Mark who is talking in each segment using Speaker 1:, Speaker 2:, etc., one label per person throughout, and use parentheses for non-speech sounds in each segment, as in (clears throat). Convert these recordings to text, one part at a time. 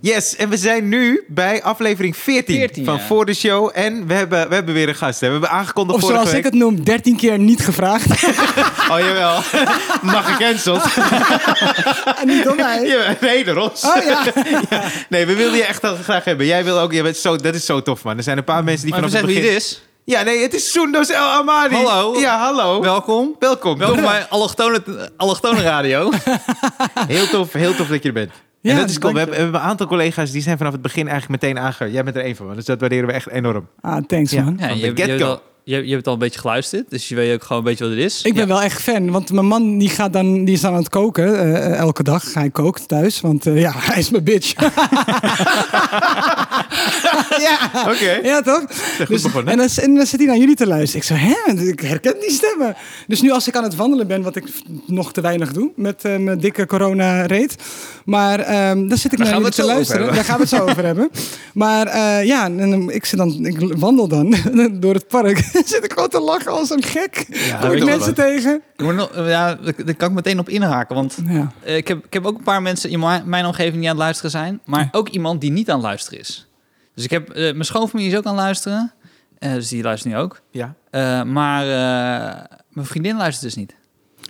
Speaker 1: Yes, en we zijn nu bij aflevering 14,
Speaker 2: 14,
Speaker 1: van
Speaker 2: ja.
Speaker 1: Voor de Show. En we hebben, we hebben weer een gast. Hè. We hebben aangekondigd
Speaker 3: Of
Speaker 1: vorige
Speaker 3: zoals ik
Speaker 1: week...
Speaker 3: het noem, 13 keer niet gevraagd.
Speaker 1: Oh, jawel. (laughs) Mag gecanceld.
Speaker 3: (laughs) en niet door mij.
Speaker 1: Ja, nee, de rots.
Speaker 3: Oh
Speaker 1: (laughs)
Speaker 3: ja.
Speaker 1: Nee, we wilden je echt heel graag hebben. Jij wil ook... Je bent zo, dat is zo tof, man. Er zijn een paar mensen die
Speaker 2: Maar even
Speaker 1: vanaf het
Speaker 2: zeggen wie
Speaker 1: begin...
Speaker 2: dit is.
Speaker 1: Ja, nee, het is Soendos El Amadi.
Speaker 2: Hallo.
Speaker 1: Ja, hallo.
Speaker 2: Oh. Welkom.
Speaker 1: Welkom.
Speaker 2: Welkom bij Allochtone, allochtone (laughs) Radio.
Speaker 1: (laughs) Heel tof, heel tof dat je er bent.
Speaker 3: Ja,
Speaker 1: en dat is cool.
Speaker 3: dank
Speaker 1: We hebben,
Speaker 3: je.
Speaker 1: we hebben een aantal collega's die zijn vanaf het begin eigenlijk meteen aangehouden. Jij bent er één van, man. dus dat waarderen we echt enorm.
Speaker 3: Ah, thanks
Speaker 1: Ja.
Speaker 3: man.
Speaker 2: Ja,
Speaker 1: Van
Speaker 2: je,
Speaker 1: de
Speaker 2: hebt- je, hebt
Speaker 1: get-go.
Speaker 2: al, je, hebt- je hebt al een beetje geluisterd, dus je weet ook gewoon een beetje wat het is.
Speaker 3: Ik ben wel echt fan, want mijn man die gaat dan, die is dan aan het koken. eh, elke dag. Hij kookt thuis, want eh, ja, (laughs) hij is mijn bitch. ja.
Speaker 1: Oké.
Speaker 3: (laughs) ja, toch? Dus-
Speaker 1: begonnen.
Speaker 3: en, dan, en dan zit hij naar jullie te luisteren. Ik zo, hè, ik herken die stemmen. Dus nu als ik aan het wandelen ben, wat ik f- nog te weinig doe met eh, mijn dikke corona-reet. Maar ehm dan zit ik naar
Speaker 2: gaan we
Speaker 3: jullie
Speaker 2: het zo
Speaker 3: te
Speaker 2: over
Speaker 3: luisteren.
Speaker 2: hebben.
Speaker 3: Daar gaan we het zo over hebben. Maar eh, ja, en, dan- ik, zit dan, ik wandel dan (laughs) door het park. Dan zit ik gewoon te lachen als een gek. Kom
Speaker 1: weet
Speaker 3: ik
Speaker 1: je wel,
Speaker 3: mensen tegen.
Speaker 2: Ik word nog- ja, daar daar kan ik meteen op inhaken, want
Speaker 3: Ja.
Speaker 2: eh, ik, heb, ik heb ook een paar mensen in mijn, mijn omgeving die aan het luisteren zijn, maar ook iemand die niet aan het luisteren is. Dus ik heb, eh, mijn schoonfamilie is ook aan het luisteren, eh, dus die luistert nu ook.
Speaker 1: Ja.
Speaker 2: Eh, maar eh, mijn vriendin luistert dus niet.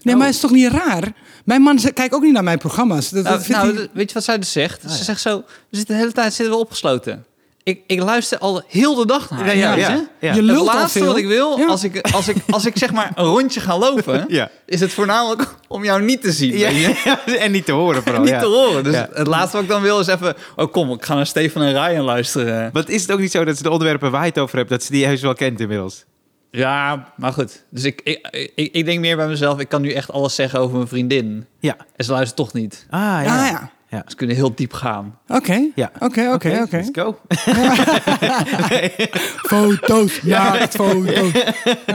Speaker 3: Nee,
Speaker 1: Oh.
Speaker 3: maar is toch niet raar? Mijn man ze- kijkt ook niet naar mijn programma's. Dat,
Speaker 2: Nou,
Speaker 3: dat vindt
Speaker 2: nou,
Speaker 3: hij-
Speaker 2: d- weet je wat zij dus zegt? ze zegt zo, we zitten de hele tijd zitten we opgesloten. Ik, ik luister al heel de dag naar haar.
Speaker 1: ja,
Speaker 2: Weet je?
Speaker 1: ja, ja.
Speaker 3: Je
Speaker 2: Het
Speaker 3: lult al
Speaker 2: laatste
Speaker 3: veel.
Speaker 2: wat ik wil,
Speaker 3: Ja.
Speaker 2: als, ik, als, ik, als ik zeg maar een rondje ga
Speaker 3: (laughs)
Speaker 2: lopen,
Speaker 1: Ja.
Speaker 2: is het voornamelijk om jou niet te
Speaker 1: (laughs)
Speaker 2: zien.
Speaker 1: Ja,
Speaker 2: weet (laughs) je?
Speaker 1: en niet te horen, vooral.
Speaker 2: niet
Speaker 1: ja.
Speaker 2: te horen. Dus
Speaker 1: Ja.
Speaker 2: het laatste wat ik dan wil is even... Oh, kom, ik ga naar Stefan en Ryan luisteren.
Speaker 1: Wat is het ook niet zo dat ze de onderwerpen waar je het over hebt, dat ze die heus wel kent inmiddels?
Speaker 2: Ja, maar goed. Dus ik, ik, ik, ik denk meer bij mezelf... ik kan nu echt alles zeggen over mijn vriendin.
Speaker 1: Ja.
Speaker 2: En ze luistert toch niet.
Speaker 1: Ah, ja.
Speaker 3: Ah ja.
Speaker 2: Ze kunnen heel diep gaan.
Speaker 3: Oké.
Speaker 1: Ja.
Speaker 3: Oké, oké, oké.
Speaker 1: Let's go. (laughs)
Speaker 3: Foto's, (laughs) naakt foto's.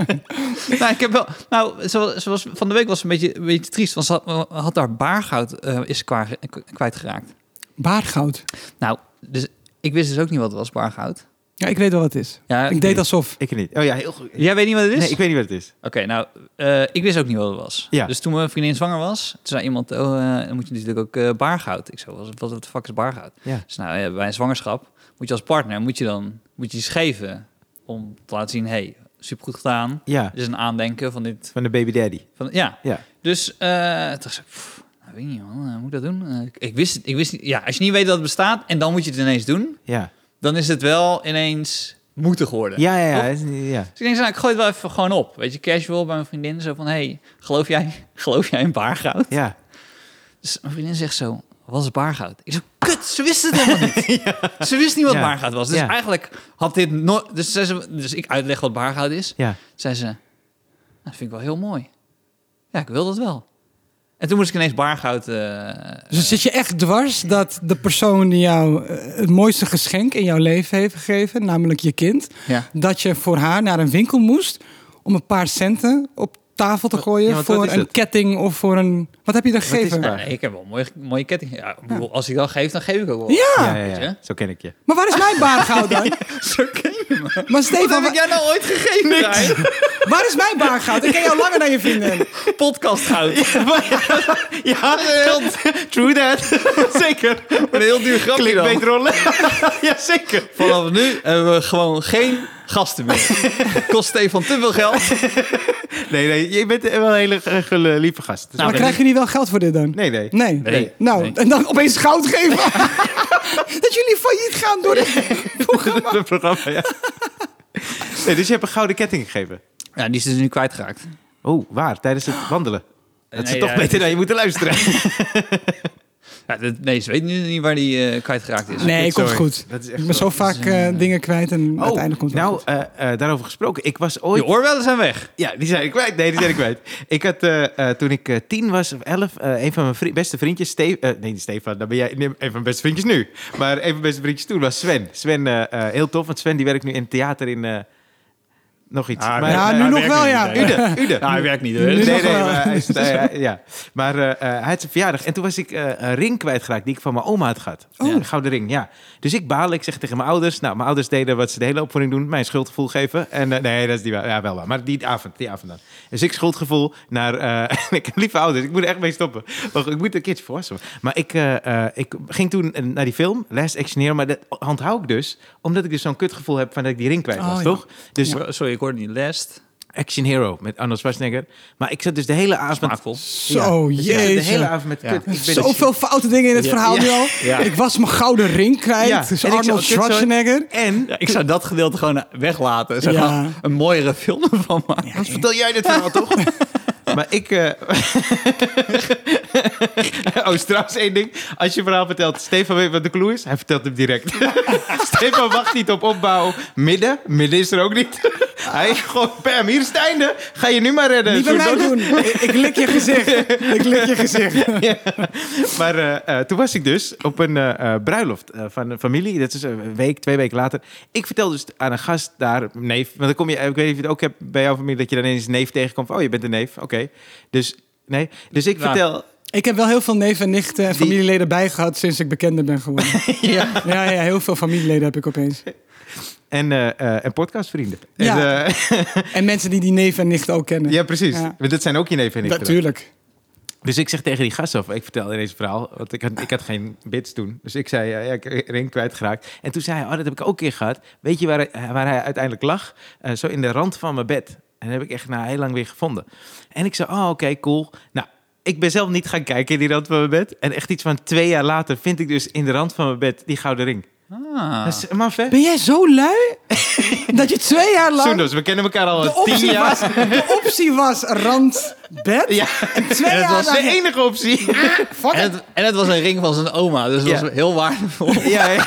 Speaker 2: (laughs) nou, ik heb wel, nou ze, was- ze was, van de week was ze een beetje, een beetje triest... want ze had, had haar baargoud eh, is kwa- kwijtgeraakt.
Speaker 3: Baargoud.
Speaker 2: Nou, dus ik wist dus ook niet wat het was, baargoud.
Speaker 3: Ja, ik weet wel wat het is.
Speaker 2: Ja,
Speaker 3: ik deed alsof.
Speaker 1: Ik niet. Oh ja, heel goed.
Speaker 2: Jij weet niet wat het is?
Speaker 1: Nee, ik weet niet wat het is.
Speaker 2: Oké, nou, eh, ik wist ook niet wat het was.
Speaker 1: Ja.
Speaker 2: Dus toen mijn vriendin zwanger was, toen zei iemand, oh, eh, dan moet je natuurlijk ook eh, baargoud. Ik zo, wat, wat de fuck is baargoud?
Speaker 1: Ja.
Speaker 2: Dus nou, eh, bij een zwangerschap moet je als partner, moet je dan, moet je iets geven om te laten zien, hey, supergoed gedaan.
Speaker 1: Ja,
Speaker 2: Dit is een aandenken van dit,
Speaker 1: van de baby daddy.
Speaker 2: van, ja.
Speaker 1: Ja.
Speaker 2: Dus eh toen dacht ik, pff, nou, weet ik niet man, Eh, moet ik dat doen? Eh, ik, ik wist het, ik wist niet, ja, als je niet weet dat het bestaat en dan moet je het ineens doen,
Speaker 1: Ja.
Speaker 2: dan is het wel ineens moeten geworden.
Speaker 1: Ja, ja, ja.
Speaker 2: Toch?
Speaker 1: is niet- ja.
Speaker 2: Dus ik denk, nou, ik gooi het wel even gewoon op. Weet je, casual bij mijn vriendin. Zo van, hey, geloof jij, (laughs) geloof jij in baargoud?
Speaker 1: ja.
Speaker 2: Dus mijn vriendin zegt zo, wat is baargoud? Ik zo, kut, ze wist het helemaal niet. Ze wist niet wat
Speaker 1: (laughs) Ja.
Speaker 2: baargout was. Dus
Speaker 1: Ja.
Speaker 2: eigenlijk had dit nooit... Dus, zei ze, dus ik uitleg wat baargoud is.
Speaker 1: Ja.
Speaker 2: Zei ze, nou, dat vind ik wel heel mooi. Ja, ik wil dat wel. En toen moest ik ineens baargoud... eh,
Speaker 3: Dus het zit je echt dwars dat de persoon die jou eh, het mooiste geschenk in jouw leven heeft gegeven, namelijk je kind,
Speaker 2: ja.
Speaker 3: dat je voor haar naar een winkel moest om een paar centen op tafel te gooien
Speaker 1: Ja, want wat
Speaker 3: voor
Speaker 1: is
Speaker 3: een
Speaker 1: het?
Speaker 3: ketting of voor een... Wat heb je er
Speaker 1: is
Speaker 3: gegeven?
Speaker 1: het?
Speaker 2: Ja, nee, ik heb wel een mooie, mooie ketting. Ja, ik bedoel, Als ik dan geef, dan geef ik ook wel.
Speaker 1: Ja,
Speaker 3: Ja,
Speaker 1: ja, ja.
Speaker 2: Weet je?
Speaker 1: Zo ken ik je.
Speaker 3: maar waar is mijn baargoud dan?
Speaker 2: Zo ken je me.
Speaker 3: Maar
Speaker 2: Wat
Speaker 3: Stefan,
Speaker 2: heb ik jou nou ooit gegeven, Ryan?
Speaker 3: waar is mijn baargoud? Ik ken jou langer dan je vrienden.
Speaker 2: podcastgoud. Ja,
Speaker 1: Ja, true that. zeker.
Speaker 2: een heel duur grapje
Speaker 1: Clickbait
Speaker 2: dan.
Speaker 1: rollen. ja, zeker.
Speaker 2: Vanaf nu hebben we gewoon geen gasten meer. Kost Stefan te veel geld.
Speaker 1: Nee, nee. Je bent wel een hele eh, gele- lieve gast.
Speaker 2: Nou,
Speaker 3: maar
Speaker 2: dat-
Speaker 3: krijgen jullie wel geld voor dit dan?
Speaker 1: nee, nee.
Speaker 3: Nee.
Speaker 2: Nee.
Speaker 3: Nou,
Speaker 2: Nee.
Speaker 3: en dan opeens goud
Speaker 1: (laughs)
Speaker 3: geven. dat jullie failliet gaan door dit
Speaker 1: (laughs)
Speaker 3: programma.
Speaker 1: Het programma, ja. Nee, dus je hebt een gouden ketting gegeven.
Speaker 2: Ja, die is dus nu kwijtgeraakt.
Speaker 1: Oh, waar? Tijdens het wandelen. Dat ze
Speaker 2: Nee,
Speaker 1: toch
Speaker 2: ja,
Speaker 1: beter naar je moeten luisteren.
Speaker 2: Ja, dat- nee, ze weten nu niet waar die eh, kwijtgeraakt is.
Speaker 3: (laughs) Nee, komt
Speaker 1: Sorry.
Speaker 3: goed.
Speaker 1: Dat is echt
Speaker 3: Ik ben zo
Speaker 1: wel-
Speaker 3: vaak eh, dingen kwijt en uiteindelijk komt het wel
Speaker 1: nou,
Speaker 3: goed.
Speaker 1: eh, eh, daarover gesproken. Ik was
Speaker 2: Je
Speaker 1: ooit...
Speaker 2: oorbellen zijn weg.
Speaker 1: Ja, die zijn ik kwijt. Nee, die zijn ik kwijt. Ik had eh, eh, toen ik eh, tien was of elf, eh, een van mijn vri- beste vriendjes, Ste eh, nee, niet Stefan, dan ben jij nee, een van mijn beste vriendjes nu. Maar een van mijn beste vriendjes toen was Sven. Sven, eh, eh, heel tof, want Sven die werkt nu in theater in... eh, nog iets.
Speaker 2: Ah,
Speaker 1: maar,
Speaker 3: ja,
Speaker 1: eh,
Speaker 3: nu
Speaker 2: hij
Speaker 3: nog
Speaker 2: werkt
Speaker 3: wel,
Speaker 1: (laughs)
Speaker 2: nu
Speaker 3: ja.
Speaker 2: niet,
Speaker 3: (laughs)
Speaker 2: hè.
Speaker 1: Ude, Ude.
Speaker 2: Nou, hij werkt niet.
Speaker 3: Nu
Speaker 2: Dus.
Speaker 1: Nee,
Speaker 3: nog
Speaker 1: nee,
Speaker 3: wel.
Speaker 1: maar, hij, is- eh, hij- ja. maar eh, eh, hij had zijn verjaardag. En toen was ik eh, een ring kwijtgeraakt die ik van mijn oma had gehad.
Speaker 3: Oh.
Speaker 1: Ja, een gouden ring, ja. Dus ik baal, ik zeg tegen mijn ouders. Nou, mijn ouders deden wat ze de hele opvoeding doen. Mijn schuldgevoel geven. En eh, nee, dat is niet waar. Ja, wel waar. Maar die avond, die avond dan. Dus ik schuldgevoel naar... eh, (laughs) ik heb lieve ouders, ik moet er echt mee stoppen. Maar goed, ik moet een keertje verrassen. Maar ik, eh, eh, ik ging toen eh, naar die film, Last Action Hero. Maar dat handhoud ik dus, omdat ik dus zo'n kutgevoel heb van dat ik die ring kwijt was,
Speaker 3: Oh, ja.
Speaker 1: toch? Dus
Speaker 2: Sorry, ik hoorde niet. Last.
Speaker 1: Action Hero met Arnold Schwarzenegger. Maar ik zat dus de hele avond...
Speaker 2: Smaakvol.
Speaker 3: (laughs) Zo,
Speaker 1: dus ik zat
Speaker 3: jezus.
Speaker 1: De hele avond met
Speaker 2: Ja.
Speaker 1: kut. Ik ben dus
Speaker 3: Zoveel foute dingen in het
Speaker 2: Ja,
Speaker 3: verhaal
Speaker 2: ja,
Speaker 3: nu al.
Speaker 2: ja.
Speaker 3: Ik was mijn gouden ring kwijt.
Speaker 1: Ja,
Speaker 3: Dus
Speaker 1: en ik
Speaker 3: Arnold
Speaker 1: zou-
Speaker 3: Schwarzenegger.
Speaker 1: En
Speaker 2: Ja, ik zou dat gedeelte gewoon weglaten. Zou
Speaker 3: Ja.
Speaker 2: gewoon een mooiere film van maken.
Speaker 1: Anders vertel jij dit verhaal toch? (laughs) maar ik... eh, (laughs) oh, is trouwens één ding. Als je verhaal vertelt, Stefan weet wat de clue is. Hij vertelt hem direct. (laughs) Stefan wacht niet op opbouw. Midden. Midden is er ook niet. (laughs) Hij gewoon, Pam, hier is het einde. Ga je nu maar redden.
Speaker 3: Niet bij
Speaker 1: Een soort
Speaker 3: mij doen. Ik, ik lik je gezicht. Ik lik je gezicht.
Speaker 1: (laughs) Maar eh, eh, toen was ik dus op een eh, eh, bruiloft eh, van een familie. Dat is een week, twee weken later. Ik vertel dus aan een gast daar, neef. Want dan kom je, eh, ik weet niet of je het ook hebt bij jouw familie, dat je dan ineens een neef tegenkomt. Van, oh, je bent een neef. Oké. Dus, nee. Dus ik
Speaker 2: Nou.
Speaker 1: vertel.
Speaker 3: Ik heb wel heel veel neven en nichten en
Speaker 1: Die-
Speaker 3: familieleden bijgehad sinds ik bekender ben geworden.
Speaker 1: (laughs)
Speaker 2: Ja.
Speaker 3: ja, ja, heel veel familieleden heb ik opeens.
Speaker 1: En, eh, eh, en podcastvrienden.
Speaker 3: Ja.
Speaker 1: En, eh, (laughs)
Speaker 3: En mensen die die neven en nichten ook kennen.
Speaker 1: ja, precies.
Speaker 3: Ja.
Speaker 1: Want Dat zijn ook je neef en ik. dan.
Speaker 3: Natuurlijk.
Speaker 1: Dus ik zeg tegen die gast af, ik vertel ineens het verhaal, want ik had, ik had geen bits toen. Dus ik zei, eh, ja, ik heb ring kwijtgeraakt. En toen zei hij, oh, dat heb ik ook een keer gehad. Weet je waar hij, waar hij uiteindelijk lag? Eh, zo in de rand van mijn bed. En dat heb ik echt na heel lang weer gevonden. En ik zei, oh, oké, cool. Nou, ik ben zelf niet gaan kijken in die rand van mijn bed. En echt iets van twee jaar later vind ik dus in de rand van mijn bed die gouden ring.
Speaker 2: Ah.
Speaker 3: Dus-
Speaker 1: Dat is maf, hè?
Speaker 3: Ben jij zo lui (laughs) dat je twee jaar lang...
Speaker 1: Soendos, we kennen elkaar al
Speaker 3: de,
Speaker 1: tien
Speaker 3: optie
Speaker 1: jaar.
Speaker 3: was, de optie was randbed.
Speaker 1: Ja,
Speaker 3: En twee
Speaker 1: dat
Speaker 3: jaar
Speaker 1: was de
Speaker 3: lang-
Speaker 1: enige optie.
Speaker 3: Fuck it.
Speaker 2: En het, en het was een ring van zijn oma, dus dat
Speaker 1: Ja.
Speaker 2: was heel (laughs) waardevol.
Speaker 1: (laughs) Ja, ja.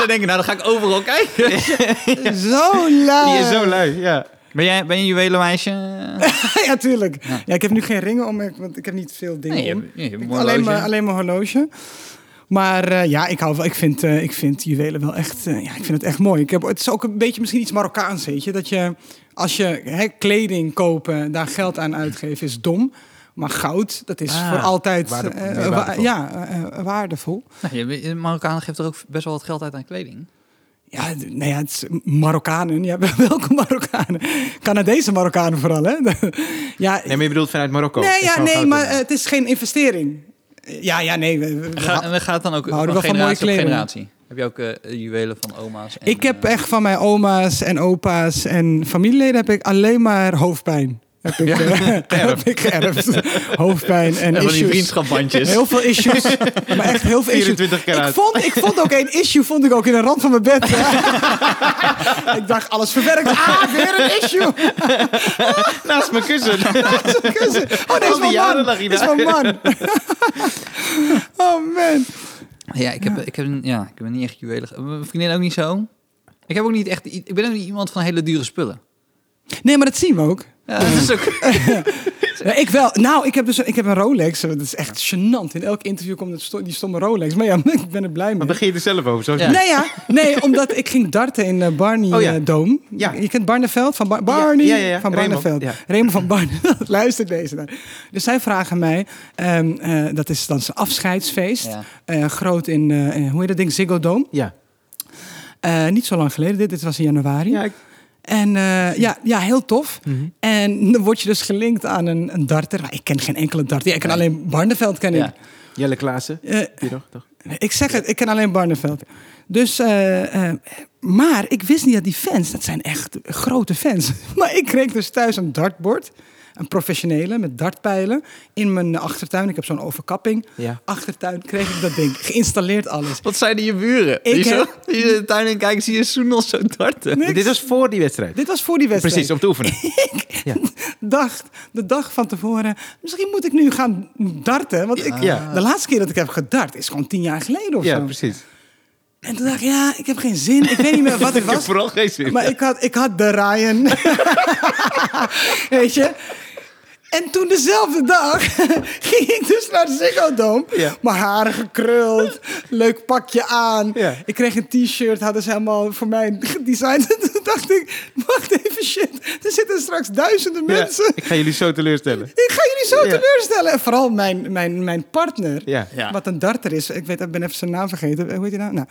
Speaker 2: Ze denken, nou, dan ga ik overal kijken.
Speaker 3: Zo lui.
Speaker 1: die is zo lui, ja.
Speaker 2: Ben jij ben je een juwelenmeisje?
Speaker 3: (laughs) ja, tuurlijk. Ja. ik heb nu geen ringen om, ik- want ik heb niet veel dingen
Speaker 2: Nee, je
Speaker 3: om.
Speaker 2: hebt- je hebt een
Speaker 3: Ik-
Speaker 2: horloge.
Speaker 3: alleen, maar, alleen mijn horloge. Maar eh, ja, ik, hou, wel- ik, vind, eh, ik vind juwelen wel echt... eh, ja, ik vind het echt mooi. Ik heb, het is ook een beetje misschien iets Marokkaans, weet je. Dat je, als je hè, kleding kopen, daar geld aan uitgeven, is dom. Maar goud, dat is
Speaker 1: Ah,
Speaker 3: voor altijd...
Speaker 1: waarde-
Speaker 3: eh,
Speaker 1: nee,
Speaker 3: wa-
Speaker 1: waardevol.
Speaker 3: ja, eh, eh, waardevol.
Speaker 2: Nou, je- je- Marokkanen geeft er ook best wel wat geld uit aan kleding.
Speaker 3: Ja, d- nou ja, het is Marokkanen. Ja, (laughs) welke Marokkanen? Canadese Marokkanen vooral, hè? (laughs) ja,
Speaker 1: Nee, maar je bedoelt vanuit Marokko.
Speaker 3: Nee,
Speaker 1: Dat is
Speaker 3: ja,
Speaker 1: wel
Speaker 3: nee
Speaker 1: goud
Speaker 3: maar
Speaker 1: inderdaad.
Speaker 3: eh, het is geen investering. Eh, Ja, ja, nee. we- we- we-
Speaker 2: Ga, en dat gaat dan ook
Speaker 3: we
Speaker 2: van
Speaker 3: houden
Speaker 2: generatie
Speaker 3: wel van mooie
Speaker 2: op
Speaker 3: kleding.
Speaker 2: generatie. Heb je ook eh, juwelen van oma's? En,
Speaker 3: ik heb
Speaker 2: eh,
Speaker 3: echt van mijn oma's en opa's en familieleden heb ik alleen maar hoofdpijn. Heb ik, eh,
Speaker 1: (laughs)
Speaker 3: (laughs) heb ik geërfd. hoofdpijn
Speaker 2: en
Speaker 3: en
Speaker 2: van die
Speaker 3: issues.
Speaker 2: vriendschapbandjes.
Speaker 3: (laughs) Heel veel
Speaker 1: (laughs)
Speaker 3: issues. Maar echt heel veel issues.
Speaker 1: 24 karaat.
Speaker 3: Ik vond, ik vond ook een issue vond ik ook in de rand van mijn bed.
Speaker 1: (laughs)
Speaker 3: ik dacht, alles verwerkt. Ah, weer een
Speaker 1: (laughs)
Speaker 3: issue.
Speaker 1: Naast mijn kussen.
Speaker 3: Kussen. Oh,
Speaker 1: Al
Speaker 3: deze
Speaker 1: die
Speaker 3: is
Speaker 1: jaren
Speaker 3: van man.
Speaker 1: lag hij
Speaker 3: Dit is
Speaker 1: daar.
Speaker 3: van
Speaker 1: (laughs)
Speaker 3: man. oh man.
Speaker 2: Ja, ik heb, Ik, heb, een- ja, ik ben niet echt juwelig. Mijn vriendin ook niet zo. Ik, heb ook niet echt, i- ik ben ook niet iemand van hele dure spullen.
Speaker 3: Nee, maar dat zien we ook.
Speaker 2: Ja, dat is
Speaker 3: (laughs)
Speaker 2: ook...
Speaker 3: Ja, ik wel. Nou, ik heb dus ik heb een Rolex. Dat is echt gênant. In elk interview komt het sto- die stomme Rolex. Maar ja, (laughs) ik ben er blij
Speaker 1: Maar
Speaker 3: mee.
Speaker 1: begin je er zelf over. Zo is
Speaker 2: Ja.
Speaker 1: het
Speaker 3: Nee, ja, nee, omdat ik ging darten in eh, Barney
Speaker 1: Oh ja.
Speaker 3: eh, Dome.
Speaker 1: Ja.
Speaker 3: Je kent Barneveld? Van Bar- Barney
Speaker 1: Ja, ja, ja.
Speaker 3: van
Speaker 1: Raymond,
Speaker 3: Barneveld.
Speaker 1: ja.
Speaker 3: Raymond van Barneveld. (laughs) Luister deze naar. Dus zij vragen mij, ehm, eh, dat is dan zijn afscheidsfeest.
Speaker 2: Ja.
Speaker 3: eh, groot in, eh, eh, hoe heet dat ding, Ziggo Dome.
Speaker 1: Ja.
Speaker 3: Eh, niet zo lang geleden, dit, dit was in januari.
Speaker 1: ja ik-
Speaker 3: En eh, ja, ja, heel tof. En (laughs) dan word je dus gelinkt aan een, een darter. Maar ik ken geen enkele darter. Ja, ik ken alleen Barneveld ken
Speaker 2: Ja.
Speaker 3: ik.
Speaker 1: Jelle Klaassen.
Speaker 3: Eh,
Speaker 1: Heb je nog, toch?
Speaker 3: ik zeg het, ik ken alleen Barneveld. Dus, eh, eh, maar ik wist niet dat die fans, dat zijn echt grote fans. (laughs) Maar ik kreeg dus thuis een dartbord. Een professionele met dartpijlen. In mijn achtertuin, ik heb zo'n overkapping.
Speaker 1: Ja.
Speaker 3: Achtertuin kreeg ik dat ding. Geïnstalleerd alles.
Speaker 2: Wat zeiden je buren?
Speaker 3: Ik
Speaker 2: die, zo,
Speaker 3: heb-
Speaker 2: (laughs) die in de tuin in kijken, zie je Soenos zo darten.
Speaker 3: Niks.
Speaker 1: Dit was voor die wedstrijd.
Speaker 3: Dit was voor die wedstrijd.
Speaker 1: Precies, om te oefenen.
Speaker 3: dacht de dag van tevoren, misschien moet ik nu gaan darten. Want ik,
Speaker 1: Ja.
Speaker 3: de laatste keer dat ik heb gedart is gewoon tien jaar geleden
Speaker 1: (laughs)
Speaker 3: of
Speaker 1: ja,
Speaker 3: zo.
Speaker 1: precies.
Speaker 3: En toen dacht ik, ja, ik heb geen zin. Ik weet niet
Speaker 1: (laughs)
Speaker 3: meer wat het
Speaker 1: Ik heb
Speaker 3: was.
Speaker 1: vooral geen zin.
Speaker 3: Maar ik had, ik had de Ryan. (laughs) weet je? En toen dezelfde dag (laughs) ging ik dus naar de Ziggo Dome.
Speaker 1: Ja.
Speaker 3: Mijn haren gekruld, leuk pakje aan.
Speaker 1: Ja.
Speaker 3: Ik kreeg een t-shirt, hadden ze helemaal voor mij gedesigned. (laughs) dacht ik, wacht even, shit. Er zitten straks duizenden
Speaker 1: Ja,
Speaker 3: mensen.
Speaker 1: ik ga jullie zo teleurstellen.
Speaker 3: Ik ga jullie zo
Speaker 1: Ja.
Speaker 3: teleurstellen. En vooral mijn, mijn, mijn partner.
Speaker 1: Ja.
Speaker 2: Ja.
Speaker 3: Wat een darter is. Ik, weet, ik ben even zijn naam vergeten. Hoe heet hij nou? nou.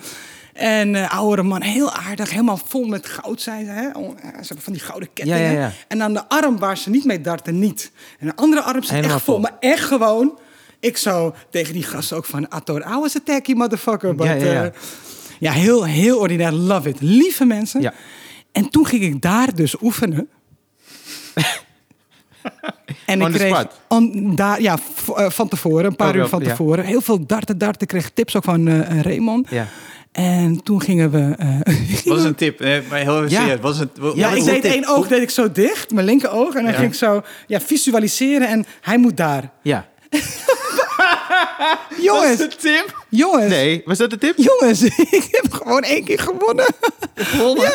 Speaker 3: En eh oudere man, heel aardig. Helemaal vol met goud, zei ze. Hè? Oh, Ze hebben van die gouden kettingen.
Speaker 1: Ja, ja, ja.
Speaker 3: En aan de arm waar ze niet mee darten, niet. En de andere arm zit
Speaker 1: Helemaal
Speaker 3: echt vol.
Speaker 1: vol.
Speaker 3: Maar echt gewoon... Ik zou tegen die gast ook van... Ator, I was a tacky motherfucker. But,
Speaker 1: Ja,
Speaker 3: ja,
Speaker 1: ja, ja.
Speaker 3: ja, heel, heel ordinair. Love it. Lieve mensen.
Speaker 1: Ja.
Speaker 3: En toen ging ik daar dus oefenen. en
Speaker 1: On
Speaker 3: ik
Speaker 1: the
Speaker 3: kreeg
Speaker 1: spot.
Speaker 3: on- daar, ja, v- eh, van tevoren, een paar
Speaker 1: Oh,
Speaker 3: uur
Speaker 1: wel,
Speaker 3: van
Speaker 1: ja.
Speaker 3: tevoren. Heel veel darten, darten. Ik kreeg tips ook van eh, eh, Raymond.
Speaker 1: Ja.
Speaker 3: En toen gingen we... eh, (laughs)
Speaker 4: Wat is een tip? Nee, maar heel even
Speaker 1: Ja.
Speaker 4: serieus. Wat is een, wat-
Speaker 1: Ja,
Speaker 3: ja,
Speaker 4: wat
Speaker 3: ik
Speaker 4: is
Speaker 1: hoe-
Speaker 3: deed
Speaker 1: hoe-
Speaker 3: één oog, deed ik zo dicht, mijn linker oog. En dan
Speaker 1: Ja.
Speaker 3: ging ik zo ja, visualiseren en hij moet daar.
Speaker 1: Ja.
Speaker 3: Jongens,
Speaker 4: een tip?
Speaker 3: jongens.
Speaker 1: Nee, was dat de tip?
Speaker 3: Jongens, (laughs) ik heb gewoon één keer gewonnen. Ja,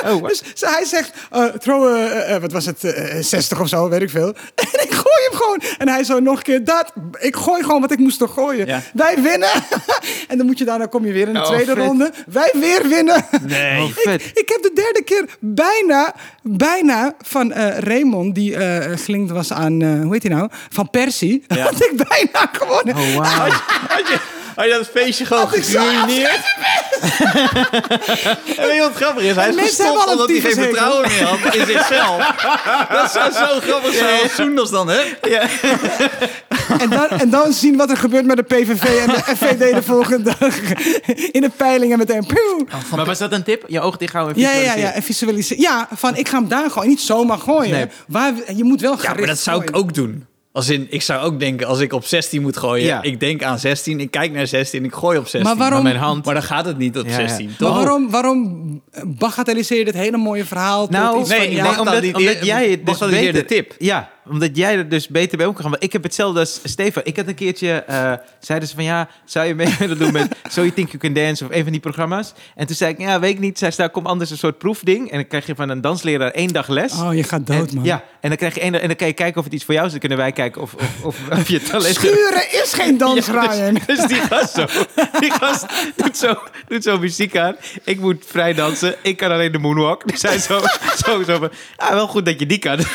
Speaker 1: Oh, wa-
Speaker 3: dus ze- hij zegt, eh, throw, eh, eh, eh, wat was het, eh, eh, 60 of zo, weet ik veel. (laughs) En ik gooi hem gewoon. En hij zo nog een keer, dat, ik gooi gewoon wat ik moest nog gooien.
Speaker 4: Ja.
Speaker 3: Wij winnen. (laughs) en dan moet je daarna, kom je weer in de
Speaker 1: Oh,
Speaker 3: tweede
Speaker 1: vet.
Speaker 3: ronde. Wij weer winnen.
Speaker 4: Nee.
Speaker 1: Oh, vet.
Speaker 3: (laughs) Ik heb de derde keer bijna, bijna van eh, Raymond, die eh gelinkt was aan, eh, hoe heet hij nou? Van Persie. (laughs)
Speaker 4: Ja.
Speaker 3: Had ik bijna gewonnen.
Speaker 1: Oh, wauw.
Speaker 4: Had je, had je dat feestje gewoon
Speaker 3: Had ik zo
Speaker 4: geruineerd? (laughs) en weet je wat grappig is? Hij is
Speaker 3: En mensen hebben
Speaker 4: gestopt
Speaker 3: al een
Speaker 4: omdat hij geen
Speaker 3: tyfushekel.
Speaker 4: vertrouwen meer had
Speaker 3: (laughs)
Speaker 4: in zichzelf. Dat zou zo grappig zijn als Soenders dan, hè?
Speaker 3: En dan, en dan zien wat er gebeurt met de PVV en de FVD de volgende dag. (laughs) In de peilingen meteen. Pew.
Speaker 1: Maar was dat een tip? Je oog dicht houden en
Speaker 3: Ja, ja, ja.
Speaker 1: visualiseren.
Speaker 3: En visualiseren. Ja, van ik ga hem daar gooien. Niet zomaar gooien.
Speaker 1: Nee.
Speaker 3: Waar, je moet wel
Speaker 4: Ja,
Speaker 3: gericht
Speaker 4: maar dat zou ik
Speaker 3: gooien.
Speaker 4: ook doen. Als in, ik zou ook denken, als ik op 16 moet gooien,
Speaker 1: Ja.
Speaker 4: ik denk aan 16, ik kijk naar 16, ik gooi op 16.
Speaker 3: Maar waarom-
Speaker 1: Maar mijn hand-
Speaker 4: Maar dan gaat het niet op
Speaker 1: Ja, ja.
Speaker 4: 16,
Speaker 1: Maar
Speaker 4: toch?
Speaker 3: Maar waarom, waarom bagatelliseer je dit hele mooie verhaal? tot
Speaker 1: Nou,
Speaker 3: iets
Speaker 4: nee,
Speaker 3: van,
Speaker 4: ik
Speaker 3: ja,
Speaker 4: mag-
Speaker 1: omdat,
Speaker 4: dan die-
Speaker 1: omdat jij het dus
Speaker 4: mag dan die
Speaker 1: beter...
Speaker 4: derde tip?
Speaker 1: Ja, omdat jij er dus beter bij om kan gaan. Want ik heb hetzelfde als Stefan. Ik had een keertje... eh, zeiden ze van ja, zou je mee (laughs) willen doen met So You Think You Can Dance... of een van die programma's? En toen zei ik, ja, weet ik niet. Zij zei, kom anders een soort proefding. En dan krijg je van een dansleraar één dag les.
Speaker 3: Oh, je gaat dood,
Speaker 1: en,
Speaker 3: man.
Speaker 1: Ja, en dan, krijg je één, dag- en dan kan je kijken of het iets voor jou is. Dan kunnen wij kijken of, of, of, (laughs) of je talent...
Speaker 3: Schuren is geen dans,
Speaker 1: Ja, dus-
Speaker 3: Ryan.
Speaker 1: (laughs) Dus, die gast zo. Die gast doet zo, doet zo muziek aan. Ik moet vrij dansen. Ik kan alleen de moonwalk. Dus hij zo, (laughs) zo, zo van... Ah, wel goed dat je die kan. (laughs)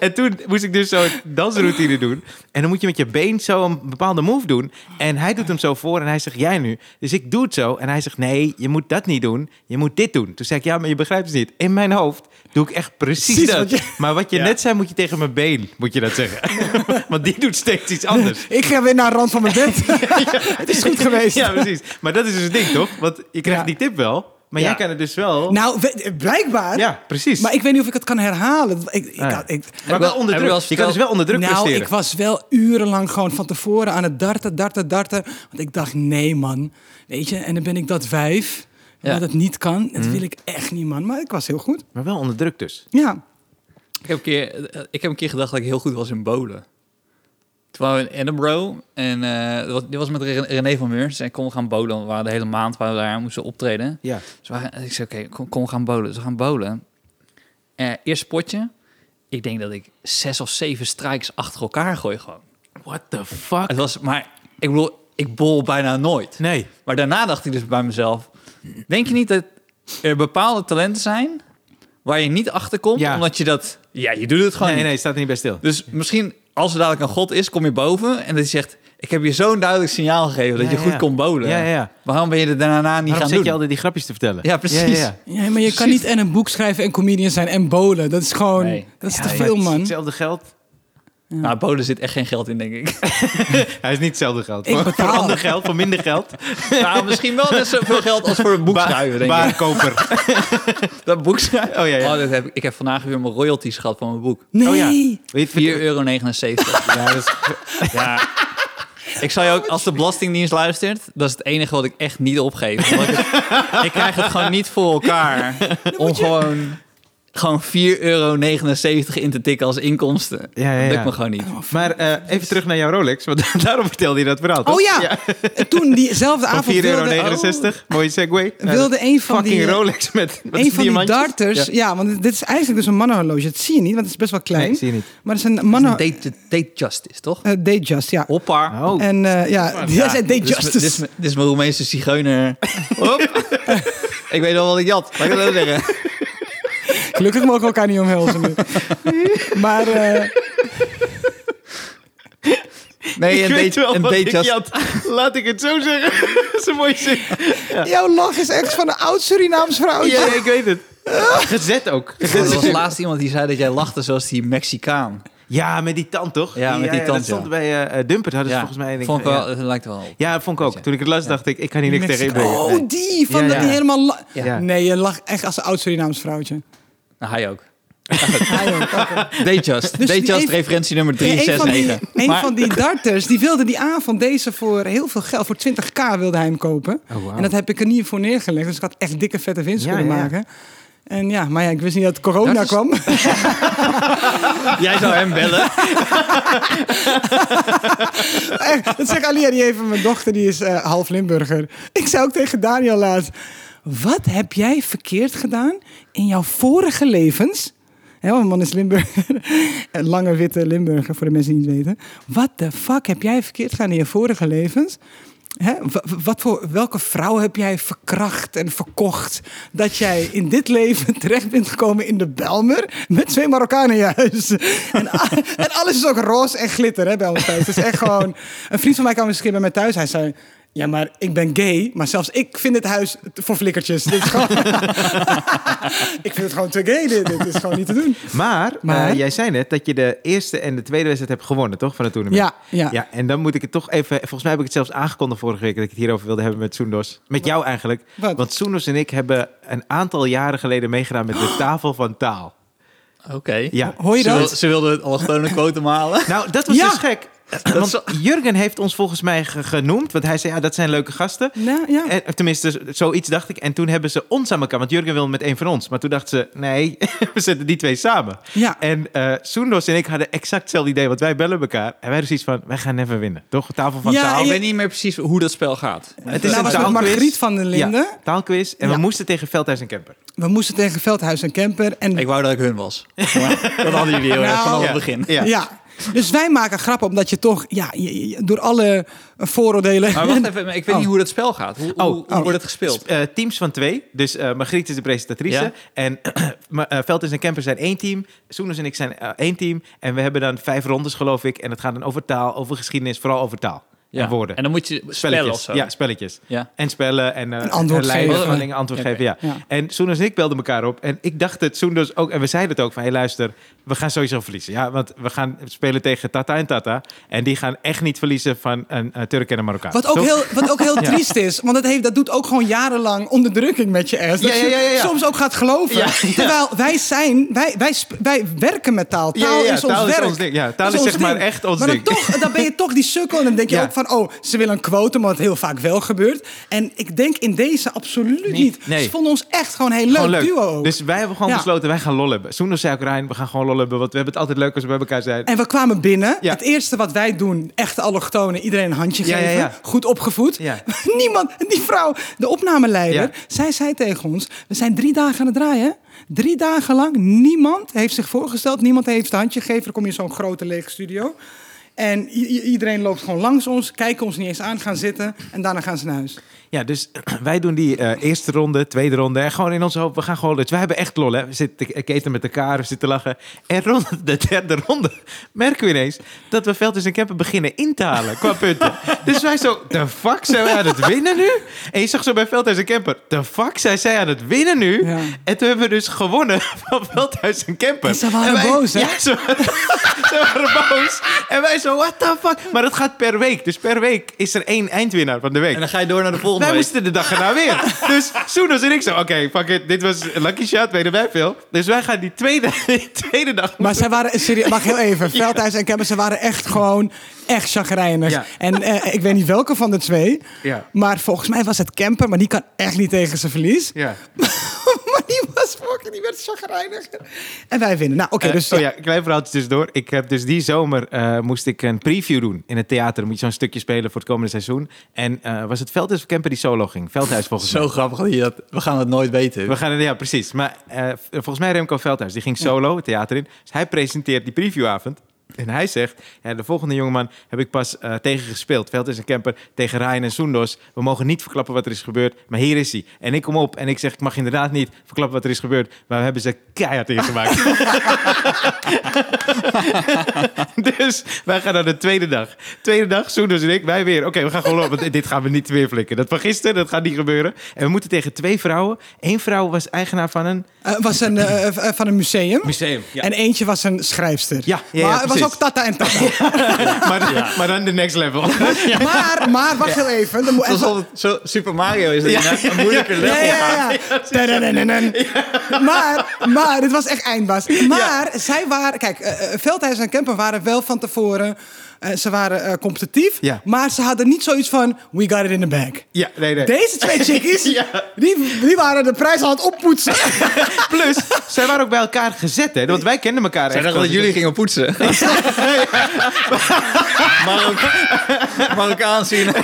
Speaker 1: en toen moest ik dus zo'n dansroutine doen. En dan moet je met je been zo een bepaalde move doen. En hij doet hem zo voor en hij zegt, jij nu. Dus ik doe het zo. En hij zegt, nee, je moet dat niet doen. Je moet dit doen. Toen zei ik, ja, maar je begrijpt het niet. In mijn hoofd doe ik echt precies,
Speaker 3: Precies
Speaker 1: dat.
Speaker 3: wat je-
Speaker 1: Maar wat je
Speaker 4: Ja.
Speaker 1: net zei, moet je tegen mijn been, moet je dat zeggen. Want die doet steeds iets anders.
Speaker 3: Ik ga weer naar de rand van mijn bed. Het is
Speaker 1: (laughs)
Speaker 3: goed geweest.
Speaker 1: Ja, precies. Maar dat is dus het ding, toch? Want je krijgt
Speaker 3: Ja.
Speaker 1: die tip wel, maar jij
Speaker 4: Ja.
Speaker 1: kan het dus wel.
Speaker 3: Nou, we- blijkbaar.
Speaker 1: ja, precies.
Speaker 3: Maar ik weet niet of ik het kan herhalen. Ik, ik,
Speaker 1: Ja.
Speaker 3: ik,
Speaker 1: Maar wel onder
Speaker 4: Hebben we
Speaker 1: druk.
Speaker 4: wel
Speaker 1: Je kan
Speaker 4: verteld-
Speaker 1: dus wel onder druk
Speaker 3: nou,
Speaker 1: presteren.
Speaker 3: ik was wel urenlang gewoon van tevoren aan het darten, darten, darten. Want ik dacht, nee man, weet je. En dan ben ik dat wijf,
Speaker 2: Ja.
Speaker 3: dat het niet kan. Dat wil ik echt niet man, maar ik was heel goed.
Speaker 1: Maar wel onder druk dus.
Speaker 3: Ja,
Speaker 2: Ik heb, een keer, eh, ik heb een keer gedacht dat ik heel goed was in bowlen. Toen waren we in Edinburgh en eh, dat was- dit was met Ren- René van Meurs. En kon gaan bowlen, we waren de hele maand waar we daar aan moesten optreden.
Speaker 1: Ja.
Speaker 2: Dus we waren- ik zei, oké, kom, kom, we gaan bowlen. Dus we gaan bowlen. Eh eerste potje. Ik denk dat ik zes of zeven strikes achter elkaar gooi gewoon.
Speaker 1: What the fuck?
Speaker 2: Het was, maar ik bedoel, ik bol bijna nooit.
Speaker 1: Nee.
Speaker 2: Maar daarna dacht ik dus bij mezelf: denk je niet dat er bepaalde talenten zijn waar je niet achter komt,
Speaker 1: Ja.
Speaker 2: omdat je dat, ja, je doet het gewoon.
Speaker 1: Nee,
Speaker 2: niet.
Speaker 1: nee, staat er niet bij stil.
Speaker 2: Dus misschien als er dadelijk een God is, kom je boven en dat je zegt: ik heb je zo'n duidelijk signaal gegeven dat
Speaker 1: Ja,
Speaker 2: je
Speaker 1: ja,
Speaker 2: goed
Speaker 1: ja.
Speaker 2: kon bowlen.
Speaker 1: Ja, ja, ja.
Speaker 2: Waarom ben je het daarna niet
Speaker 1: Waarom zit
Speaker 2: gaan
Speaker 1: je
Speaker 2: doen?
Speaker 1: altijd die grapjes te vertellen?
Speaker 2: Ja, precies.
Speaker 3: ja maar je kan niet en een boek schrijven en comedian zijn en bolen. Dat is gewoon,
Speaker 2: Nee.
Speaker 3: dat is
Speaker 2: Ja,
Speaker 3: te
Speaker 2: ja,
Speaker 3: veel man.
Speaker 1: Hetzelfde geld.
Speaker 2: Nou, bolen zit echt geen geld in, denk ik. (laughs)
Speaker 1: Hij is niet hetzelfde geld.
Speaker 3: Ik
Speaker 1: Voor-
Speaker 3: betaal.
Speaker 1: Voor ander geld, voor minder (laughs) geld.
Speaker 2: nou, misschien wel net zoveel geld als voor een boek schrijven, denk ik.
Speaker 1: Baarkoper.
Speaker 2: Dat boek schrijven.
Speaker 1: Oh, ja, ja.
Speaker 2: Oh, dat heb ik, ik heb vandaag weer mijn royalties gehad van mijn boek.
Speaker 3: Nee,
Speaker 1: Oh ja. Weet
Speaker 2: 4,79
Speaker 1: je,
Speaker 2: euro. (laughs)
Speaker 1: ja, dat is-
Speaker 2: Ja. Ik zal je ook, als de Belastingdienst luistert, dat is het enige wat ik echt niet opgeef. Want ik, ik krijg het gewoon niet voor elkaar om gewoon, gewoon 4,79 euro in te tikken als inkomsten.
Speaker 1: Ja, ja,
Speaker 2: Dat
Speaker 1: ja.
Speaker 2: lukt me gewoon niet.
Speaker 1: (laughs) Maar eh, even terug naar jouw Rolex, want (laughs) daarom vertelde je dat verhaal. toch?
Speaker 3: Oh ja, (laughs) En toen diezelfde
Speaker 1: Van
Speaker 3: avond
Speaker 1: 4,69 euro,
Speaker 3: wilde,
Speaker 1: mooie segue.
Speaker 3: oh, wilde een van
Speaker 1: Fucking
Speaker 3: die... eh,
Speaker 1: Rolex met, met
Speaker 3: een van die
Speaker 1: diamantjes.
Speaker 3: darters, ja. want dit is eigenlijk dus een mannenhorloge. Dat zie je niet, want het is best wel klein.
Speaker 1: Nee, zie je niet.
Speaker 3: Maar het is een mannen...
Speaker 1: nou-
Speaker 2: Date, date justice, toch?
Speaker 3: eh, Datejust, ja.
Speaker 2: Hoppa.
Speaker 1: Oh.
Speaker 3: En eh, ja,
Speaker 2: Ja,
Speaker 3: (laughs) jij zei Day
Speaker 2: dit is mijn-
Speaker 3: Justice.
Speaker 2: Dit is, mijn- dit is mijn Roemeense
Speaker 1: (laughs)
Speaker 2: zigeuner. Hop. ik weet wel wat ik jat. Laat ik het zo zeggen.
Speaker 3: Gelukkig mogen we elkaar niet omhelzen (laughs) nu. Maar eh,
Speaker 2: Nee, een date, een date just-
Speaker 1: Laat ik het zo zeggen. (laughs) dat is een mooie zin.
Speaker 3: jouw lach is echt van een oud Surinaams vrouwtje.
Speaker 1: Ja, ik weet het.
Speaker 2: Eh.
Speaker 1: (laughs) Gezet ook.
Speaker 2: Er was laatst iemand die zei dat jij lachte zoals die Mexicaan.
Speaker 1: Ja, met die tand toch?
Speaker 2: Ja, met die tand,
Speaker 1: Dat stond
Speaker 2: ja.
Speaker 1: bij eh, eh Dumpert. Hadden ze
Speaker 2: ja,
Speaker 1: volgens mij... denk ik-
Speaker 2: vond ik wel,
Speaker 1: ja.
Speaker 2: het lijkt er wel op.
Speaker 1: ja, vond ik ook. Toen ik het las, dacht ik, ik kan hier niks tegen
Speaker 3: Mexico.
Speaker 1: inbrengen. Nee.
Speaker 3: Oh, die van
Speaker 1: Ja,
Speaker 3: dat
Speaker 1: ja.
Speaker 3: die helemaal... la-
Speaker 1: Ja.
Speaker 3: Nee, je lag echt als een oud Surinaams vrouwtje.
Speaker 2: Nou, hij (laughs) ook.
Speaker 3: Hij ook, oké.
Speaker 2: Dayjust.
Speaker 3: Dus
Speaker 2: Dus
Speaker 3: die
Speaker 2: Dayjust,
Speaker 3: een-
Speaker 2: referentie nummer
Speaker 3: een van, die,
Speaker 2: 369.
Speaker 3: een
Speaker 2: Maar-
Speaker 3: van die darters, die wilde die avond deze voor heel veel geld, voor 20k wilde hij hem kopen.
Speaker 1: Oh, wauw.
Speaker 3: En dat heb ik er niet voor neergelegd, dus ik had echt dikke vette winst
Speaker 1: Ja,
Speaker 3: kunnen
Speaker 1: ja, ja.
Speaker 3: maken. En ja, maar ja, ik wist niet dat corona
Speaker 2: Dat is-
Speaker 3: kwam.
Speaker 2: (laughs) Jij zou hem bellen.
Speaker 3: Echt, dat zegt Alia, die heeft mijn dochter, die is eh, half Limburger. Ik zei ook tegen Daniel laatst... Wat heb jij verkeerd gedaan in jouw vorige levens? Hè, want mijn man is Limburger. (laughs) Een lange witte Limburger, voor de mensen die het niet weten. Wat de fuck heb jij verkeerd gedaan in je vorige levens? Hè, wa- wa- wat voor, welke vrouw heb jij verkracht en verkocht... dat jij in dit leven (laughs) terecht bent gekomen in de Belmer... met twee Marokkanen in je huis? (laughs) En, a- en alles is ook roze en glitter hè, bij ons thuis. Het is echt gewoon... Een vriend van mij kwam eens een keer bij mij thuis. Hij zei... Ja, maar ik ben gay, maar zelfs ik vind het huis voor flikkertjes. Dit is gewoon... (laughs) ik vind het gewoon te gay, dit. Dit is gewoon niet te doen.
Speaker 1: Maar,
Speaker 3: Maar-
Speaker 1: eh, jij zei net dat je de eerste en de tweede wedstrijd hebt gewonnen, toch? Van het toernooi.
Speaker 3: Ja, ja.
Speaker 1: ja. En dan moet ik het toch even... Volgens mij heb ik het zelfs aangekondigd vorige week... dat ik het hierover wilde hebben met Soendos. Met jou eigenlijk.
Speaker 3: Wat?
Speaker 1: Want Soendos en ik hebben een aantal jaren geleden meegedaan... met
Speaker 3: Oh.
Speaker 1: de tafel van taal.
Speaker 2: Oké.
Speaker 1: Ja.
Speaker 3: Hoor je
Speaker 2: Ze, wil-
Speaker 3: dat?
Speaker 2: ze wilde het allochtone (laughs) quotum halen.
Speaker 1: Nou, dat was
Speaker 3: Ja.
Speaker 1: dus gek.
Speaker 3: (clears throat)
Speaker 1: Want Jurgen heeft ons volgens mij ge- genoemd. Want hij zei, ja, dat zijn leuke gasten.
Speaker 3: Nou, ja.
Speaker 1: En, tenminste, zoiets dacht ik. En toen hebben ze ons aan elkaar. Want Jurgen wilde met één van ons. Maar toen dacht ze, nee, (laughs) we zetten die twee samen.
Speaker 3: Ja.
Speaker 1: En eh Soendos en ik hadden exact hetzelfde idee. Want wij bellen elkaar. En wij hadden zoiets van, wij gaan even winnen. Toch? Tafel van
Speaker 3: Ja,
Speaker 1: taal.
Speaker 2: Nou, ik
Speaker 3: je-
Speaker 2: weet niet meer precies hoe dat spel gaat.
Speaker 1: Het
Speaker 3: Nou, was met Margriet van den Linden.
Speaker 1: Ja, taalquiz. En
Speaker 3: Ja.
Speaker 1: we moesten tegen Veldhuis en Kemper.
Speaker 3: We moesten tegen Veldhuis en Kemper. En
Speaker 2: Ik wou dat ik hun was. Maar dat hadden jullie heel erg
Speaker 3: Nou.
Speaker 2: vanaf
Speaker 1: Ja.
Speaker 2: het begin.
Speaker 1: Ja.
Speaker 3: ja. Dus wij maken grappen omdat je toch, ja, je- je- door alle vooroordelen.
Speaker 2: Maar wacht even, maar ik weet
Speaker 3: Oh.
Speaker 2: niet hoe dat spel gaat. Hoe, hoe, hoe wordt het gespeeld?
Speaker 1: Eh, teams van twee. Dus eh Margriet is de presentatrice.
Speaker 2: Ja.
Speaker 1: En (clears throat) Ma- eh, Veldhuis en Kemper zijn één team. Soenus en ik zijn eh, één team. En we hebben dan vijf rondes, geloof ik. En het gaat dan over taal, over geschiedenis, vooral over taal.
Speaker 2: Ja.
Speaker 1: En woorden.
Speaker 2: En dan moet je spellen
Speaker 1: spelletjes.
Speaker 2: of zo.
Speaker 1: Ja, spelletjes.
Speaker 2: Ja.
Speaker 1: En spellen en, eh
Speaker 3: En antwoord
Speaker 1: en lijnen,
Speaker 3: geven.
Speaker 1: spellingen, antwoord
Speaker 2: Oké.
Speaker 1: geven. Ja.
Speaker 3: Ja.
Speaker 1: En Soenus en ik belden elkaar op. En ik dacht het, Soenus ook. En we zeiden het ook van, hé luister, we gaan sowieso verliezen. Ja, want we gaan spelen tegen Tata en Tata. En die gaan echt niet verliezen van een eh, Turk en een Marokkaan.
Speaker 3: (laughs) Wat ook,
Speaker 1: Toch?
Speaker 3: heel, wat ook heel triest is. Want dat, heeft, dat doet ook gewoon jarenlang onderdrukking met je ass. Dat
Speaker 1: Ja, ja, ja, ja,
Speaker 3: je
Speaker 1: ja.
Speaker 3: soms ook gaat geloven.
Speaker 1: Ja, ja.
Speaker 3: Terwijl wij zijn, wij, wij, sp- wij werken met taal.
Speaker 1: Ja, ja,
Speaker 3: Taal
Speaker 1: ja,
Speaker 3: is ons
Speaker 1: taal is
Speaker 3: werk.
Speaker 1: ons ding. Ja, taal
Speaker 3: Dat
Speaker 1: is
Speaker 3: ons
Speaker 1: zeg maar echt ons
Speaker 3: maar dan
Speaker 1: ding.
Speaker 3: Toch, dan ben je toch die sukkel. En dan denk je
Speaker 1: Ja.
Speaker 3: ook van, oh, ze willen een quotum, wat heel vaak wel gebeurt. En ik denk in deze absoluut niet.
Speaker 1: nee.
Speaker 3: Ze vonden ons echt gewoon een heel leuk,
Speaker 1: Gewoon leuk.
Speaker 3: duo. ook.
Speaker 1: Dus wij hebben gewoon
Speaker 3: Ja.
Speaker 1: besloten, wij gaan lol hebben. Soenus zei ook, Rijn, we gaan gewoon lol hebben. Want we hebben het altijd leuk als we bij elkaar zijn.
Speaker 3: En we kwamen binnen.
Speaker 1: Ja.
Speaker 3: Het eerste wat wij doen, echte allochtonen, iedereen een handje
Speaker 1: Ja, ja,
Speaker 3: geven.
Speaker 1: ja.
Speaker 3: Goed opgevoed.
Speaker 1: Ja.
Speaker 3: (laughs) Niemand, die vrouw, de opnameleider,
Speaker 1: Ja.
Speaker 3: zij zei tegen ons: We zijn drie dagen aan het draaien. hè? Drie dagen lang, niemand heeft zich voorgesteld, niemand heeft een handje gegeven. Dan kom je in zo'n grote lege studio. En i- i- iedereen loopt gewoon langs ons, kijken ons niet eens aan, gaan zitten en daarna gaan ze naar huis.
Speaker 1: Ja, dus (clears throat) wij doen die eh, eerste ronde, tweede ronde. En gewoon in onze hoop, we gaan gewoon... Dus wij hebben echt lol, hè. We zitten te keten met elkaar, we zitten lachen. En rond (laughs) de derde ronde (laughs) merken we ineens... dat we Velders en Kempen beginnen in te halen qua
Speaker 3: (laughs)
Speaker 1: punten. dus wij zo, de fuck, zijn wij aan het winnen nu? En je zag zo bij Veldhuis en Kemper... de fuck, zijn zij aan het winnen nu?
Speaker 3: Ja.
Speaker 1: En toen hebben we dus gewonnen (laughs) van Veldhuis en Kemper.
Speaker 3: En ze waren
Speaker 1: wij-
Speaker 3: boos, hè?
Speaker 1: Ja, ze, (laughs) ze waren boos. En wij zo, what the fuck? Maar dat gaat per week. Dus per week is er één eindwinnaar van de week.
Speaker 2: En dan ga je door naar de volgende
Speaker 1: Wij
Speaker 2: week.
Speaker 1: moesten de dag erna weer. Dus Soenos en ik zo, oké, fuck it. Dit was een lucky shot, weten wij veel. Dus wij gaan die tweede, (laughs) die tweede dag...
Speaker 3: Maar zij waren serieus. Mag heel
Speaker 1: (laughs)
Speaker 3: even. Veldhuis en Kemper, ze waren echt gewoon echt chagrijnig.
Speaker 1: Ja.
Speaker 3: En eh, ik weet niet welke van de twee.
Speaker 1: Ja.
Speaker 3: Maar volgens mij was het Kemper, maar die kan echt niet tegen zijn verlies.
Speaker 1: Ja.
Speaker 3: (laughs) maar die was fucking, die werd chagrijnig. En wij winnen. Nou, oké,
Speaker 1: Eh,
Speaker 3: dus
Speaker 1: oh
Speaker 3: ja.
Speaker 1: ja, klein verhaaltje tussendoor. Ik heb dus die zomer eh, moest ik een preview doen in het theater. Dan moet je zo'n stukje spelen voor het komende seizoen. En eh, was het Veldhuis of Kemper die solo ging? Veldhuis volgens mij.
Speaker 2: Zo grappig dat je dat... We gaan het nooit weten.
Speaker 1: We gaan, ja, precies. Maar eh, volgens mij Remco Veldhuis, die ging solo het theater in. Dus hij presenteert die previewavond. En hij zegt, ja, de volgende jongeman heb ik pas eh, tegen gespeeld. Veld is een camper tegen Ryan en Soendos. We mogen niet verklappen wat er is gebeurd, maar hier is hij. En ik kom op en ik zeg, ik mag inderdaad niet verklappen wat er is gebeurd. Maar we hebben ze keihard ingemaakt. dus wij gaan naar de tweede dag. Tweede dag, Soendos en ik, wij weer. Oké, we gaan gewoon op, want dit gaan we niet weer flikken. Dat van gisteren, dat gaat niet gebeuren. En we moeten tegen twee vrouwen. Eén vrouw was eigenaar van een
Speaker 3: Eh, was een, eh, eh, van een museum.
Speaker 1: museum. Ja.
Speaker 3: En eentje was een schrijfster.
Speaker 1: Ja, ja, ja,
Speaker 3: maar het was
Speaker 1: precies.
Speaker 3: ook Tata
Speaker 1: (laughs)
Speaker 3: en Tata.
Speaker 1: maar, maar dan de next level. (laughs)
Speaker 3: Maar, maar wacht heel even. Dan moet
Speaker 2: Dat is altijd zo, Super Mario is het inderdaad een moeilijke
Speaker 3: Ja,
Speaker 2: level.
Speaker 3: ja, ja. Tadadadadadad. Maar, maar, dit was echt eindbaas. Maar zij waren, kijk, eh, eh, Veldhuis en Kempen waren wel van tevoren, eh, ze waren eh, competitief.
Speaker 1: Ja.
Speaker 3: Maar ze hadden niet zoiets van, we got it in the bag.
Speaker 1: Ja, nee, nee.
Speaker 3: Deze
Speaker 1: (laughs)
Speaker 3: twee chickies,
Speaker 1: Ja.
Speaker 3: die, die waren de prijs aan het
Speaker 1: (laughs)
Speaker 3: oppoetsen. (laughs)
Speaker 1: Plus, zij waren ook bij elkaar gezet, hè? Want wij kenden elkaar
Speaker 2: Zij
Speaker 1: echt.
Speaker 2: dachten dat jullie gingen (laughs) poetsen. Marok- Marokkaan zien.
Speaker 1: Dus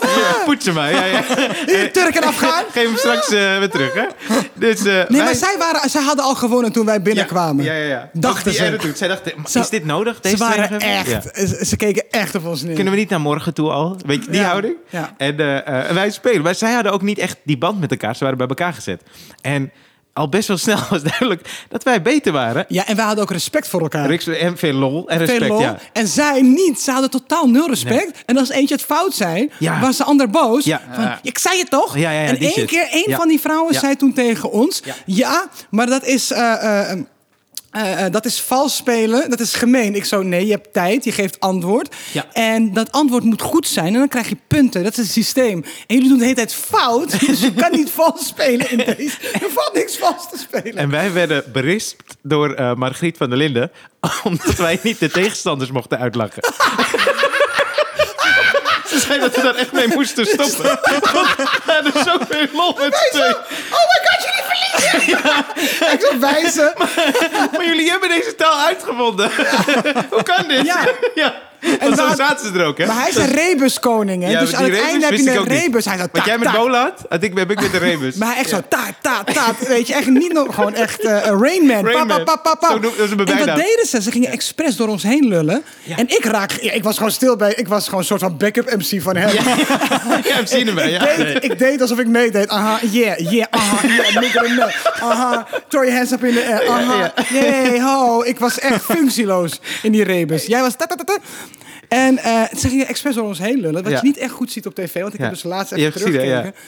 Speaker 1: Ja, poetsen mij. Ja, ja.
Speaker 3: Die Turk en Afghaan.
Speaker 1: Geef hem straks eh, weer terug, hè? Dus, eh,
Speaker 3: Nee, maar zij, waren, zij hadden al gewonnen toen wij binnenkwamen.
Speaker 1: Ja, ja, ja.
Speaker 3: Dachten
Speaker 1: die
Speaker 3: ze.
Speaker 1: edit doet. Zij dachten, maar
Speaker 3: Ze-
Speaker 1: is dit nodig? Deze
Speaker 3: ze waren
Speaker 1: twee?
Speaker 3: echt,
Speaker 1: Ja.
Speaker 3: ze, ze keken echt op ons neer.
Speaker 1: Kunnen we niet naar morgen toe al? Weet je, die
Speaker 3: Ja.
Speaker 1: houding?
Speaker 3: Ja.
Speaker 1: En eh, eh, en wij spelen. Maar zij hadden ook niet echt die band met elkaar. Ze waren bij elkaar gezet. En al best wel snel (laughs) was duidelijk dat wij beter waren.
Speaker 3: Ja, en wij hadden ook respect voor elkaar.
Speaker 1: Riks- En veel lol en respect,
Speaker 3: Veel lol.
Speaker 1: ja.
Speaker 3: En zij niet. Ze hadden totaal nul respect. En als eentje het fout zei,
Speaker 1: Ja.
Speaker 3: was de ander boos.
Speaker 1: Ja.
Speaker 3: Van,
Speaker 1: Ja.
Speaker 3: ik zei het toch?
Speaker 1: Ja, ja, ja,
Speaker 3: en
Speaker 1: die
Speaker 3: één
Speaker 1: shit.
Speaker 3: keer, één
Speaker 1: Ja.
Speaker 3: van die vrouwen
Speaker 1: Ja.
Speaker 3: zei toen tegen ons... Ja,
Speaker 1: Ja.
Speaker 3: maar dat is... eh, eh, eh, eh, dat is vals spelen, dat is gemeen. Ik zo, nee, je hebt tijd, je geeft antwoord.
Speaker 1: Ja.
Speaker 3: En dat antwoord moet goed zijn en dan krijg je punten. Dat is het systeem. En jullie doen de hele tijd fout, (laughs) dus je kan niet vals spelen in deze. Er valt niks vals te spelen.
Speaker 1: En wij werden berispt door eh Margriet van der Linden. (laughs) Omdat wij niet de tegenstanders mochten uitlachen. (laughs) Ze zei dat we daar echt mee moesten stoppen. (laughs) Want we hadden zoveel lol met z'n tweeën.
Speaker 3: Oh my god, jullie
Speaker 1: (laughs)
Speaker 3: verliezen! ik zou wijzen.
Speaker 1: Maar jullie hebben deze taal uitgevonden. (laughs) Hoe kan dit?
Speaker 3: Ja.
Speaker 1: (laughs) ja.
Speaker 3: En
Speaker 1: En zo
Speaker 3: waar-
Speaker 1: zaten ze er ook, hè?
Speaker 3: Maar hij is een rebuskoning, hè?
Speaker 1: Ja,
Speaker 3: dus
Speaker 1: die
Speaker 3: aan het
Speaker 1: rebus
Speaker 3: einde heb
Speaker 1: wist
Speaker 3: je
Speaker 1: ik
Speaker 3: een
Speaker 1: ook niet.
Speaker 3: rebus. Hij zou
Speaker 1: Wat
Speaker 3: taat,
Speaker 1: jij met
Speaker 3: taat.
Speaker 1: Bola had, had ik, heb ik met de rebus.
Speaker 3: Maar hij echt zo taat, taat, taat. Weet je, echt niet nog gewoon echt eh Rain Man.
Speaker 1: Rain
Speaker 3: Pa, pa,
Speaker 1: Man.
Speaker 3: pa, pa, pa.
Speaker 1: Zo noem- dat is een
Speaker 3: en dat
Speaker 1: bijnaam.
Speaker 3: deden ze. Ze gingen expres door ons heen lullen. En ik raak... Ja, ik was gewoon stil bij... Ik was gewoon een soort van backup MC van hem.
Speaker 1: (laughs) ja, we zien (laughs) hem, hè,
Speaker 3: Ik,
Speaker 1: ja.
Speaker 3: deed, ik deed alsof ik meedeed. Aha, yeah, yeah, aha, yeah, nigger in the- Aha, throw your hands up in the air. Aha, yeah, ho. Ik was
Speaker 1: (laughs)
Speaker 3: echt functieloos in die rebus. Jij was... ta, ta, ta, ta. En eh, ze gingen expres door ons heen lullen. Wat
Speaker 1: Ja.
Speaker 3: je niet echt goed ziet op tv. Want ik
Speaker 1: Ja.
Speaker 3: heb dus laatst
Speaker 1: Je
Speaker 3: even
Speaker 1: hebt gezien, hè,
Speaker 3: teruggekeken.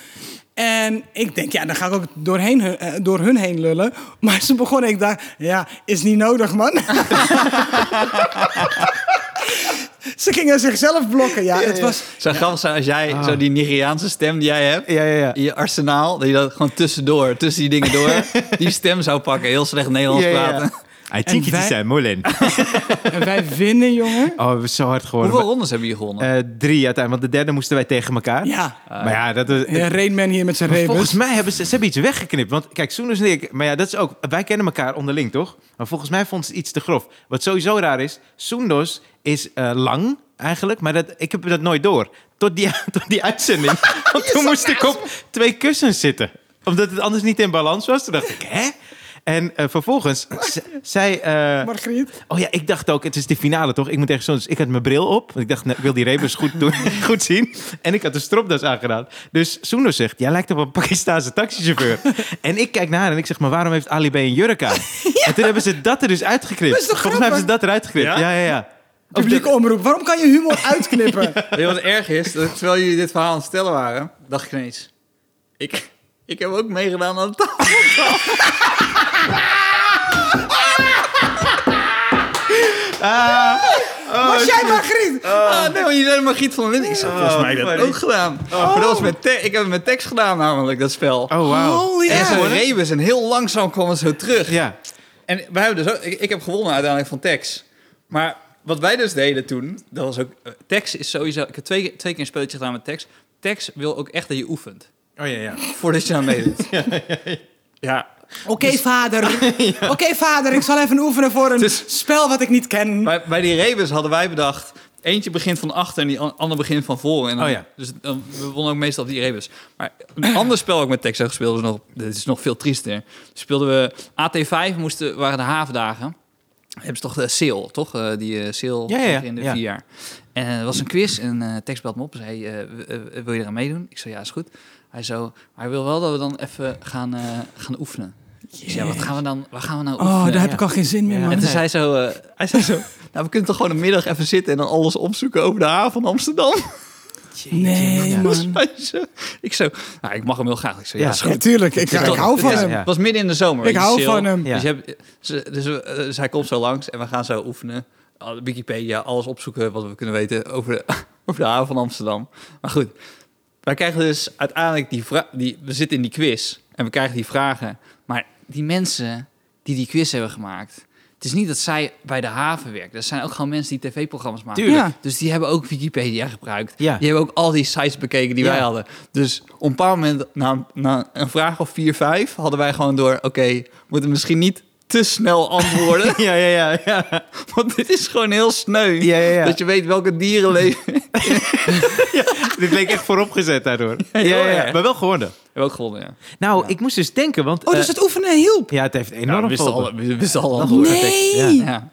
Speaker 3: En ik denk, ja, dan ga ik ook doorheen, hun- eh, door hun heen lullen. Maar ze begonnen, ik dacht, ja, is niet nodig, man.
Speaker 1: (laughs)
Speaker 3: ze gingen zichzelf blokken, ja. Het was,
Speaker 2: Het zou grappig zijn als jij zo die Nigeriaanse stem die jij hebt...
Speaker 1: Ja, ja, ja.
Speaker 2: in je arsenaal, dat je dat gewoon tussendoor, tussen die dingen (laughs) door... die stem zou pakken, heel slecht Nederlands
Speaker 1: Ja, ja, ja.
Speaker 2: praten.
Speaker 1: I think it
Speaker 3: wij-
Speaker 1: is a Molen.
Speaker 3: en wij winnen, jongen.
Speaker 1: Oh, we hebben zo hard geworden.
Speaker 2: Hoeveel rondes hebben jullie gewonnen?
Speaker 1: Eh, drie uiteindelijk, want de derde moesten wij tegen elkaar.
Speaker 3: Ja.
Speaker 1: Maar ja, dat was,
Speaker 3: Ja, Rainman hier met zijn
Speaker 1: Maar
Speaker 3: rebus.
Speaker 1: Volgens mij hebben ze, ze hebben iets weggeknipt. Want kijk, Soenus en ik... Maar ja, dat is ook... Wij kennen elkaar onderling, toch? Maar volgens mij vond ze iets te grof. Wat sowieso raar is... Soenus is eh, lang, eigenlijk. Maar dat, ik heb dat nooit door. Tot die, (laughs) tot die
Speaker 3: (laughs)
Speaker 1: uitzending. Want toen moest ik op twee kussens zitten. Omdat het anders niet in balans was. Toen dacht ik, hè? En eh, vervolgens... z- zij... eh,
Speaker 3: Margriet.
Speaker 1: Oh ja, ik dacht ook, het is de finale toch? Ik moet echt zo. Dus ik had mijn bril op. Want ik dacht, nou, ik wil die rebus goed, doen, (laughs) goed zien. En ik had een stropdas aangedaan. Dus Soeno zegt, jij lijkt op een Pakistaanse taxichauffeur. en ik kijk naar haar en ik zeg, maar waarom heeft Ali B een jurk aan? En toen hebben ze dat er dus uitgeknipt.
Speaker 3: Dat is toch
Speaker 1: Volgens mij
Speaker 3: grappig?
Speaker 1: hebben ze dat eruit geknipt. Ja, ja, ja. Of
Speaker 3: Publieke
Speaker 1: dat-
Speaker 3: omroep. Waarom kan je humor uitknippen?
Speaker 2: Weet je Eh, wat erg is? Dat terwijl jullie dit verhaal aan het stellen waren, dacht ik ineens... Ik, ik heb ook meegedaan aan de tafel.
Speaker 3: was jij Margriet?
Speaker 2: Ah, nee, want je zei Margriet van Linden. Ik zei, volgens mij heb ik Oh, dat ook gedaan. Maar dat was met te- ik heb het met tekst gedaan namelijk, dat spel.
Speaker 1: Oh, wauw.
Speaker 3: Holy
Speaker 2: En zo'n
Speaker 3: hell.
Speaker 2: rebus en heel langzaam kwam het zo terug.
Speaker 1: Ja.
Speaker 2: En wij hebben dus ook, ik, ik heb gewonnen uiteindelijk van Tex. Maar wat wij dus deden toen, dat was ook... eh, Tex is sowieso... Ik heb twee, keer- twee keer een spelletje gedaan met Tex. Tex wil ook echt dat je oefent.
Speaker 1: Oh ja, ja.
Speaker 2: Voordat je aan meedoet. (laughs) ja,
Speaker 3: Oké, vader. Oké, vader. Ik zal even oefenen voor een
Speaker 2: Dus-
Speaker 3: spel wat ik niet ken.
Speaker 2: Bij, bij die rebus hadden wij bedacht... Eentje begint van achter en die an- ander begint van voren. En dan-
Speaker 1: Oh ja.
Speaker 2: Dus dan, we wonnen ook meestal die rebus. Maar een (clears throat) ander spel ook met Tex heb gespeeld. is nog, dit is nog veel triester. Speelden we AT5, moesten, waren de havendagen. hebben ze toch de sale, toch? Eh, die eh, sale
Speaker 1: Ja, ja, ja.
Speaker 2: in de
Speaker 1: Ja.
Speaker 2: vier jaar. En er was een quiz en eh Tex belt me op en zei, eh, w- eh, wil je eraan meedoen? Ik zei, ja, is goed. Hij zo, maar hij wil wel dat we dan even gaan, eh, gaan oefenen. Ik zei, ja, wat gaan we dan, waar gaan we nou
Speaker 3: Oh,
Speaker 2: oefenen?
Speaker 3: daar heb
Speaker 1: ja.
Speaker 3: ik al geen zin meer,
Speaker 1: Ja.
Speaker 3: man.
Speaker 2: En toen
Speaker 1: Nee.
Speaker 2: zei hij zo, eh, (laughs) hij zei zo, nou, we kunnen toch gewoon een middag even zitten en dan alles opzoeken over de haven van Amsterdam?
Speaker 3: Nee,
Speaker 1: Ja.
Speaker 2: (laughs)
Speaker 3: man.
Speaker 2: Hij zo- ik zo, nou, ik mag hem heel graag. Ik zo, ja,
Speaker 1: Ja.
Speaker 2: is goed.
Speaker 3: Ja, tuurlijk. Ik,
Speaker 2: Ja,
Speaker 3: ik
Speaker 2: toch?
Speaker 3: hou van
Speaker 2: Ja,
Speaker 3: hem.
Speaker 2: Het was midden in de zomer.
Speaker 3: Ik
Speaker 2: die
Speaker 3: hou
Speaker 2: sale.
Speaker 3: van hem.
Speaker 1: Ja.
Speaker 2: Dus, je hebt, ze- dus, we- eh, dus hij komt zo langs en we gaan zo oefenen. Al- Wikipedia, alles opzoeken wat we kunnen weten over de, (laughs) over de haven van Amsterdam. Maar goed, wij krijgen dus uiteindelijk die vraag... Die, we zitten in die quiz en we krijgen die vragen. Maar die mensen die die quiz hebben gemaakt... Het is niet dat zij bij de haven werken. Dat zijn ook gewoon mensen die tv-programma's maken.
Speaker 1: Tuurlijk.
Speaker 3: Ja.
Speaker 2: Dus die hebben ook Wikipedia gebruikt.
Speaker 1: Ja.
Speaker 2: Die hebben ook al die sites bekeken die
Speaker 1: Ja.
Speaker 2: wij hadden. Dus op een bepaald moment, na, na een vraag of vier, vijf, hadden wij gewoon door... Oké, we moeten misschien niet te snel
Speaker 1: (laughs)
Speaker 2: antwoorden.
Speaker 1: Ja, ja, ja. ja.
Speaker 2: want dit is gewoon heel sneu.
Speaker 1: Ja, ja, ja.
Speaker 2: Dat je weet welke
Speaker 1: (laughs)
Speaker 2: dieren leven. we
Speaker 1: Dit leek echt vooropgezet daardoor. Ja, ja, ja,
Speaker 2: erg.
Speaker 1: Maar wel gewonnen.
Speaker 2: hebben ook gewonnen, ja.
Speaker 1: Nou, ik moest dus denken, want...
Speaker 3: Oh,
Speaker 1: eh,
Speaker 3: dus het oefenen hielp.
Speaker 1: Ja, het heeft
Speaker 2: Nou,
Speaker 1: enorm
Speaker 2: we, wisten
Speaker 1: geholpen.
Speaker 2: alle, we wisten alle antwoorden.
Speaker 3: Nee.
Speaker 1: Ja.
Speaker 2: Ja.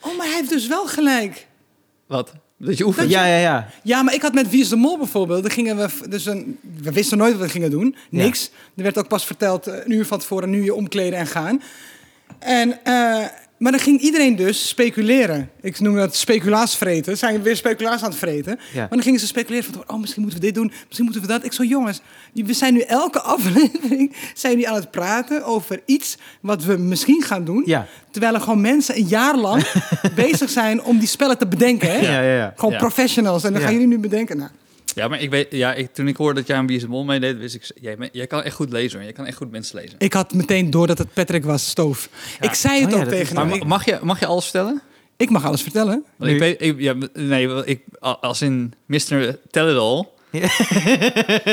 Speaker 3: Oh, maar hij heeft dus wel gelijk.
Speaker 2: Wat? Dat je oefent?
Speaker 1: Ja, ja, ja.
Speaker 3: Ja, maar ik had met Wie is de Mol bijvoorbeeld. Dan gingen we, f- dus een, we wisten nooit wat we gingen doen.
Speaker 1: Ja.
Speaker 3: Niks. Er werd ook pas verteld eh, een uur van tevoren, nu je omkleden en gaan. En, eh, maar dan ging iedereen dus speculeren. Ik noem dat speculaasvreten. Zijn we weer speculaas aan het vreten?
Speaker 1: Ja.
Speaker 3: Maar dan gingen ze speculeren van, oh, misschien moeten we dit doen. Misschien moeten we dat. Ik zo, jongens, we zijn nu elke (laughs) aflevering zijn we aan het praten over iets wat we misschien gaan doen.
Speaker 1: Ja.
Speaker 3: Terwijl er gewoon mensen een jaar
Speaker 1: (laughs)
Speaker 3: lang bezig zijn om die spellen te bedenken. Hè?
Speaker 1: Ja, ja, ja.
Speaker 3: Gewoon
Speaker 2: Ja.
Speaker 3: professionals. En dan
Speaker 1: Ja.
Speaker 3: gaan jullie nu bedenken. Nou,
Speaker 2: Ja, maar ik weet, ja, ik, toen ik hoorde dat jij aan Wie is de Mol meedeed, wist ik... Jij, me- jij kan echt goed lezen, hoor. Jij kan echt goed mensen lezen.
Speaker 3: ik had meteen door dat het Patrick was, stoof. Ik zei het
Speaker 1: Oh ja,
Speaker 3: ook
Speaker 1: dat is
Speaker 3: tegen
Speaker 1: waar.
Speaker 3: hem.
Speaker 2: Maar
Speaker 3: Ik,
Speaker 2: mag je, mag je alles vertellen?
Speaker 3: ik mag alles vertellen.
Speaker 2: Want
Speaker 1: Nu.
Speaker 2: ik weet, ik, ja, nee, wel, ik, a- als in Mr. Tell It All.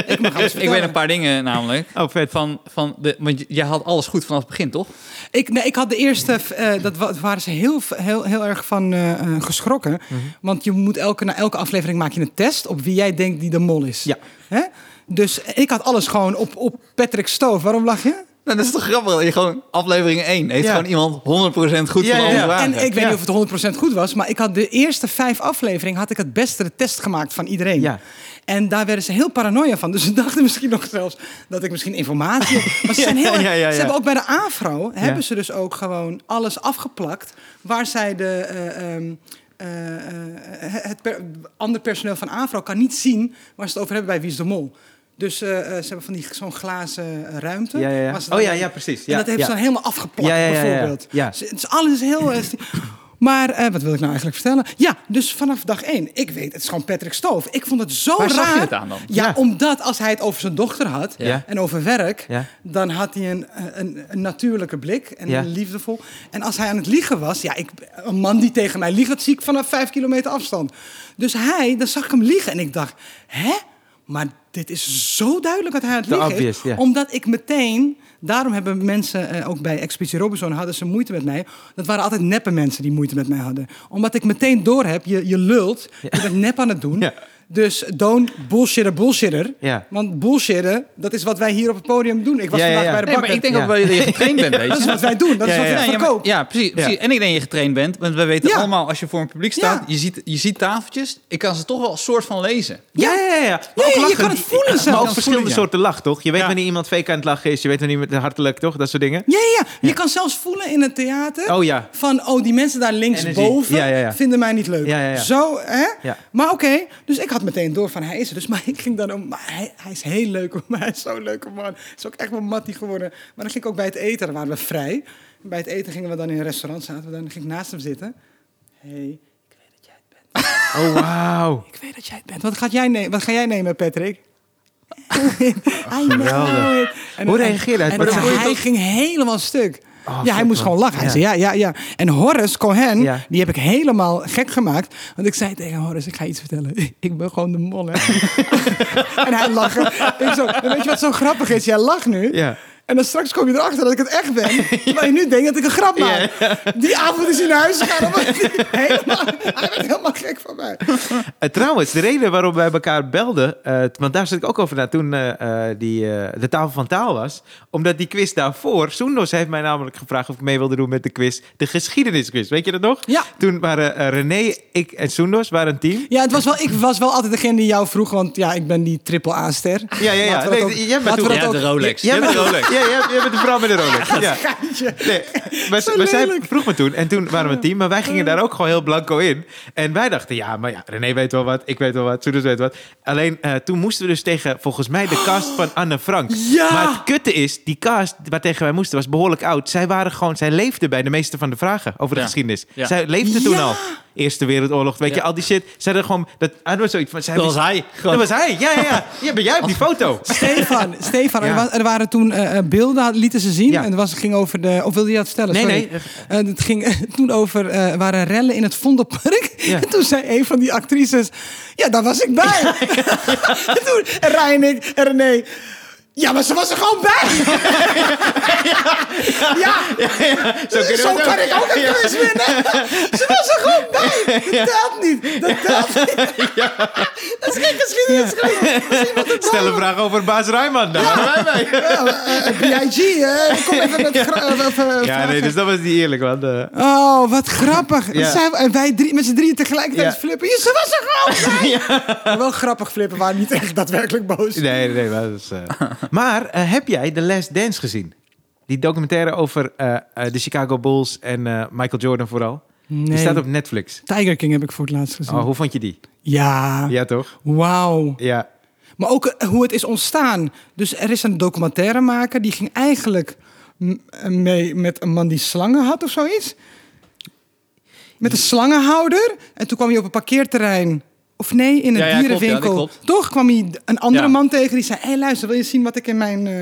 Speaker 3: Ik
Speaker 1: (laughs)
Speaker 3: mag alles
Speaker 2: Ik
Speaker 3: vertellen.
Speaker 2: weet een paar dingen namelijk.
Speaker 1: Oh, vet.
Speaker 2: Van, van de, want j- jij had alles goed vanaf het begin, toch?
Speaker 3: Ik, nee, ik had de eerste, eh, dat wa- waren ze heel, heel, heel erg van eh, eh, geschrokken.
Speaker 1: Mhm.
Speaker 3: Want je moet elke, na elke aflevering maak je een test op wie jij denkt die de mol is.
Speaker 1: Ja.
Speaker 3: Hè? Dus ik had alles gewoon op, op Patrick Stoof. Waarom lach je?
Speaker 2: Nou, dat is toch grappig? dat je Gewoon aflevering 1 heeft
Speaker 1: Ja.
Speaker 2: gewoon iemand 100% goed
Speaker 1: Ja,
Speaker 2: van
Speaker 1: ja,
Speaker 2: alle
Speaker 1: ja.
Speaker 2: vragen.
Speaker 3: En ik weet
Speaker 1: Ja.
Speaker 3: niet of het 100% goed was, maar ik had de eerste vijf afleveringen had ik het beste de test gemaakt van iedereen.
Speaker 1: Ja.
Speaker 3: En daar werden ze heel paranoia van. Dus ze dachten misschien nog zelfs dat ik misschien informatie. maar ze, zijn heel,
Speaker 1: (laughs)
Speaker 3: erg-
Speaker 1: ja, ja, ja.
Speaker 3: ze hebben ook bij de AVRO hebben
Speaker 1: Ja.
Speaker 3: ze dus ook gewoon alles afgeplakt waar zij de. eh, ehm, eh, eh, het per- ander personeel van AVRO kan niet zien waar ze het over hebben bij Wie is de Mol. Dus eh, eh, ze hebben van die zo'n glazen ruimte.
Speaker 1: Ja, ja, ja.
Speaker 3: waar ze
Speaker 1: Oh,
Speaker 3: dan-
Speaker 1: ja, ja, precies.
Speaker 3: En
Speaker 1: Ja,
Speaker 3: dat hebben
Speaker 1: ja.
Speaker 3: ze dan helemaal afgeplakt,
Speaker 1: Ja, ja, ja, ja.
Speaker 3: bijvoorbeeld.
Speaker 1: Ja.
Speaker 3: Dus het is alles heel. eh, sti- maar eh, wat wil ik nou eigenlijk vertellen? Ja, dus vanaf dag één. Ik weet, het is gewoon Patrick Stoof. Ik vond het zo
Speaker 2: Waar
Speaker 3: raar.
Speaker 2: zag je het aan dan?
Speaker 3: Ja,
Speaker 1: Ja.
Speaker 3: omdat als hij het over zijn dochter had
Speaker 1: Ja.
Speaker 3: en over werk,
Speaker 1: Ja.
Speaker 3: dan had hij een, eh, een, een natuurlijke blik en
Speaker 1: Ja.
Speaker 3: een liefdevol. En als hij aan het liegen was, ja, ik, een man die tegen mij liegt, dat zie ik vanaf vijf kilometer afstand. Dus hij, dan zag ik hem liegen en ik dacht, hè? Maar dit is zo duidelijk wat hij aan het
Speaker 1: Te
Speaker 3: liegen is.
Speaker 1: obvious, ja.
Speaker 3: Omdat ik meteen, daarom hebben mensen, eh, ook bij Expeditie Robinson, hadden ze moeite met mij. Dat waren altijd neppe mensen die moeite met mij hadden. Omdat ik meteen door heb, je, je lult, je bent nep aan het doen.
Speaker 1: Ja.
Speaker 3: Dus don't bullshitter, bullshitter.
Speaker 1: Ja.
Speaker 3: Want bullshitten, dat is wat wij hier op het podium doen. Ik was
Speaker 1: Ja, ja,
Speaker 3: vandaag
Speaker 1: ja.
Speaker 3: bij de
Speaker 2: Nee,
Speaker 3: bakker.
Speaker 2: maar ik denk
Speaker 1: Ja.
Speaker 2: ook wel dat je getraind bent, weet je.
Speaker 3: Dat is wat wij doen, dat is
Speaker 1: Ja,
Speaker 3: wat
Speaker 1: ja,
Speaker 3: ik
Speaker 1: ja.
Speaker 2: Ja, maar-
Speaker 3: verkoop.
Speaker 2: ja, precies, precies. En ik denk dat je getraind bent, want we weten
Speaker 3: Ja.
Speaker 2: allemaal als je voor een publiek staat,
Speaker 3: Ja.
Speaker 2: je, ziet, je ziet tafeltjes, ik kan ze toch wel een soort van lezen.
Speaker 1: Ja, ja, ja. ja.
Speaker 3: Nee,
Speaker 1: ook
Speaker 3: je
Speaker 1: lachen.
Speaker 3: kan het voelen zelfs.
Speaker 1: Maar
Speaker 3: Je
Speaker 1: ook
Speaker 3: kan
Speaker 1: verschillende
Speaker 2: voelen, ja.
Speaker 1: soorten lach, toch? Je weet
Speaker 2: Ja.
Speaker 1: wanneer iemand fake aan het lachen is. Je weet wanneer iemand hartelijk, toch? Dat soort dingen.
Speaker 3: Ja, ja, ja. Je kan zelfs voelen in het theater.
Speaker 1: Oh ja.
Speaker 3: Van, oh, die mensen daar linksboven
Speaker 1: Energie. Ja, ja, ja.
Speaker 3: vinden mij niet leuk.
Speaker 1: Ja, ja, ja.
Speaker 3: Zo, hè?
Speaker 1: Ja.
Speaker 3: Maar oké, dus ik had meteen door van hij is er. Dus (laughs) maar ik ging dan om, maar hij, hij is heel leuk, (laughs) maar hij is zo'n leuke man. Hij is ook echt mijn mattie geworden. Maar dan ging ik ook bij het eten, dan waren we vrij. Bij het eten gingen we dan in een restaurant, zaten we dan, dan ging ik naast hem zitten. hey, ik weet dat jij het bent.
Speaker 1: Oh, wauw.
Speaker 3: Ik weet dat jij het bent. Wat, gaat jij nemen? Wat ga jij nemen, Patrick? I know it. En-
Speaker 1: Hoe reageerde hij?
Speaker 3: en-
Speaker 1: Maar
Speaker 3: en
Speaker 1: dan
Speaker 3: hij
Speaker 1: moet je toch-
Speaker 3: ging helemaal stuk.
Speaker 1: Oh,
Speaker 3: ja, hij
Speaker 1: vet,
Speaker 3: moest
Speaker 1: man.
Speaker 3: gewoon lachen. Hij
Speaker 1: Ja.
Speaker 3: zei, ja, ja, ja. En Horace Cohen,
Speaker 1: Ja.
Speaker 3: die heb ik helemaal gek gemaakt. Want ik zei tegen Horace, ik ga iets vertellen. (laughs) Ik ben gewoon de mol, hè. en hij lachte. Ik zo, en weet je wat zo grappig is? Jij lacht nu.
Speaker 1: Ja.
Speaker 3: En dan straks kom je erachter dat ik het
Speaker 1: (laughs)
Speaker 3: echt ben. Terwijl je nu denkt dat ik een grap maak. Die avond is hij naar huis gegaan. omdat hij (laughs) helemaal- Hij werd helemaal gek van mij.
Speaker 1: Eh, trouwens, de reden waarom wij elkaar belden, eh, t- want daar zat ik ook over na toen eh, eh, die, eh, de tafel van taal was, omdat die quiz daarvoor, Soendos heeft mij namelijk gevraagd of ik mee wilde doen met de quiz, de geschiedenisquiz. Weet je dat nog?
Speaker 3: Ja.
Speaker 1: Toen waren eh, René, ik en Soendos waren een team.
Speaker 3: Ja, het was wel, ik was wel altijd degene die jou vroeg, want ja, ik ben die AAA-ster.
Speaker 1: Ja, ja, ja.
Speaker 3: Laten we dat
Speaker 1: Nee, jij
Speaker 3: ook-
Speaker 1: bent
Speaker 3: laten we
Speaker 1: toen-
Speaker 3: dat
Speaker 2: Ja,
Speaker 3: ook-
Speaker 2: de Rolex.
Speaker 1: Jij
Speaker 2: Ja,
Speaker 1: bent
Speaker 2: de Rolex.
Speaker 1: Ja, jij, jij bent de vrouw met de Rolex. Ja.
Speaker 3: Geintje.
Speaker 1: Nee, maar,
Speaker 3: Zo
Speaker 1: maar zij
Speaker 3: lelijk.
Speaker 1: vroeg me toen en toen waren we een team, maar wij gingen daar ook gewoon heel blanco in. En wij dachten, ja, maar ja, René weet wel wat, ik weet wel wat, Soeders weet wat. Alleen eh, toen moesten we dus tegen, volgens mij, de cast van Anne Frank.
Speaker 3: Ja!
Speaker 1: Maar het kutte is, die cast waar tegen wij moesten was behoorlijk oud. Zij waren gewoon, zij leefden bij de meeste van de vragen over de
Speaker 2: Ja.
Speaker 1: geschiedenis.
Speaker 2: Ja.
Speaker 1: Zij leefden toen
Speaker 3: Ja!
Speaker 1: al. Eerste Wereldoorlog, weet je,
Speaker 2: Ja.
Speaker 1: al die shit. Zij hadden gewoon, dat, ah, was zoiets van, zij
Speaker 2: Dat was
Speaker 1: wist-
Speaker 2: hij.
Speaker 1: dat
Speaker 2: Gewoon.
Speaker 1: was hij, ja, ja, ja. Ja, ben jij op die foto.
Speaker 3: Stefan, Stefan
Speaker 1: (laughs) Ja.
Speaker 3: er, wa- er waren toen eh, eh, beelden, lieten ze zien.
Speaker 1: Ja.
Speaker 3: En het was, ging over de. Of wilde je dat vertellen?
Speaker 1: Nee,
Speaker 3: Sorry.
Speaker 1: nee.
Speaker 3: Eh, het ging (laughs) eh, toen over. eh, er waren rellen in het Vondelpark.
Speaker 1: Ja.
Speaker 3: (laughs) En toen zei een van die actrices. Ja, daar was ik bij. (laughs) en toen. En Ryan en ik en René. Ja, maar ze was er gewoon
Speaker 1: (laughs)
Speaker 3: bij. ja,
Speaker 1: Zo, kunnen we
Speaker 3: zo
Speaker 1: het
Speaker 3: kan ik
Speaker 1: (laughs)
Speaker 3: ook een quiz winnen. ze was er gewoon bij. Dat telt niet. Dat
Speaker 1: (laughs)
Speaker 3: telt niet. (laughs) dat is geen geschiedenis.
Speaker 1: Stel een vraag over Baas Rijman. dan.
Speaker 3: Ja, eh, eh, B.I.G. eh, kom even met gra- eh, eh, eh,
Speaker 1: Ja, nee, dus dat was niet eerlijk, want... eh,
Speaker 3: Oh, wat grappig.
Speaker 1: Ja.
Speaker 3: Zij- en wij drie, met z'n drieën tegelijkertijd
Speaker 1: Ja.
Speaker 3: flippen. Je, ze was er gewoon bij. Maar Wel grappig flippen, maar niet echt daadwerkelijk boos.
Speaker 1: (laughs) Nee, nee, maar dat is... eh. maar eh, heb jij The Last Dance gezien? Die documentaire over eh, eh, de Chicago Bulls en eh, Michael Jordan vooral. Die
Speaker 3: Nee.
Speaker 1: staat op Netflix.
Speaker 3: Tiger King heb ik voor het laatst gezien.
Speaker 1: Oh, hoe vond je die?
Speaker 3: Ja,
Speaker 1: Ja, toch?
Speaker 3: wauw.
Speaker 1: Ja.
Speaker 3: Maar ook eh, hoe het is ontstaan. Dus er is een documentairemaker die ging eigenlijk m- eh, mee met een man die slangen had of zoiets. Met een slangenhouder. En toen kwam hij op een parkeerterrein. Of nee, in een
Speaker 2: Ja, ja, klopt, ja,
Speaker 3: dierenwinkel.
Speaker 2: dat klopt.
Speaker 3: Toch kwam hij d- een andere
Speaker 2: Ja.
Speaker 3: man tegen die zei: Hé, hey, luister, wil je zien wat ik in mijn, eh,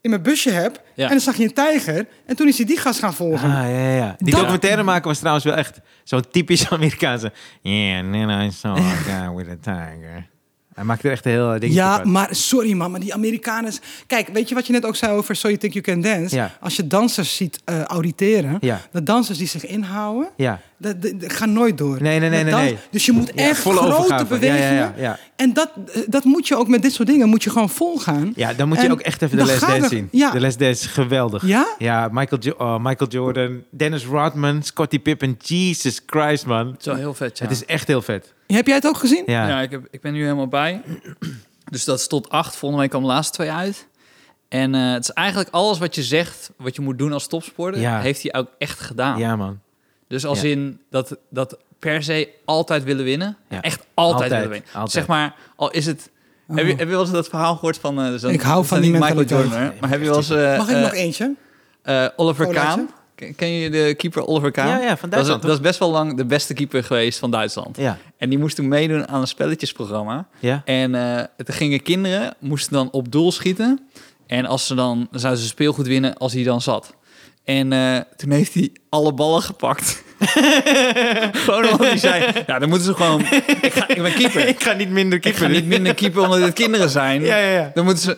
Speaker 3: in mijn busje heb?
Speaker 2: Ja.
Speaker 3: En dan zag je een tijger. En toen is hij die gast gaan
Speaker 1: Ah,
Speaker 3: volgen.
Speaker 1: ja, ja, ja. Die
Speaker 3: Dat-
Speaker 1: documentaire maken was trouwens wel echt zo'n typisch (laughs) Amerikaanse... Yeah, and then I saw
Speaker 3: (laughs)
Speaker 1: a guy with a tiger. Hij maakt er echt een heel eh, ding
Speaker 3: Ja,
Speaker 1: van.
Speaker 3: maar sorry man, maar die Amerikanen... Kijk, weet je wat je net ook zei over So You Think You Can Dance?
Speaker 1: Ja.
Speaker 3: Als je dansers ziet eh, auditeren,
Speaker 1: Ja.
Speaker 3: de dansers die zich inhouden,
Speaker 1: Ja.
Speaker 3: dat, dat- dat gaan nooit door.
Speaker 1: Nee, nee, nee, nee,
Speaker 3: Met dans-
Speaker 1: nee.
Speaker 3: Dus je moet
Speaker 1: Ja,
Speaker 3: echt
Speaker 1: volle
Speaker 3: grote
Speaker 1: overgave. Ja, ja,
Speaker 3: bewegingen.
Speaker 1: ja, ja.
Speaker 3: En dat, eh, dat moet je ook met dit soort dingen, moet je gewoon volgaan.
Speaker 1: Ja, dan moet je
Speaker 3: En
Speaker 1: ook echt even de
Speaker 3: dan
Speaker 1: Les
Speaker 3: gaan
Speaker 1: Dance
Speaker 3: we-
Speaker 1: zien.
Speaker 3: Ja.
Speaker 1: De Les Dance is geweldig.
Speaker 3: Ja?
Speaker 1: Ja, Michael, Jo- oh, Michael Jordan, Dennis Rodman, Scottie Pippen. Jesus Christ, man.
Speaker 2: Het is wel heel vet, ja.
Speaker 1: Het is echt heel vet.
Speaker 3: Heb jij het ook gezien?
Speaker 1: Ja.
Speaker 2: Ja, ik, heb, ik ben nu helemaal bij. (clears throat) Dus dat is tot acht. Volgende week komen de laatste twee uit. En eh, het is eigenlijk alles wat je zegt, wat je moet doen als topsporter,
Speaker 1: Ja.
Speaker 2: heeft hij ook echt gedaan.
Speaker 1: Ja, man.
Speaker 2: Dus als
Speaker 1: Ja.
Speaker 2: in dat, dat per se altijd willen winnen.
Speaker 1: Ja.
Speaker 2: Echt altijd,
Speaker 1: Altijd,
Speaker 2: willen winnen.
Speaker 1: altijd.
Speaker 2: Zeg maar, al is het...
Speaker 3: Oh.
Speaker 2: Heb, je, heb je wel eens dat verhaal gehoord van... eh, zo'n-
Speaker 3: Ik hou
Speaker 2: zo'n
Speaker 3: van die
Speaker 2: niet Michael
Speaker 3: mentaliteit.
Speaker 2: Jordan, hè, maar heb je wel eens... eh,
Speaker 3: Mag ik
Speaker 2: eh,
Speaker 3: nog eentje?
Speaker 2: eh, Oliver
Speaker 3: Oh, laat je.
Speaker 2: Kaan. Ken- Ken je de keeper Oliver Kaan?
Speaker 1: Ja, ja, van
Speaker 2: dat is,
Speaker 1: Duitsland,
Speaker 2: dat is best wel lang de beste keeper geweest van Duitsland.
Speaker 1: Ja.
Speaker 2: En die moest toen meedoen aan een spelletjesprogramma.
Speaker 1: Ja.
Speaker 2: En eh het gingen kinderen, moesten dan op doel schieten. En als ze dan, dan zouden ze speelgoed winnen als hij dan zat. En eh, toen heeft hij alle ballen
Speaker 3: (laughs)
Speaker 2: gepakt. gewoon omdat hij zei, ja, dan moeten ze gewoon... Ik, ga, ik ben
Speaker 1: (laughs)
Speaker 2: keeper.
Speaker 3: (laughs)
Speaker 1: Ik ga niet minder
Speaker 2: Ik ga
Speaker 1: keeper.
Speaker 2: niet minder keeper omdat het kinderen zijn.
Speaker 1: Ja, ja, ja.
Speaker 2: Dan moeten ze...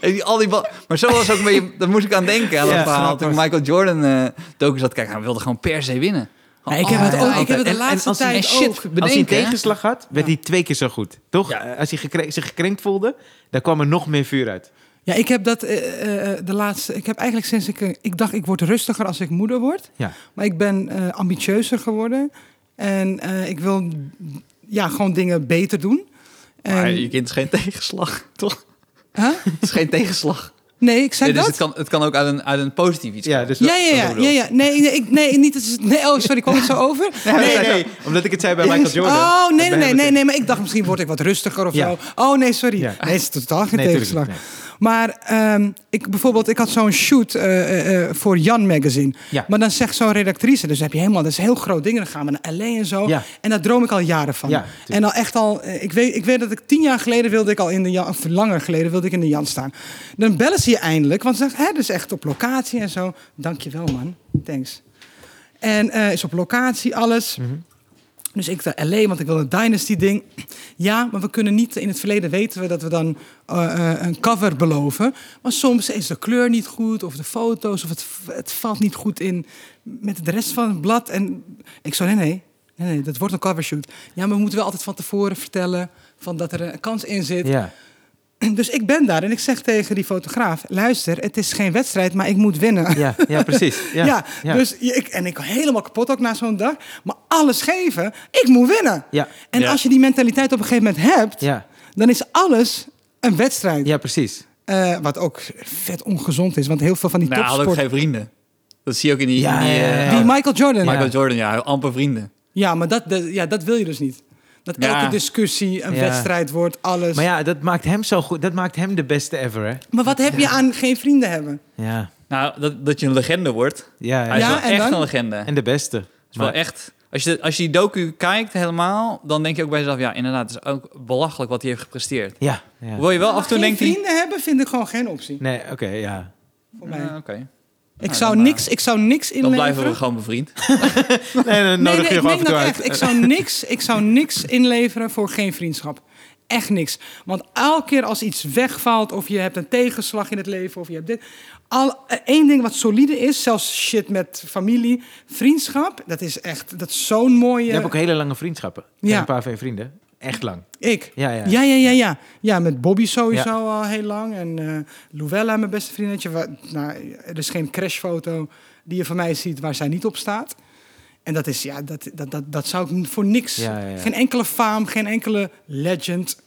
Speaker 2: heeft hij al die bal... Maar zo was ook een beetje... Daar moest ik aan denken, aan dat
Speaker 1: Ja,
Speaker 2: verhaal.
Speaker 1: snap
Speaker 2: Toen
Speaker 1: ik.
Speaker 2: Michael Jordan eh docus had kijken, hij wilde gewoon per se winnen. Oh,
Speaker 3: Ja, ik heb het ook- ik heb het de
Speaker 2: En- en
Speaker 3: laatste
Speaker 2: als hij-
Speaker 3: tijd
Speaker 2: en shit
Speaker 3: ook.
Speaker 2: bedenken,
Speaker 1: Als hij een
Speaker 2: hè?
Speaker 1: tegenslag had, werd hij twee keer zo goed. Toch?
Speaker 2: Ja.
Speaker 1: Eh, Als hij gekrenk- zich gekrenkt voelde, dan kwam er nog meer vuur uit.
Speaker 3: Ja, ik heb dat eh, eh, de laatste. Ik heb eigenlijk sinds ik. eh, Ik dacht, ik word rustiger als ik moeder word.
Speaker 1: Ja.
Speaker 3: Maar ik ben eh, ambitieuzer geworden. En eh, ik wil ja, gewoon dingen beter doen. En,
Speaker 2: Maar je kind is geen (laughs) tegenslag, toch?
Speaker 3: Huh?
Speaker 2: Het is geen tegenslag.
Speaker 3: Nee, ik zei
Speaker 2: Nee, dus het
Speaker 3: dat.
Speaker 2: kan, het kan ook uit een, uit een positief iets
Speaker 1: Ja,
Speaker 2: komen.
Speaker 1: dus
Speaker 3: Ja, ja, ja, ja, ja. Nee, nee, ik, nee, niet. dat is- Nee, oh, sorry, kwam het zo over?
Speaker 1: (laughs) Nee, nee, omdat ik het zei bij Michael Jordan.
Speaker 3: Oh,
Speaker 1: Dat
Speaker 3: nee, nee, nee,
Speaker 1: bij
Speaker 3: nee,
Speaker 1: hem
Speaker 3: nee, maar ik dacht misschien word ik wat rustiger of
Speaker 1: Ja.
Speaker 3: zo. Oh, nee, sorry.
Speaker 1: Ja.
Speaker 3: Nee, het is totaal geen
Speaker 1: Nee, tuurlijk
Speaker 3: tegenslag.
Speaker 1: niet,
Speaker 3: Maar ehm, ik bijvoorbeeld, ik had zo'n shoot eh, eh, eh, voor Jan Magazine.
Speaker 1: Ja.
Speaker 3: Maar dan zegt zo'n redactrice, dus heb je helemaal, dat is een heel groot ding. Dan gaan we naar LA en zo.
Speaker 1: Ja.
Speaker 3: En daar droom ik al jaren van.
Speaker 1: Ja, tuurlijk.
Speaker 3: en al echt al, eh, ik weet, ik weet dat ik tien jaar geleden wilde ik al in de Jan, of langer geleden wilde ik in de Jan staan. Dan bellen ze je eindelijk, want ze zeggen, hè, dus echt op locatie en zo. Dankjewel man, thanks. En eh, is op locatie alles. Dus ik dacht, LA, want ik wil een Dynasty-ding. Ja, maar we kunnen niet, eh, in het verleden weten we dat we dan eh, eh, een cover beloven. Maar soms is de kleur niet goed, of de foto's, of het, het valt niet goed in met de rest van het blad. En ik zo, nee, nee, nee, nee, dat wordt een covershoot. Ja, maar we moeten wel altijd van tevoren vertellen van dat er een kans in zit.
Speaker 1: Ja.
Speaker 3: (clears throat) Dus ik ben daar en ik zeg tegen die fotograaf: luister, het is geen wedstrijd, maar ik moet winnen.
Speaker 1: Ja, ja, precies. Ja,
Speaker 3: Ja, dus je- ik, en ik was helemaal kapot ook na zo'n dag. Maar alles geven, ik moet winnen.
Speaker 1: Ja.
Speaker 3: En
Speaker 2: Ja.
Speaker 3: als je die mentaliteit op een gegeven moment hebt,
Speaker 1: ja,
Speaker 3: dan is alles een wedstrijd.
Speaker 1: ja, precies.
Speaker 3: Eh, wat ook vet ongezond is, want heel veel van die
Speaker 2: Nou, hij had ook
Speaker 3: topsport...
Speaker 2: geen vrienden. Dat zie je ook in die...
Speaker 1: Ja,
Speaker 2: in die,
Speaker 1: ja,
Speaker 2: eh,
Speaker 1: ja.
Speaker 3: Die Michael Jordan.
Speaker 2: Michael
Speaker 3: Ja.
Speaker 2: Jordan, ja, amper vrienden.
Speaker 3: Ja, maar dat, dat- ja, dat wil je dus niet. Dat
Speaker 2: Ja.
Speaker 3: elke discussie een
Speaker 1: Ja.
Speaker 3: wedstrijd wordt, alles.
Speaker 1: Maar
Speaker 3: Maar,
Speaker 1: ja, dat maakt hem zo goed. Dat maakt hem de beste ever, hè?
Speaker 3: wat heb je aan geen vrienden hebben?
Speaker 1: Ja,
Speaker 2: Nou, dat, dat je een legende wordt.
Speaker 1: ja.
Speaker 2: Hij is
Speaker 1: ja.
Speaker 3: Ja,
Speaker 2: wel
Speaker 3: en
Speaker 2: echt
Speaker 3: dan?
Speaker 2: een legende. Het
Speaker 1: En de beste.
Speaker 2: is wel echt... Als je, als je die docu kijkt helemaal, dan denk je ook bij jezelf... Ja, inderdaad, het is ook belachelijk wat hij heeft gepresteerd.
Speaker 1: Ja, ja.
Speaker 2: Wil je wel af en toe
Speaker 3: geen
Speaker 2: denkt hij...
Speaker 3: vrienden hebben vind ik gewoon geen optie.
Speaker 1: Nee, oké, ja.
Speaker 3: Voor mij.
Speaker 2: Ah, Oké,
Speaker 3: ik,
Speaker 2: nou,
Speaker 3: zou
Speaker 2: dan, eh,
Speaker 3: niks, ik zou niks
Speaker 2: dan
Speaker 3: inleveren.
Speaker 2: blijven we gewoon bevriend.
Speaker 1: (laughs) Nee, dan
Speaker 3: Nee,
Speaker 1: nodig
Speaker 3: nee,
Speaker 1: je
Speaker 3: ik
Speaker 1: gewoon af
Speaker 3: meen
Speaker 1: en toe
Speaker 3: dat
Speaker 1: uit.
Speaker 3: echt. Ik
Speaker 1: (laughs)
Speaker 3: zou, niks, ik zou niks inleveren voor geen vriendschap. Echt niks. Want elke keer als iets wegvalt, of je hebt een tegenslag in het leven, of je hebt dit. Al, eh, één ding wat solide is, zelfs shit met familie, vriendschap, dat is echt, dat is zo'n mooie...
Speaker 1: Je hebt ook hele lange vriendschappen.
Speaker 3: Ja.
Speaker 1: Ja. Een paar van je vrienden. Echt lang.
Speaker 3: Ik?
Speaker 1: Ja, ja.
Speaker 3: Ja, ja, ja, ja. Ja, met Bobby sowieso
Speaker 1: Ja.
Speaker 3: al heel lang. En eh Luella, mijn beste vriendinnetje. wa- nou, er is geen crashfoto die je van mij ziet waar zij niet op staat. En dat is, ja, dat, dat, dat, dat zou ik voor niks.
Speaker 1: Ja, ja, ja.
Speaker 3: Geen enkele faam, geen enkele legend,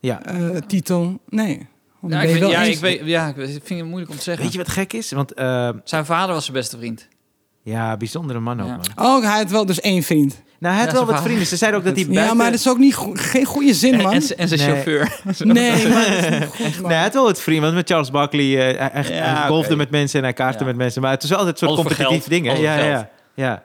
Speaker 1: Ja.
Speaker 3: eh, titel. Nee. Want
Speaker 2: Ja,
Speaker 3: dan
Speaker 2: ik,
Speaker 3: ben je
Speaker 2: weet-
Speaker 3: wel
Speaker 2: ja,
Speaker 3: eens-
Speaker 2: ik, weet, ja ik weet- ik vind het moeilijk om te zeggen.
Speaker 1: Weet je wat gek is? Want eh,
Speaker 2: Zijn vader was zijn beste vriend.
Speaker 1: ja, bijzondere man ook,
Speaker 2: Ja.
Speaker 1: man.
Speaker 3: Oh, hij had wel dus één vriend.
Speaker 1: Nou, hij had
Speaker 2: Ja,
Speaker 1: wel
Speaker 2: zijn
Speaker 1: wat
Speaker 2: vader.
Speaker 1: vrienden. Ze zeiden ook dat hij
Speaker 3: Ja,
Speaker 1: buiten...
Speaker 3: maar dat is ook niet goe- geen goede zin,
Speaker 2: En,
Speaker 3: man.
Speaker 2: en, z- en zijn
Speaker 1: Nee.
Speaker 2: chauffeur. (laughs)
Speaker 3: Nee, maar dat is niet goed, man.
Speaker 1: Nee, hij had wel wat vrienden. Want met Charles Barkley, eh, hij, hij-
Speaker 2: Ja,
Speaker 1: hij golfde
Speaker 2: oké.
Speaker 1: met mensen en hij kaartte
Speaker 2: Ja.
Speaker 1: met mensen. Maar het is wel altijd een soort
Speaker 2: Alles voor
Speaker 1: competitief
Speaker 2: geld.
Speaker 1: ding. hè?
Speaker 2: Alles
Speaker 1: Ja,
Speaker 2: voor
Speaker 1: ja,
Speaker 2: geld.
Speaker 1: ja, ja.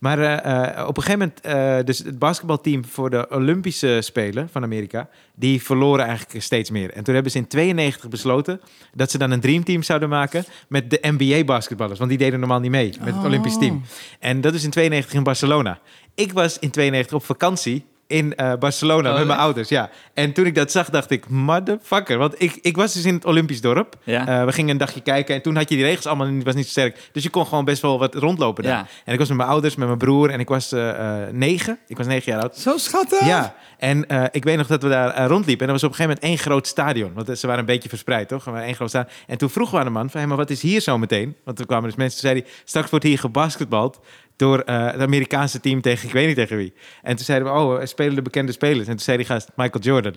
Speaker 1: Maar eh, eh, op een gegeven moment, eh, dus het basketbalteam voor de Olympische Spelen van Amerika, die verloren eigenlijk steeds meer. En toen hebben ze in 92 besloten dat ze dan een dreamteam zouden maken met de NBA-basketballers. Want die deden normaal niet mee met het
Speaker 3: Oh.
Speaker 1: Olympisch team. En dat is in 92 in Barcelona. Ik was in 92 op vakantie in eh, Barcelona met
Speaker 2: Oh,
Speaker 1: mijn
Speaker 2: echt?
Speaker 1: ouders, ja. En toen ik dat zag, dacht ik, motherfucker. Want ik, ik was dus in het Olympisch dorp.
Speaker 2: Ja.
Speaker 1: Eh, we gingen een dagje kijken en toen had je die regels allemaal niet, was niet zo sterk. Dus je kon gewoon best wel wat rondlopen daar.
Speaker 2: Ja.
Speaker 1: En ik was met mijn ouders, met mijn broer en ik was eh, eh, negen. Ik was negen jaar oud.
Speaker 3: Zo schattig.
Speaker 1: Ja, en eh, ik weet nog dat we daar eh, rondliepen. En er was op een gegeven moment één groot stadion. Want eh, ze waren een beetje verspreid, toch? Er waren één groot stadion. En toen vroegen we aan een man van... Hey, maar wat is hier zo meteen? Want er kwamen dus mensen, toen zei hij... Straks wordt hier gebasketbald door eh, het Amerikaanse team tegen... Ik weet niet tegen wie. En toen zeiden we... Oh, er spelen de bekende spelers. En toen zei die gast Michael Jordan.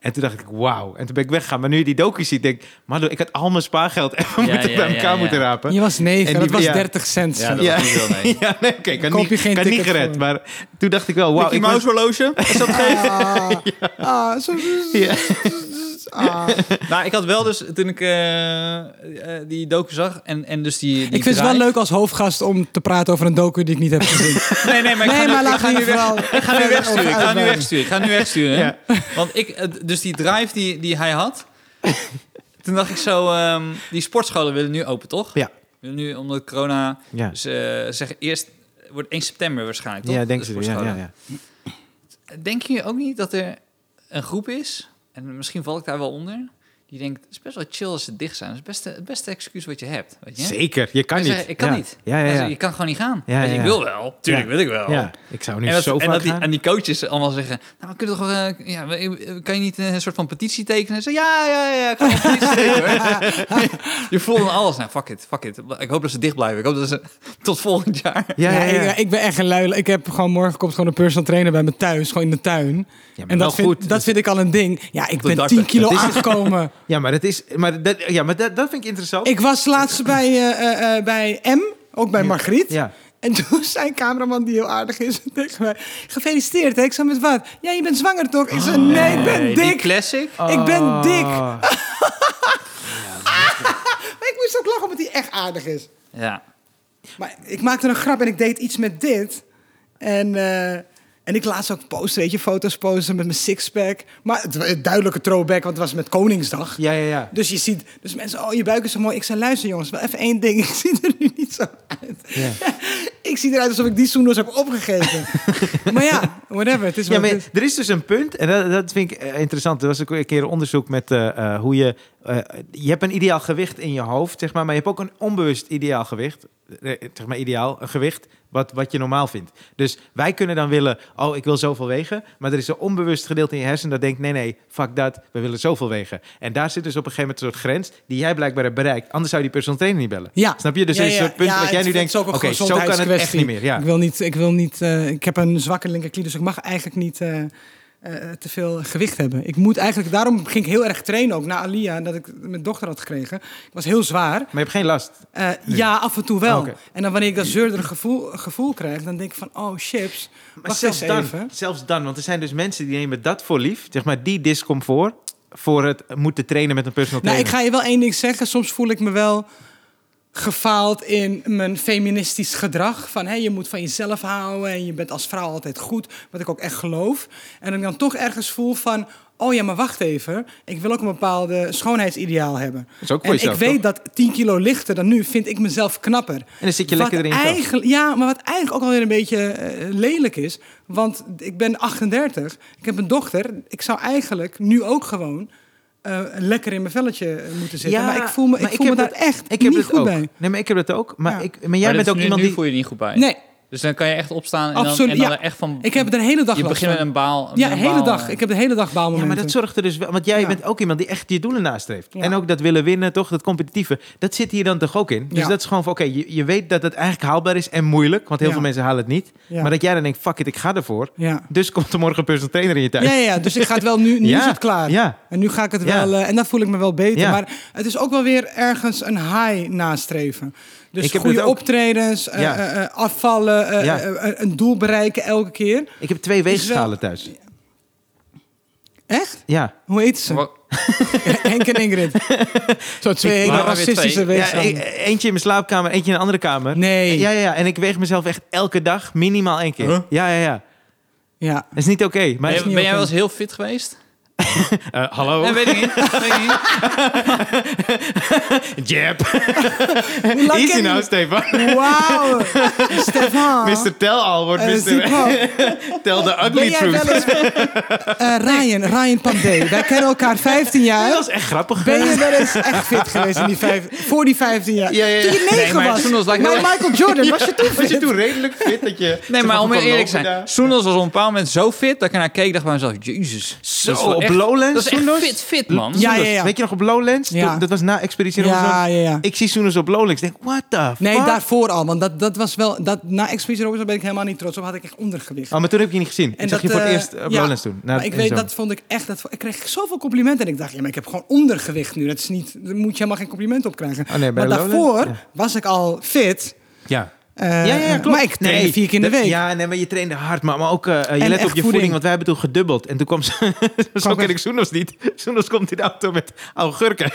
Speaker 1: En toen dacht ik, wauw. En toen ben ik weggegaan. Maar nu je die docu ziet, denk ik... Man, ik had al mijn spaargeld even
Speaker 2: Ja,
Speaker 1: moeten
Speaker 2: ja,
Speaker 1: bij
Speaker 2: ja,
Speaker 1: elkaar
Speaker 2: ja.
Speaker 1: moeten rapen.
Speaker 3: Je was negen,
Speaker 1: En
Speaker 3: dat
Speaker 1: die-
Speaker 3: was
Speaker 1: ja.
Speaker 3: 30 cent.
Speaker 2: Ja, dat
Speaker 1: Ja.
Speaker 2: was niet zo mee.
Speaker 1: (laughs) Ja, nee, oké. ik had
Speaker 3: Koop je
Speaker 1: niet-
Speaker 3: geen
Speaker 1: ik had niet
Speaker 3: ticket
Speaker 1: gered.
Speaker 3: voor.
Speaker 1: Maar toen dacht ik wel, wauw.
Speaker 2: Mickey
Speaker 1: ik was-
Speaker 2: Mouse horloge? Is dat gegeven?
Speaker 3: Ah, ah, zo,
Speaker 1: Ja.
Speaker 3: ah.
Speaker 2: Nou, ik had wel dus, toen ik eh, eh, die docu zag en, en dus die, die
Speaker 3: Ik vind het wel
Speaker 2: drive-
Speaker 3: leuk als hoofdgast om te praten over een docu die ik niet
Speaker 2: (laughs)
Speaker 3: heb gezien.
Speaker 2: Nee, nee, maar ik ga
Speaker 3: nee,
Speaker 2: nu-
Speaker 3: maar
Speaker 2: ik
Speaker 3: laat
Speaker 2: ga
Speaker 3: me
Speaker 2: nu
Speaker 3: hier
Speaker 2: weg-
Speaker 3: vooral.
Speaker 2: ik
Speaker 3: (laughs)
Speaker 2: ga nu wegsturen. Ik ga nu wegsturen. Ik ga nu wegsturen.
Speaker 1: Ja.
Speaker 2: Want ik, eh, dus die drive die, die hij had, toen dacht ik zo, ehm, die sportscholen willen nu open, toch?
Speaker 1: Ja.
Speaker 2: Nu, omdat corona,
Speaker 1: Ja.
Speaker 2: dus eh, zeggen eerst, wordt 1 september waarschijnlijk, toch?
Speaker 1: Ja, denk
Speaker 2: De
Speaker 1: ze. Ja,
Speaker 2: sportscholen.
Speaker 1: ja, ja.
Speaker 2: Denk je ook niet dat er een groep is, en misschien val ik daar wel onder, die denkt, het is best wel chill als ze dicht zijn. Dat is het beste, het beste excuus wat je hebt, weet je?
Speaker 1: Zeker, je kan
Speaker 2: Hij
Speaker 1: niet.
Speaker 2: zegt, ik kan
Speaker 1: Ja.
Speaker 2: niet.
Speaker 1: Ja, ja,
Speaker 2: Hij
Speaker 1: ja.
Speaker 2: zegt, je kan gewoon niet gaan.
Speaker 1: Ja,
Speaker 2: Hij zegt,
Speaker 1: ja,
Speaker 2: Ik
Speaker 1: ja.
Speaker 2: wil wel. Tuurlijk
Speaker 1: Ja.
Speaker 2: wil ik wel.
Speaker 1: Ja, ik zou nu
Speaker 2: En dat,
Speaker 1: zo
Speaker 2: en
Speaker 1: vaak
Speaker 2: dat die,
Speaker 1: gaan.
Speaker 2: en die coaches allemaal zeggen, nou, we kunnen toch, eh, ja, we- we- kan je niet eh, een soort van petitie tekenen? En ze, ja, ja, ja, ik kan wel een petitie tekenen. hoor. (laughs) je voelt dan alles. Nou, fuck it, fuck it. Ik hoop dat ze dicht blijven. Ik hoop dat ze (laughs) tot volgend jaar.
Speaker 1: Ja, ja, ja.
Speaker 3: Ik, ik ben echt een luil. Ik heb gewoon morgen komt gewoon een personal trainer bij me thuis, gewoon in de tuin.
Speaker 1: maar wel
Speaker 3: en dat vind,
Speaker 1: goed.
Speaker 3: dat vind ik al een ding. Ja, ik
Speaker 2: de
Speaker 3: ben
Speaker 2: darten.
Speaker 3: 10 kilo
Speaker 1: Dat is het.
Speaker 2: (laughs)
Speaker 3: aangekomen.
Speaker 1: Ja, maar dat is, maar dat, ja, maar dat, dat vind ik interessant.
Speaker 3: ik was laatst bij, eh, eh, eh, bij M, ook bij Margriet.
Speaker 1: Ja.
Speaker 3: En (laughs) toen zei een cameraman die heel aardig is (laughs) tegen mij... Gefeliciteerd, hè? Ik zei, met wat? Ja, je bent zwanger, toch? Ik zei, nee, ik ben
Speaker 2: Oh. Die
Speaker 3: dik.
Speaker 2: classic.
Speaker 3: Ik ben dik.
Speaker 1: Oh.
Speaker 3: Maar ik moest ook lachen omdat hij echt aardig is.
Speaker 2: Ja.
Speaker 3: Maar ik maakte een grap en ik deed iets met dit. En, eh, en ik laatst ook posten, weet je, foto's posten met mijn sixpack. Maar het, wa- een duidelijke throwback, want het was met Koningsdag.
Speaker 1: Ja, ja, ja.
Speaker 3: Dus je ziet, (laughs) dus mensen, oh, je buik is zo mooi. Ik zei, luister jongens, wel even één ding. Ik zie er nu niet zo uit.
Speaker 1: Ja.
Speaker 3: (laughs) Ik zie eruit alsof ik die zoenders heb
Speaker 1: (laughs)
Speaker 3: opgegeven. maar ja, whatever. Het is
Speaker 1: Ja,
Speaker 3: wat
Speaker 1: maar
Speaker 3: het is.
Speaker 1: er is dus een punt, en dat, dat vind ik eh, interessant. Er was ook een keer een onderzoek met eh, eh, hoe je... eh, je hebt een ideaal gewicht in je hoofd, zeg maar. Maar je hebt ook een onbewust ideaal gewicht. Eh, zeg maar ideaal, een gewicht wat, wat je normaal vindt. Dus wij kunnen dan willen, oh, ik wil zoveel wegen. Maar er is een onbewust gedeelte in je hersen dat denkt, nee, nee, fuck dat. We willen zoveel wegen. En daar zit dus op een gegeven moment een soort grens die jij blijkbaar hebt bereikt. Anders zou die personal trainer niet bellen.
Speaker 3: Ja.
Speaker 1: Snap je? Dus er is een soort punt wat jij
Speaker 3: het-
Speaker 1: nu
Speaker 3: het
Speaker 1: denkt,
Speaker 3: is ook
Speaker 1: oké,
Speaker 3: een
Speaker 1: zo kan het echt
Speaker 3: gezondheidskwestie.
Speaker 1: niet meer. Ja.
Speaker 3: Ik wil niet, ik wil niet, eh, ik heb een zwakke linkerknie, dus ik mag eigenlijk niet eh, eh, te veel gewicht hebben. Ik moet eigenlijk, daarom ging ik heel erg trainen ook na Alia, dat ik mijn dochter had gekregen. Ik was heel zwaar.
Speaker 1: Maar je hebt geen last.
Speaker 3: Eh, ja, af en toe wel.
Speaker 1: Oh, oké.
Speaker 3: En dan wanneer ik dat zeurderig gevoel, gevoel krijg, dan denk ik van, oh chips,
Speaker 1: Maar
Speaker 3: wacht
Speaker 1: zelfs
Speaker 3: eens
Speaker 1: dan,
Speaker 3: even.
Speaker 1: zelfs dan, want er zijn dus mensen die nemen dat voor lief, zeg maar die discomfort voor het moeten trainen met een personal
Speaker 3: Nou, ik
Speaker 1: trainer.
Speaker 3: ga je wel één ding zeggen. Soms voel ik me wel gefaald in mijn feministisch gedrag. Van hé, je moet van jezelf houden en je bent als vrouw altijd goed. Wat ik ook echt geloof. En dat ik dan toch ergens voel van... Oh ja, maar wacht even. Ik wil ook een bepaalde schoonheidsideaal hebben.
Speaker 1: Dat is ook voor
Speaker 3: en
Speaker 1: jezelf,
Speaker 3: ik weet
Speaker 1: toch?
Speaker 3: dat 10 kilo lichter dan nu vind ik mezelf knapper.
Speaker 1: En dan zit je lekker
Speaker 3: Wat
Speaker 1: erin. zelf.
Speaker 3: eigenlijk- Ja, maar wat eigenlijk ook alweer een beetje eh, lelijk is. Want ik ben 38, ik heb een dochter. Ik zou eigenlijk nu ook gewoon eh, lekker in mijn velletje eh, moeten zitten.
Speaker 1: Ja,
Speaker 3: maar ik voel me, ik
Speaker 1: maar
Speaker 3: voel
Speaker 1: ik
Speaker 3: me
Speaker 1: heb
Speaker 3: daar echt
Speaker 1: Ik heb
Speaker 3: niet
Speaker 1: dat
Speaker 3: goed
Speaker 1: ook.
Speaker 3: bij.
Speaker 1: Nee, maar ik heb dat ook. Maar,
Speaker 3: Ja.
Speaker 1: ik, maar jij
Speaker 2: Maar dat
Speaker 1: bent
Speaker 2: is
Speaker 1: ook
Speaker 2: nu-
Speaker 1: iemand
Speaker 2: nu
Speaker 1: die...
Speaker 2: voel je je niet goed bij.
Speaker 3: Nee,
Speaker 2: Dus dan kan je echt opstaan en dan,
Speaker 3: Absoluut,
Speaker 2: en dan
Speaker 3: ja.
Speaker 2: echt van...
Speaker 3: ik heb er de hele dag
Speaker 2: je
Speaker 3: last
Speaker 2: begint met
Speaker 3: van.
Speaker 2: een baal.
Speaker 3: Ja, de
Speaker 2: met een
Speaker 3: hele
Speaker 2: baal,
Speaker 3: dag.
Speaker 2: eh.
Speaker 3: Ik heb de hele dag
Speaker 1: Ja,
Speaker 3: baalmomenten.
Speaker 1: maar dat zorgt er dus wel... Want jij
Speaker 3: Ja.
Speaker 1: bent ook iemand die echt je doelen nastreeft.
Speaker 3: Ja.
Speaker 1: En ook dat willen winnen, toch? Dat competitieve. Dat zit hier dan toch ook in? Dus
Speaker 3: Ja.
Speaker 1: dat is gewoon van, oké, je, je weet dat het eigenlijk haalbaar is en moeilijk. Want heel
Speaker 3: Ja.
Speaker 1: veel mensen halen het niet.
Speaker 3: Ja.
Speaker 1: Maar dat jij dan denkt, fuck it, ik ga ervoor.
Speaker 3: ja.
Speaker 1: Dus komt er morgen een personal trainer in je thuis.
Speaker 3: Ja, ja, ja, dus ik ga het wel nu, nu is het klaar.
Speaker 1: Ja,
Speaker 3: En nu ga ik het
Speaker 1: Ja.
Speaker 3: wel, eh, en dan voel ik me wel beter.
Speaker 1: Ja.
Speaker 3: Maar het is ook wel weer ergens een high nastreven. Dus
Speaker 1: Ik heb
Speaker 3: goede
Speaker 1: dat ook.
Speaker 3: optredens, eh,
Speaker 1: Ja.
Speaker 3: eh, eh, afvallen, eh,
Speaker 1: Ja.
Speaker 3: eh, eh, een doel bereiken elke keer.
Speaker 1: ik heb twee
Speaker 3: wel-
Speaker 1: weegschalen thuis.
Speaker 3: Echt?
Speaker 1: Ja.
Speaker 3: Hoe heet ze?
Speaker 2: Wa-
Speaker 3: (laughs) Henk en
Speaker 1: (laughs)
Speaker 3: Ingrid. Zo twee hele
Speaker 2: Waarom weer
Speaker 3: racistische
Speaker 2: twee?
Speaker 1: Ja,
Speaker 3: wezen.
Speaker 1: e- eentje in mijn slaapkamer, eentje in een andere kamer.
Speaker 3: Nee.
Speaker 1: Ja, ja, ja. En ik weeg mezelf echt elke dag minimaal één keer.
Speaker 2: Huh?
Speaker 1: Ja, ja, ja.
Speaker 3: ja.
Speaker 1: Dat is niet oké. Maar
Speaker 2: Ben,
Speaker 3: is
Speaker 2: jij-
Speaker 3: niet
Speaker 2: ben jij
Speaker 3: oké.
Speaker 2: wel eens heel fit geweest?
Speaker 1: Eh, hallo,
Speaker 2: Nee, weet ik niet. Weet ik niet.
Speaker 1: (laughs) Jeb.
Speaker 3: Hoe lang
Speaker 1: Easy
Speaker 3: ken je-
Speaker 1: nou, Stefan.
Speaker 3: Wauw.
Speaker 1: (laughs)
Speaker 3: Stefan.
Speaker 1: Mr. Tel al wordt
Speaker 3: Eh,
Speaker 1: Mr.
Speaker 3: Stefan,
Speaker 1: Tel the (laughs)
Speaker 3: ben
Speaker 1: ugly
Speaker 3: jij wel
Speaker 1: truth.
Speaker 3: eens... Eh, Ryan, Ryan Pandey. Wij kennen elkaar 15
Speaker 1: Dat
Speaker 3: jaar.
Speaker 1: was echt grappig.
Speaker 3: (laughs) Ben je wel eens echt fit geweest in die vijf, voor die 15 jaar?
Speaker 1: Ja, ja, ja.
Speaker 3: Toen je 9
Speaker 2: maar
Speaker 3: was.
Speaker 2: toen was ik
Speaker 3: maar
Speaker 2: heel-
Speaker 3: Michael Jordan, was je toen
Speaker 1: Was je
Speaker 3: fit?
Speaker 1: toen redelijk fit dat je...
Speaker 2: Nee,
Speaker 1: zo
Speaker 2: maar
Speaker 1: van
Speaker 2: om
Speaker 1: kon
Speaker 2: eerlijk te
Speaker 1: lopen
Speaker 2: zijn.
Speaker 1: daar?
Speaker 2: Soendos was op een bepaald moment zo fit dat ik ernaar keek en dacht bij mezelf, jezus.
Speaker 1: Zo,
Speaker 2: dat is wel
Speaker 1: op
Speaker 2: echt-
Speaker 1: Lowlands,
Speaker 2: Dat is echt
Speaker 1: Soendos?
Speaker 2: fit, fit, man.
Speaker 3: Ja, ja,
Speaker 1: Soenus,
Speaker 3: ja.
Speaker 1: Weet je nog op Lowlands?
Speaker 3: Ja.
Speaker 1: Toen- Dat was na Expeditie
Speaker 3: Ja,
Speaker 1: Robinson.
Speaker 3: ja, ja.
Speaker 1: Ik zie Soenus op Lowlands. Ik denk, what the
Speaker 3: Nee,
Speaker 1: fuck?
Speaker 3: daarvoor al. Want dat, dat was wel... Dat, na Expeditie Robinson ben ik helemaal niet trots op. Had ik echt ondergewicht.
Speaker 1: Oh, maar toen heb ik je niet gezien. ik zag je voor het
Speaker 3: eh,
Speaker 1: eerst op
Speaker 3: ja,
Speaker 1: Lowlands toen. Nou, Na-
Speaker 3: maar ik
Speaker 1: in
Speaker 3: weet,
Speaker 1: zomer.
Speaker 3: dat vond ik echt... Dat, vo- ik kreeg zoveel complimenten. En ik dacht, ja, maar ik heb gewoon ondergewicht nu. Dat is niet... Daar moet je helemaal geen compliment op krijgen.
Speaker 1: Oh, nee, bij
Speaker 3: maar
Speaker 1: Lowlands?
Speaker 3: daarvoor
Speaker 1: Ja.
Speaker 3: was ik al fit.
Speaker 1: Ja.
Speaker 3: Eh,
Speaker 1: Ja, ja, klopt.
Speaker 3: Maar ik trainde vier keer in de
Speaker 1: dat-
Speaker 3: week.
Speaker 1: Ja, nee, maar je trainde hard. Maar, maar ook, eh, je let
Speaker 3: echt
Speaker 1: op je voeding.
Speaker 3: voeding.
Speaker 1: want wij hebben toen gedubbeld. En toen kwam ze... (laughs) zo ken
Speaker 3: echt-
Speaker 1: ik Soenos niet. Soenos komt in de auto met augurken.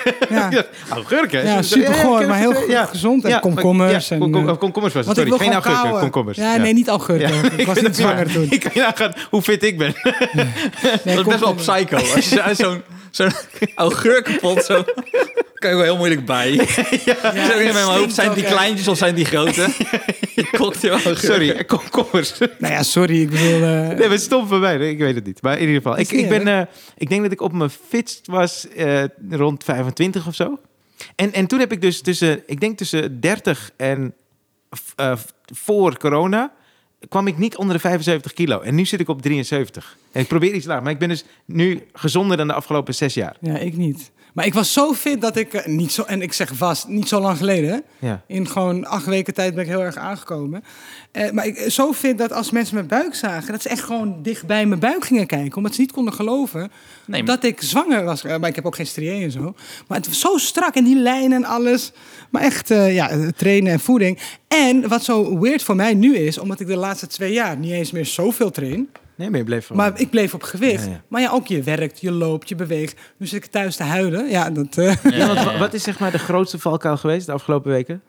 Speaker 1: (laughs)
Speaker 3: Ja.
Speaker 1: Ja. augurken?
Speaker 3: Ja,
Speaker 1: Soenos-
Speaker 3: supergoor,
Speaker 1: ken ik
Speaker 3: maar
Speaker 1: het,
Speaker 3: heel
Speaker 1: eh, ja.
Speaker 3: gezond. En
Speaker 1: Ja,
Speaker 3: komkommers
Speaker 1: ja,
Speaker 3: en,
Speaker 1: komkom-
Speaker 3: eh,
Speaker 1: oh, komkommers was het.
Speaker 3: Want ik
Speaker 1: Sorry,
Speaker 3: wil
Speaker 1: geen
Speaker 3: gewoon
Speaker 1: augurken,
Speaker 3: kauwen.
Speaker 1: komkommers.
Speaker 3: Ja, nee, niet augurken.
Speaker 1: (laughs)
Speaker 3: (laughs) ik was niet zwanger toen.
Speaker 1: Ik kan je nagaan hoe fit ik ben. (laughs)
Speaker 3: Nee,
Speaker 2: Dat is best wel psycho. Als je zo'n zo'n (laughs) augurkenpot zo... kan je wel heel moeilijk bij. Ja,
Speaker 1: (laughs)
Speaker 3: dat
Speaker 2: in mijn hoofd,
Speaker 3: stinkt
Speaker 2: zijn die
Speaker 3: ook echt.
Speaker 2: kleintjes of zijn die grote? Die cocktail augurken.
Speaker 1: Sorry,
Speaker 3: (laughs)
Speaker 1: eh, komkommers.
Speaker 3: Nou ja, sorry, ik bedoel... eh,
Speaker 1: Nee, maar stom voor mij. Nee, ik weet het niet. Maar in ieder geval,
Speaker 3: Is
Speaker 1: ik,
Speaker 3: niet
Speaker 1: ik, ben, eh, ik denk dat ik op mijn fitst was eh, rond 25 of zo. En, en toen heb ik dus tussen, ik denk tussen 30 en f- eh, f- voor corona, kwam ik niet onder de 75 kilo. En nu zit ik op 73. En ik probeer iets lager, maar ik ben dus nu gezonder dan de afgelopen zes jaar.
Speaker 3: Ja, ik niet. Maar ik was zo fit dat ik... eh, niet zo, en ik zeg vast, niet zo lang geleden, hè?
Speaker 1: Ja.
Speaker 3: In gewoon acht weken tijd ben ik heel erg aangekomen. Eh, maar ik, zo vind dat als mensen mijn buik zagen, dat ze echt gewoon dicht bij mijn buik gingen kijken. Omdat ze niet konden geloven
Speaker 2: Nee, maar-
Speaker 3: dat ik zwanger was. Eh, maar ik heb ook geen strié en zo. Maar het was zo strak en die lijnen en alles. Maar echt, eh, ja, eh, trainen en voeding. En wat zo weird voor mij nu is, omdat ik de laatste twee jaar niet eens meer zoveel train.
Speaker 1: Nee, maar je bleef gewoon-
Speaker 3: Maar ik bleef op gewicht.
Speaker 1: Ja, ja.
Speaker 3: Maar ja, ook je werkt, je loopt, je beweegt. Nu zit ik thuis te huilen. Ja, dat... eh,
Speaker 1: Ja, want wa- wat is zeg maar de grootste valkuil geweest de afgelopen weken?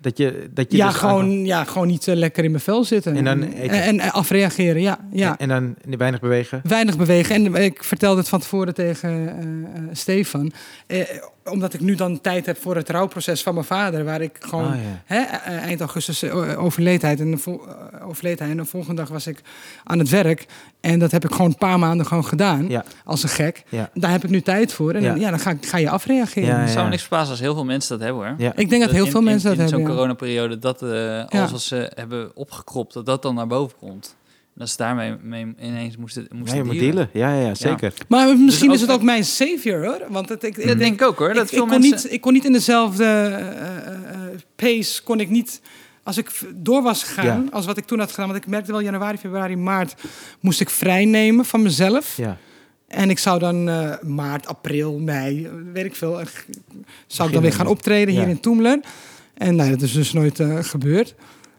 Speaker 1: Dat je, dat je
Speaker 3: ja,
Speaker 1: dus aankwam-
Speaker 3: gewoon, ja, gewoon niet eh, lekker in mijn vel zitten.
Speaker 1: En dan eten.
Speaker 3: En, en afreageren, ja. ja.
Speaker 1: En, en dan weinig bewegen.
Speaker 3: Weinig bewegen. En ik vertelde het van tevoren tegen eh, eh, Stefan. Eh, omdat ik nu dan tijd heb voor het rouwproces van mijn vader, waar ik gewoon
Speaker 1: Ah, ja.
Speaker 3: hè, eh, eind augustus eh, overleed hij. En de vol- eh, overleed hij. En de volgende dag was ik aan het werk. En dat heb ik gewoon een paar maanden gewoon gedaan.
Speaker 1: Ja.
Speaker 3: Als een gek.
Speaker 1: Ja.
Speaker 3: Daar heb ik nu tijd voor. En
Speaker 1: Ja.
Speaker 3: ja, dan ga, ik- ga je afreageren.
Speaker 1: Ja,
Speaker 2: Het
Speaker 1: ja.
Speaker 2: zou me niks verbazen als heel veel mensen dat hebben hoor.
Speaker 1: Ja.
Speaker 3: Ik denk dat heel
Speaker 2: in-
Speaker 3: veel
Speaker 2: in-
Speaker 3: mensen dat
Speaker 2: In zo'n
Speaker 3: hebben. ja.
Speaker 2: coronaperiode dat eh, alles wat ze hebben opgekropt, dat dat dan naar boven komt. En dat ze daarmee mee ineens moesten,
Speaker 1: Ja,
Speaker 2: moesten
Speaker 1: je moet
Speaker 2: dealen.
Speaker 1: dealen. Ja, ja, ja, zeker.
Speaker 3: Maar misschien
Speaker 2: ook
Speaker 3: is het
Speaker 2: dat-
Speaker 3: ook mijn savior hoor. Want het, ik,
Speaker 2: Dat denk ik ook hoor. Dat
Speaker 3: Mm. ik, ik
Speaker 2: veel
Speaker 3: kon
Speaker 2: mensen...
Speaker 3: niet, ik kon niet in dezelfde eh, eh, eh, pace, kon ik niet... Als ik v- door was gegaan,
Speaker 1: Ja.
Speaker 3: als wat ik toen had gedaan... Want ik merkte wel, januari, februari, maart... moest ik vrij nemen van mezelf.
Speaker 1: Ja.
Speaker 3: En ik zou dan eh, maart, april, mei, eh, weet ik veel... eh, g- zou ik dan weer
Speaker 1: Beginnen.
Speaker 3: gaan optreden
Speaker 1: Ja.
Speaker 3: hier in Toemler. En nou, dat is dus nooit eh, gebeurd.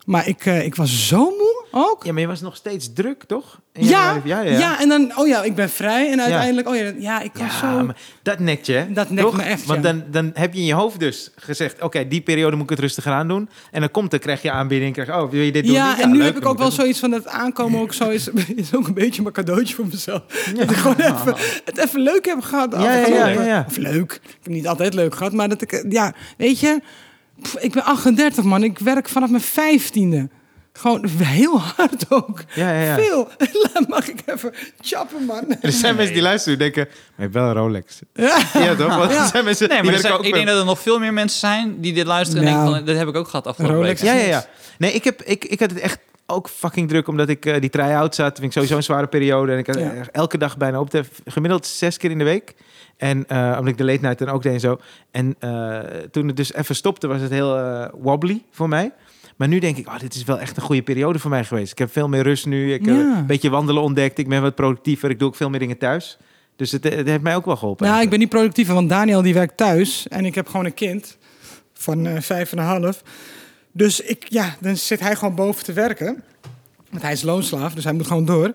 Speaker 3: Maar ik, eh, ik was zo moe ook.
Speaker 1: ja, maar je was nog steeds druk, toch? In
Speaker 3: Ja,
Speaker 1: januari?
Speaker 3: ja, en dan, oh ja, ik ben vrij. En uiteindelijk, oh ja, dat- ja, ik kan
Speaker 1: Ja,
Speaker 3: zo...
Speaker 1: maar dat nekt je, hè?
Speaker 3: Dat nekt
Speaker 1: Toch?
Speaker 3: me echt,
Speaker 1: Want
Speaker 3: ja.
Speaker 1: dan, dan heb je in je hoofd dus gezegd... oké, die periode moet ik het rustig aan doen. En dan komt er, krijg je aanbieding, krijg je... oh, wil je dit doen?
Speaker 3: Ja, en nu
Speaker 1: leuk,
Speaker 3: heb ik
Speaker 1: dan
Speaker 3: ook wel
Speaker 1: moet dat
Speaker 3: zoiets van dat aankomen ook zo is, (laughs) is ook een beetje mijn cadeautje voor mezelf. Dat ik gewoon even, het even leuk heb gehad. de
Speaker 1: Ja, ja,
Speaker 3: afgelopen-
Speaker 1: ja, ja, ja.
Speaker 3: Of leuk. Ik heb niet altijd leuk gehad, maar dat ik, eh, ja, weet je, pff, ik ben 38 man. Ik werk vanaf mijn 15e. Gewoon heel hard ook.
Speaker 1: doen. Ja, ja, ja.
Speaker 3: Veel. (laughs) Mag ik even
Speaker 1: (laughs)
Speaker 3: chappen, man?
Speaker 1: Er zijn mensen die luisteren en denken... maar je hebt wel een Rolex. Ja, toch? Want (laughs) er zijn mensen
Speaker 2: (laughs) Nee,
Speaker 1: die
Speaker 2: maar
Speaker 1: werken
Speaker 2: er zijn-
Speaker 1: ook
Speaker 2: ik denk
Speaker 1: met-
Speaker 2: dat er nog veel meer mensen zijn die dit luisteren en
Speaker 3: Nou.
Speaker 2: denken van, dat heb ik ook gehad afgelopen
Speaker 3: Rolex.
Speaker 2: week.
Speaker 1: Ja, ja, ja. Nee, ik, heb, ik, ik had het echt ook fucking druk omdat ik eh, die try-out zat. Vind ik sowieso een zware periode. En ik had
Speaker 3: Ja.
Speaker 1: eh, elke dag bijna op de gemiddeld zes keer in de week. En eh, omdat ik de late night dan ook deed en zo. En eh, toen het dus even stopte, was het heel eh, wobbly voor mij. Maar nu denk ik, oh, dit is wel echt een goede periode voor mij geweest. Ik heb veel meer rust nu. Ik heb
Speaker 3: Ja.
Speaker 1: een beetje wandelen ontdekt. Ik ben wat productiever. Ik doe ook veel meer dingen thuis. Dus het, het heeft mij ook wel geholpen.
Speaker 3: Nou, ik
Speaker 1: eigenlijk.
Speaker 3: ben niet productief, want Daniel die werkt thuis en ik heb gewoon een kind van eh, vijf en een half. Dus ik, ja, dan zit hij gewoon boven te werken. Want hij is loonslaaf, dus hij moet gewoon door.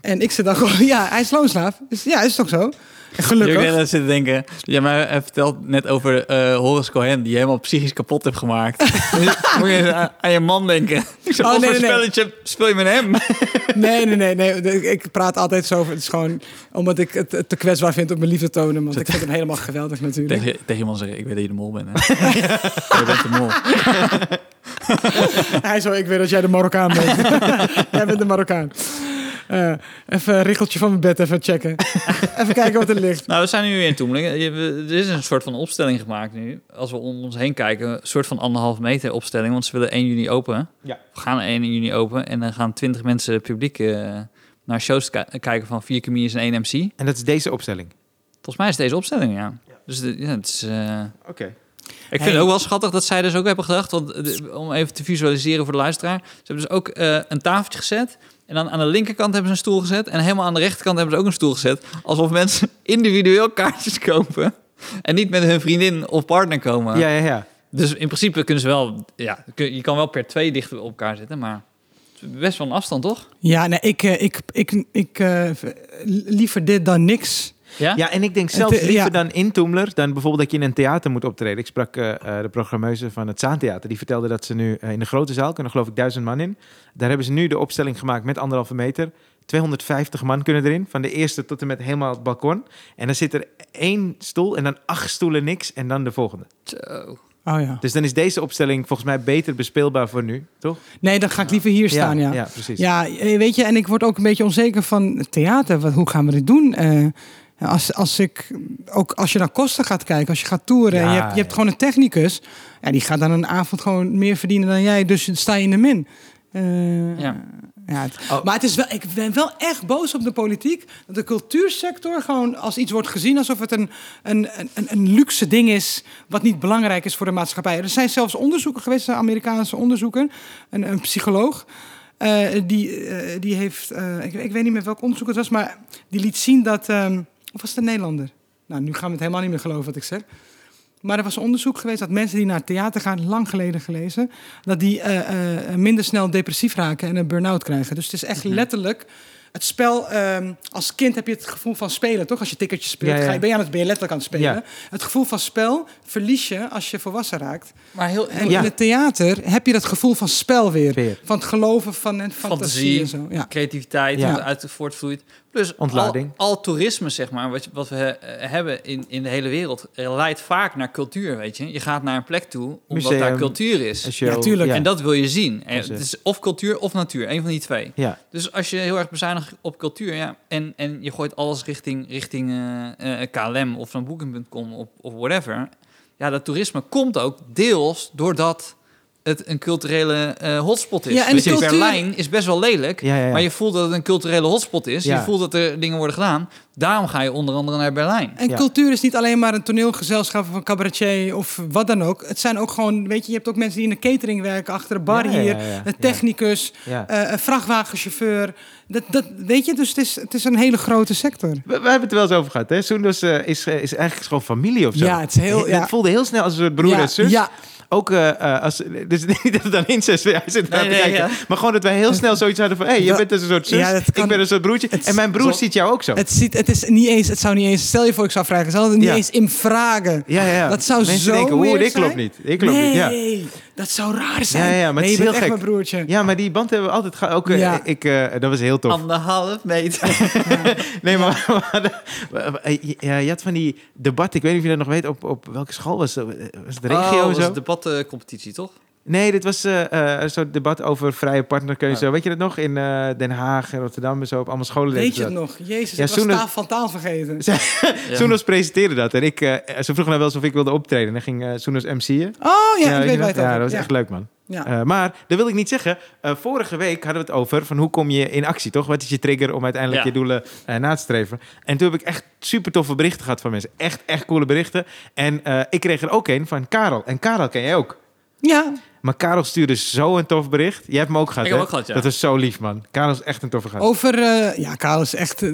Speaker 3: En ik zit dan gewoon, (laughs) ja, hij is loonslaaf. Dus ja, is toch zo? En
Speaker 2: Jurgen
Speaker 3: gelukkig.
Speaker 2: dat zit te denken. Ja, maar hij vertelt net over eh Horace Cohen, die je helemaal psychisch kapot hebt
Speaker 3: (laughs)
Speaker 2: gemaakt. Dus Moet je eens aan, aan je man denken. (laughs) Ik zeg,
Speaker 3: Oh,
Speaker 2: wat
Speaker 3: nee,
Speaker 2: voor
Speaker 3: nee, nee.
Speaker 2: spelletje speel je met
Speaker 3: (laughs)
Speaker 2: hem?
Speaker 3: Nee, nee, nee, nee. Ik- Ik praat altijd zo over. Het is gewoon omdat ik het te kwetsbaar vind om mijn liefde te tonen. Want ik vind hem helemaal
Speaker 2: (laughs)
Speaker 3: geweldig natuurlijk.
Speaker 2: Tegen, tegen iemand zeggen, ik weet dat je de mol bent.
Speaker 3: (laughs)
Speaker 2: Hè? je bent de mol.
Speaker 3: Hij zo, ik weet dat jij de Marokkaan bent. (laughs) jij bent de Marokkaan. Eh, even een richeltje van mijn bed even checken. even kijken wat er ligt.
Speaker 2: Nou, we zijn nu weer in Toemeling. Je- we- Er is een soort van opstelling gemaakt nu. Als we om ons heen kijken, een soort van anderhalf meter opstelling. Want ze willen 1 juni open.
Speaker 1: Ja.
Speaker 2: We gaan 1 juni open. En dan gaan 20 mensen publiek eh, naar shows ki- kijken van vier comedians en één MC.
Speaker 1: En dat is deze opstelling.
Speaker 2: Volgens mij is deze opstelling, ja. Dus de- ja, het is... eh,
Speaker 1: Oké.
Speaker 2: Ik vind
Speaker 3: Hey.
Speaker 2: het ook wel schattig dat zij dus ook hebben gedacht, want eh, de- om even te visualiseren voor de luisteraar, ze hebben dus ook eh, een tafeltje gezet en dan aan de linkerkant hebben ze een stoel gezet en helemaal aan de rechterkant hebben ze ook een stoel gezet, alsof mensen (laughs) individueel kaartjes kopen en niet met hun vriendin of partner komen.
Speaker 1: Ja, ja, ja.
Speaker 2: Dus in principe kunnen ze wel, ja, kun- je kan wel per twee dichter op elkaar zitten, maar het is best wel een afstand, toch?
Speaker 3: Ja, nee, ik, eh, ik, ik, ik eh, v- liever dit dan niks.
Speaker 2: Ja.
Speaker 1: Ja, en ik denk
Speaker 3: En
Speaker 1: zelfs
Speaker 3: te-
Speaker 1: liever
Speaker 3: eh, ja.
Speaker 1: dan in Toemler... dan bijvoorbeeld dat je in een theater moet optreden. Ik sprak eh, eh, de programmeuse van het Zaantheater. Die vertelde dat ze nu eh, in de grote zaal... kunnen geloof ik duizend man in. Daar hebben ze nu de opstelling gemaakt met anderhalve meter. 250 man kunnen erin. Van de eerste tot en met helemaal het balkon. En dan zit er één stoel en dan acht stoelen niks. En dan de volgende.
Speaker 2: Zo.
Speaker 3: Oh ja.
Speaker 1: Dus dan is deze opstelling volgens mij beter bespeelbaar voor nu. Toch?
Speaker 3: Nee, dan ga ik liever hier staan, ja.
Speaker 1: Ja,
Speaker 3: Ja,
Speaker 1: precies.
Speaker 3: eh, weet je, en ik word ook een beetje onzeker van het theater. Wat, hoe gaan we dit doen? Eh, als, als ik, ook als je naar kosten gaat kijken, als je gaat toeren... en
Speaker 1: Ja,
Speaker 3: je hebt, je hebt
Speaker 1: ja.
Speaker 3: gewoon een technicus... Ja, die gaat dan een avond gewoon meer verdienen dan jij. Dus sta je in de min. Eh,
Speaker 2: Ja.
Speaker 3: Ja, het-
Speaker 1: Oh.
Speaker 3: Maar het is wel, ik ben wel echt boos op de politiek. Dat de cultuursector gewoon als iets wordt gezien alsof het een, een, een, een- een luxe ding is. wat niet belangrijk is voor de maatschappij. Er zijn zelfs onderzoeken geweest, een Amerikaanse onderzoeker, een, een psycholoog. eh, die, eh, die heeft, eh, ik, ik weet niet meer welk onderzoek het was, maar die liet zien dat. ehm, of was het een Nederlander? Nou, nu gaan we het helemaal niet meer geloven wat ik zeg. Maar er was een onderzoek geweest dat mensen die naar het theater gaan, lang geleden gelezen,
Speaker 1: Mhm.
Speaker 3: dat die eh, eh, minder snel depressief raken en een burn-out krijgen. Dus het is echt letterlijk het spel, ehm, als kind heb je het gevoel van spelen, toch? Als je tikkertjes speelt,
Speaker 1: Ja, ja.
Speaker 3: Ga je, ben, je aan het, ben je letterlijk aan het spelen.
Speaker 1: Ja.
Speaker 3: Het gevoel van spel verlies je als je volwassen raakt.
Speaker 2: Maar heel...
Speaker 3: En
Speaker 1: Ja.
Speaker 3: in het theater heb je dat gevoel van spel weer.
Speaker 1: Weer.
Speaker 3: Van het geloven van en fantasie,
Speaker 2: Fantasie,
Speaker 3: en zo. Ja.
Speaker 2: creativiteit
Speaker 1: Ja.
Speaker 2: wat uit voortvloeit. Plus al-
Speaker 1: Ontlading.
Speaker 2: Al, toerisme, zeg maar, wat, wat we eh, hebben in, in de hele wereld, eh, leidt vaak naar cultuur, weet je. Je gaat naar een plek toe, omdat
Speaker 1: Museum,
Speaker 2: daar cultuur is.
Speaker 1: Een show.
Speaker 3: Ja, tuurlijk.
Speaker 2: En dat wil je zien. En
Speaker 1: Dus, eh,
Speaker 2: het is of cultuur of natuur, een van die twee.
Speaker 1: Ja.
Speaker 2: Dus als je heel erg bezuinigt op cultuur, ja, en, en je gooit alles richting, richting eh, eh, KLM of van Booking.com of, of whatever. Ja, dat toerisme komt ook deels doordat het een culturele eh, hotspot is.
Speaker 3: Ja, en
Speaker 2: Dus
Speaker 3: de
Speaker 2: in
Speaker 3: cultuur-
Speaker 2: Berlijn is best wel lelijk,
Speaker 1: Ja, ja, ja.
Speaker 2: maar je voelt dat het een culturele hotspot is.
Speaker 1: Ja.
Speaker 2: Je voelt dat er dingen worden gedaan. Daarom ga je onder andere naar Berlijn.
Speaker 3: En
Speaker 1: Ja.
Speaker 3: cultuur is niet alleen maar een toneelgezelschap van cabaretier of wat dan ook. Het zijn ook gewoon, weet je, je hebt ook mensen die in de catering werken, achter de bar
Speaker 1: Ja, ja,
Speaker 3: hier,
Speaker 1: ja, ja.
Speaker 3: een technicus,
Speaker 1: Ja.
Speaker 3: eh, een vrachtwagenchauffeur. Dat, dat, weet je, dus het is, het is een hele grote sector.
Speaker 1: We, we hebben het er wel eens over gehad, hè? Soendos eh, is, eh, is eigenlijk gewoon familie of zo.
Speaker 3: Ja, het is heel- ja.
Speaker 1: Het voelde heel snel als een soort broer
Speaker 3: ja,
Speaker 1: en zus.
Speaker 3: Ja,
Speaker 1: Ook eh, eh, als... Dus (laughs) niet dat het dan incest weer zit te
Speaker 2: Nee, nee,
Speaker 1: kijken.
Speaker 2: ja.
Speaker 1: Maar gewoon dat wij heel snel zoiets hadden van... Hé, hey, je
Speaker 3: Dat-
Speaker 1: bent dus een soort zus.
Speaker 3: ja, dat
Speaker 1: Ik
Speaker 3: kan-
Speaker 1: ben een soort broertje.
Speaker 3: het-
Speaker 1: En mijn broer
Speaker 3: zo-
Speaker 1: ziet jou ook zo.
Speaker 3: het, ziet, het is niet eens, het zou niet eens, stel je voor ik zou vragen, zou het niet
Speaker 1: Ja.
Speaker 3: eens in vragen.
Speaker 1: ja, ja, ja.
Speaker 3: Dat zou
Speaker 1: Mensen
Speaker 3: zo
Speaker 1: denken, oeh,
Speaker 3: weird
Speaker 1: dit klopt
Speaker 3: zijn.
Speaker 1: niet. Ik klopt niet, ja.
Speaker 3: nee, dat zou raar zijn.
Speaker 1: Ja, ja, maar
Speaker 3: nee,
Speaker 1: het is
Speaker 3: je bent
Speaker 1: heel
Speaker 3: echt
Speaker 1: gek.
Speaker 3: mijn broertje.
Speaker 1: Ja, maar die band hebben we altijd gehad. Ook, eh,
Speaker 3: Ja.
Speaker 1: ik, eh, dat was heel tof.
Speaker 2: Anderhalf meter.
Speaker 1: Nee, maar, (laughs) maar de- maar, eh, je- ja, je had van die debatten. Ik weet niet of je dat nog weet. Op, op welke school was, dat? was het regio of
Speaker 2: oh, dat
Speaker 1: zo?
Speaker 2: is een debatcompetitie, toch?
Speaker 1: Nee, dit was eh, eh, een soort debat over vrije partnerkeuze. Weet je dat nog? In eh, Den Haag en Rotterdam en zo. Op allemaal scholen. deden
Speaker 3: Weet
Speaker 1: ze
Speaker 3: je het
Speaker 1: dat.
Speaker 3: nog? Jezus,
Speaker 1: Ja,
Speaker 3: ik was
Speaker 1: Soenen-
Speaker 3: taal van taal vergeten.
Speaker 2: Ja.
Speaker 1: Soenos presenteerde dat. En ik, eh, ze vroeg nou wel eens of ik wilde optreden. En dan ging eh Soenos MC'en.
Speaker 3: Oh ja, ik
Speaker 1: weet je nog?
Speaker 3: weet waar je het
Speaker 1: Ja,
Speaker 3: over
Speaker 1: dat was
Speaker 3: ja.
Speaker 1: echt leuk, man.
Speaker 3: Ja.
Speaker 1: Eh, maar dat wil ik niet zeggen. Eh, vorige week hadden we het over van hoe kom je in actie, toch? Wat is je trigger om uiteindelijk
Speaker 2: Ja.
Speaker 1: je doelen eh, na te streven? En toen heb ik echt super toffe berichten gehad van mensen. Echt, echt coole berichten. En eh, ik kreeg er ook een van Karel. En Karel ken jij ook.
Speaker 3: ja,
Speaker 1: Maar Karel stuurde zo'n tof bericht. Jij hebt hem ook gehad,
Speaker 2: Ik heb
Speaker 1: hè?
Speaker 2: ook gehad, ja.
Speaker 1: Dat is zo lief, man. Karel is echt een toffe gast.
Speaker 3: Over, eh, ja, Karel is echt. eh,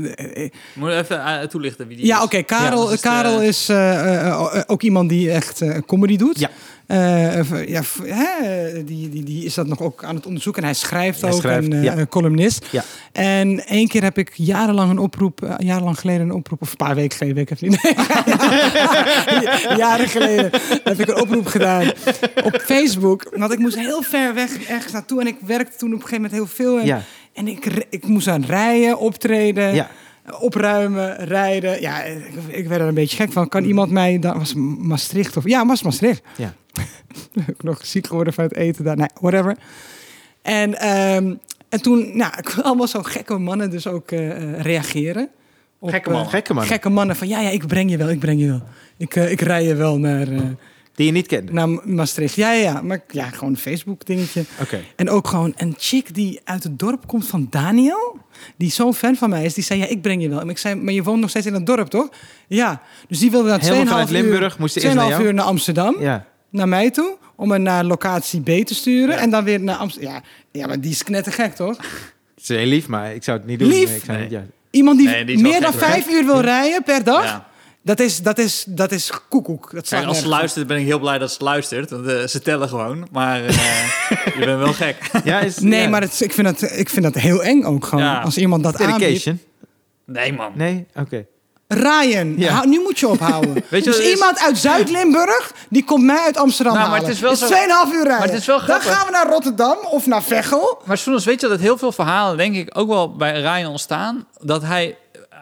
Speaker 3: eh,
Speaker 2: Moet je even eh, toelichten wie die
Speaker 3: ja,
Speaker 2: is.
Speaker 3: oké, Karel,
Speaker 1: dus
Speaker 2: Ja, dat is de-
Speaker 3: Karel is eh, eh, eh, ook iemand die echt eh, comedy doet.
Speaker 1: Ja.
Speaker 3: Eh, eh, ja v- hè, eh, die, die, die is dat nog ook aan het onderzoeken. En hij schrijft
Speaker 1: Hij
Speaker 3: ook,
Speaker 1: schrijft,
Speaker 3: en eh,
Speaker 1: ja.
Speaker 3: eh, columnist.
Speaker 1: Ja.
Speaker 3: En één keer heb ik jarenlang een oproep, eh, jarenlang geleden een oproep, of een paar weken geleden, weet ik even niet. (laughs) Nee, jaren geleden heb ik een oproep gedaan op Facebook. Want ik moest heel ver weg ergens naartoe en ik werkte toen op een gegeven moment heel veel. En,
Speaker 1: Ja.
Speaker 3: en ik, re- ik moest aan rijden, optreden
Speaker 1: Ja.
Speaker 3: opruimen, rijden. Ja, ik, ik werd er een beetje gek van. Kan iemand mij... Dat was Maastricht of... Ja, was Maastricht. (laughs)
Speaker 1: Ja.
Speaker 3: Ben ik nog ziek geworden van het eten daar. Nee, whatever. En, ehm, en toen... Nou, ik allemaal zo gekke mannen dus ook eh, eh, reageren. Op,
Speaker 2: Gekke
Speaker 3: eh,
Speaker 2: mannen.
Speaker 1: Gekke man.
Speaker 3: gekke mannen van... Ja, ja, ik breng je wel, ik breng je wel. Ik, eh, ik rij je wel naar, eh,
Speaker 1: Die je niet kende.
Speaker 3: naar Maastricht. Ja, ja, ja. Maar ja, gewoon een Facebook dingetje.
Speaker 1: Oké.
Speaker 3: En ook gewoon een chick die uit het dorp komt van Daniel. Die zo'n fan van mij is. Die zei, ja, ik breng je wel. En ik zei, maar je woont nog steeds in het dorp, toch? Ja. Dus die wilde
Speaker 1: Helemaal
Speaker 3: na 2,5
Speaker 1: vanuit Limburg
Speaker 3: uur,
Speaker 1: moest ze eerst naar
Speaker 3: 2,5
Speaker 1: jou?
Speaker 3: uur naar Amsterdam.
Speaker 1: Ja.
Speaker 3: Naar mij toe. Om me naar locatie B te sturen. En dan weer naar Amsterdam. Ja, ja, maar die is knettergek, toch?
Speaker 1: Het is heel lief, maar ik zou het niet doen.
Speaker 3: Lief?
Speaker 1: Nee, Ik zou het niet, ja.
Speaker 3: Iemand die,
Speaker 2: Nee, die is wel
Speaker 3: meer dan
Speaker 2: gek, hoor.
Speaker 3: vijf uur wil rijden per dag.
Speaker 2: Ja.
Speaker 3: Dat is, dat is, dat is koekoek. Dat
Speaker 2: Kijk, als
Speaker 3: slaat
Speaker 2: ze
Speaker 3: nergens op.
Speaker 2: luistert ben ik heel blij dat ze luistert. Want eh, ze tellen gewoon. Maar (laughs) eh, je bent wel gek.
Speaker 1: Ja, is,
Speaker 3: (laughs) Nee,
Speaker 1: ja.
Speaker 3: maar het, is- ik, vind dat, ik vind dat heel eng ook gewoon.
Speaker 2: Ja.
Speaker 3: Als iemand dat aanbiedt.
Speaker 1: Dedication?
Speaker 2: (laughs) Nee, man.
Speaker 1: Nee? Oké.
Speaker 3: Ryan,
Speaker 1: Ja.
Speaker 3: hou- nu moet je ophouden.
Speaker 2: (laughs) Weet je wat
Speaker 3: dus
Speaker 2: het is?
Speaker 3: iemand uit Zuid-Limburg, die komt mij uit Amsterdam
Speaker 2: Nou, maar
Speaker 3: halen.
Speaker 2: het is wel zo-
Speaker 3: 2,5 uur rijden.
Speaker 2: Maar het is wel
Speaker 3: Dan
Speaker 2: grappig.
Speaker 3: gaan we naar Rotterdam of naar Veghel.
Speaker 2: Maar Soenos, weet je dat heel veel verhalen, denk ik, ook wel bij Ryan ontstaan? Dat hij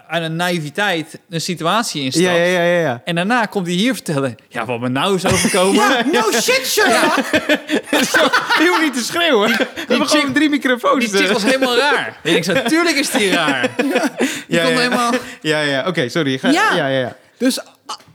Speaker 2: aan een naïviteit een situatie instapt.
Speaker 1: Ja, ja, ja, ja, ja.
Speaker 2: En daarna komt hij hier vertellen. Ja, wat me nou is overkomen. (laughs)
Speaker 3: Ja, no shit, Sherlock.
Speaker 1: Je hoeft niet te schreeuwen. We hebben
Speaker 2: chick-
Speaker 1: gewoon drie microfoons. eh.
Speaker 2: Die chick was helemaal raar. En ik zei, tuurlijk is die (laughs) raar. Die
Speaker 1: ja,
Speaker 2: kon
Speaker 1: ja.
Speaker 2: helemaal...
Speaker 1: (laughs) Ja, ja, oké, sorry. Ga-
Speaker 3: Ja.
Speaker 1: ja, ja. ja.
Speaker 3: Dus a-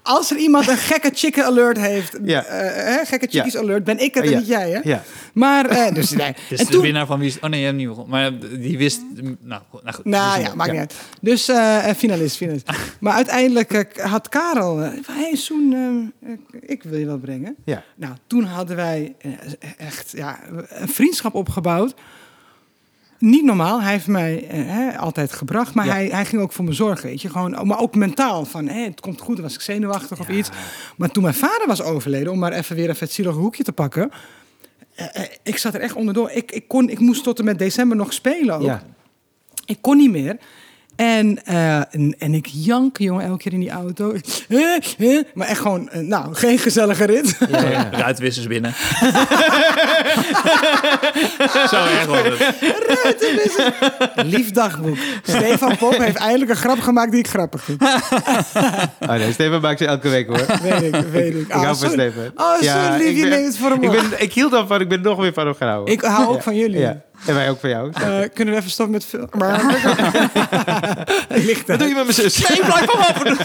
Speaker 3: als er iemand een gekke chicken alert heeft,
Speaker 1: Ja.
Speaker 3: eh, hè, gekke chickies
Speaker 1: Ja.
Speaker 3: alert, ben ik het en
Speaker 1: Ja.
Speaker 3: niet jij, hè?
Speaker 1: Ja.
Speaker 3: Maar, eh, dus
Speaker 2: (laughs)
Speaker 3: nee.
Speaker 2: Dus
Speaker 3: en
Speaker 2: de
Speaker 3: toen,
Speaker 2: winnaar van wie is... Oh nee, je hebt hem niet gehoord. Maar die wist... Nou, goed, nou goed.
Speaker 3: Nou
Speaker 2: Dus-
Speaker 3: ja, maakt niet uit. Dus eh, eh, finalist,
Speaker 2: (laughs)
Speaker 3: finalist. maar uiteindelijk eh, had Karel... eh, van, hey, Soen, eh, eh, ik wil je wel brengen.
Speaker 1: Ja.
Speaker 3: Nou, toen hadden wij eh, echt ja, een vriendschap opgebouwd. Niet normaal. Hij heeft mij eh, hè, altijd gebracht. Maar
Speaker 1: Ja.
Speaker 3: hij, hij ging ook voor me zorgen, weet je. Gewoon, maar ook mentaal. Van, hé, het komt goed. Dan was ik zenuwachtig of iets. Maar toen mijn vader was overleden... om maar even weer even het zielige hoekje te pakken... eh, eh, ik zat er echt onderdoor. Ik, ik, kon, ik moest tot en met december nog spelen ook.
Speaker 1: Ja.
Speaker 3: Ik kon niet meer. En, eh, en, en ik jank, jongen, elke keer in die auto. (laughs) Eh, eh, maar echt gewoon, eh, nou, geen gezellige rit.
Speaker 2: Ruitwissers binnen. (laughs) Zo erg was het.
Speaker 3: (laughs) Lief dagboek. Stefan Pop heeft eindelijk een grap gemaakt die ik grappig vind.
Speaker 1: Oh nee, Steven maakt ze elke week hoor. Ik
Speaker 3: Weet ik, weet ik. Ah,
Speaker 1: hou van
Speaker 3: sorry.
Speaker 1: Steven.
Speaker 3: Oh, zo lief,
Speaker 1: ik
Speaker 3: je
Speaker 1: ben-
Speaker 3: neemt het voor hem
Speaker 1: ik,
Speaker 3: op.
Speaker 1: ben, ik hield al van, ik ben nog meer van hem gaan houden.
Speaker 3: Ik hou ook van jullie.
Speaker 1: Ja. En wij ook van jou.
Speaker 3: Eh, kunnen we even stoppen met film?
Speaker 1: (laughs)
Speaker 3: Maar ligt
Speaker 1: Wat doe je
Speaker 3: er.
Speaker 1: met mijn zus?
Speaker 2: Nee, blijf hem open.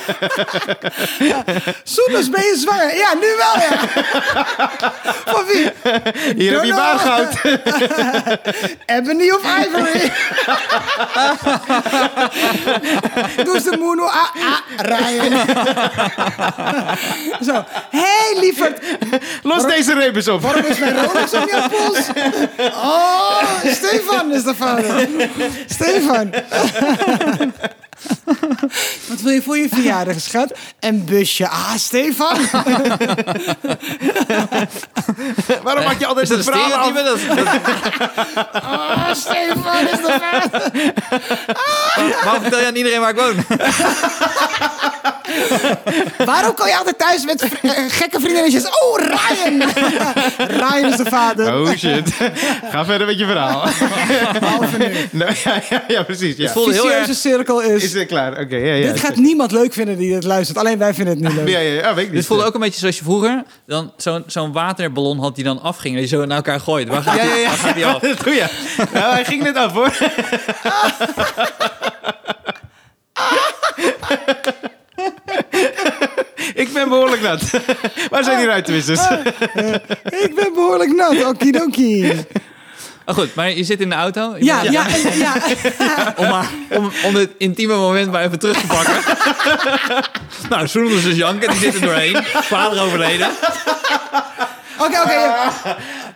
Speaker 3: Soms ben je zwanger. Ja, nu wel
Speaker 1: (laughs)
Speaker 3: ja. Van wie?
Speaker 1: Hier heb je
Speaker 3: Donald.
Speaker 1: baargoud.
Speaker 3: (laughs) Ebony of Ivory? Doe ze moeno. Ah, ah, Ryan. (laughs) Zo. Hé, hey, lieverd.
Speaker 1: Los deze repens op.
Speaker 3: Waarom is mijn Rolex op jouw pols? Oh, Stefan is de vader. Stefan. (laughs) Wat wil je voor je verjaardag, schat? Een busje. Ah, Stefan. (laughs)
Speaker 1: Waarom maak je altijd
Speaker 2: Is
Speaker 1: het
Speaker 2: dat een
Speaker 1: verhaal af?
Speaker 2: stereotype? Dat, dat,
Speaker 3: Ah, Stefan is de vader.
Speaker 2: waarom vertel je aan iedereen waar ik woon?
Speaker 3: Waarom kom je altijd thuis met vri- eh, gekke vriendinnetjes? Oh, Ryan. (laughs) Ryan is de vader.
Speaker 1: Oh shit. Ga verder met je (laughs) verhaal.
Speaker 3: Behalve nu.
Speaker 1: Nou, ja, ja, ja, precies.
Speaker 2: Het
Speaker 1: Ja.
Speaker 2: voelde heel erg...
Speaker 3: Vicieuze cirkel is...
Speaker 1: Is het klaar? Oké, ja, ja.
Speaker 3: dit gaat niemand leuk vinden die dit luistert. Alleen wij vinden het niet leuk.
Speaker 1: Ja, ja, ja, weet ik niet.
Speaker 2: Dit voelde ook een beetje zoals je vroeger dan zo'n zo'n waterballon had die dan afging en die zo naar elkaar gooit. Waar gaat,
Speaker 1: Ja,
Speaker 2: die,
Speaker 1: ja, ja.
Speaker 2: waar gaat die af?
Speaker 1: (laughs) Dat doe je. Nou, hij ging net af hoor. (laughs) ik ben behoorlijk (laughs) nat. Waar zijn die ruitenwissers?
Speaker 3: Ik ben behoorlijk nat. Okidoki.
Speaker 2: Maar Ah, goed, maar je zit in de auto. Je
Speaker 3: Ja,
Speaker 2: bent-
Speaker 3: ja, en- ja. (laughs)
Speaker 2: Om, maar, om, om dit intieme moment maar even terug te
Speaker 1: (laughs)
Speaker 2: pakken. nou, Soenel is janken, die zit er doorheen. Vader overleden.
Speaker 3: Oké, oké.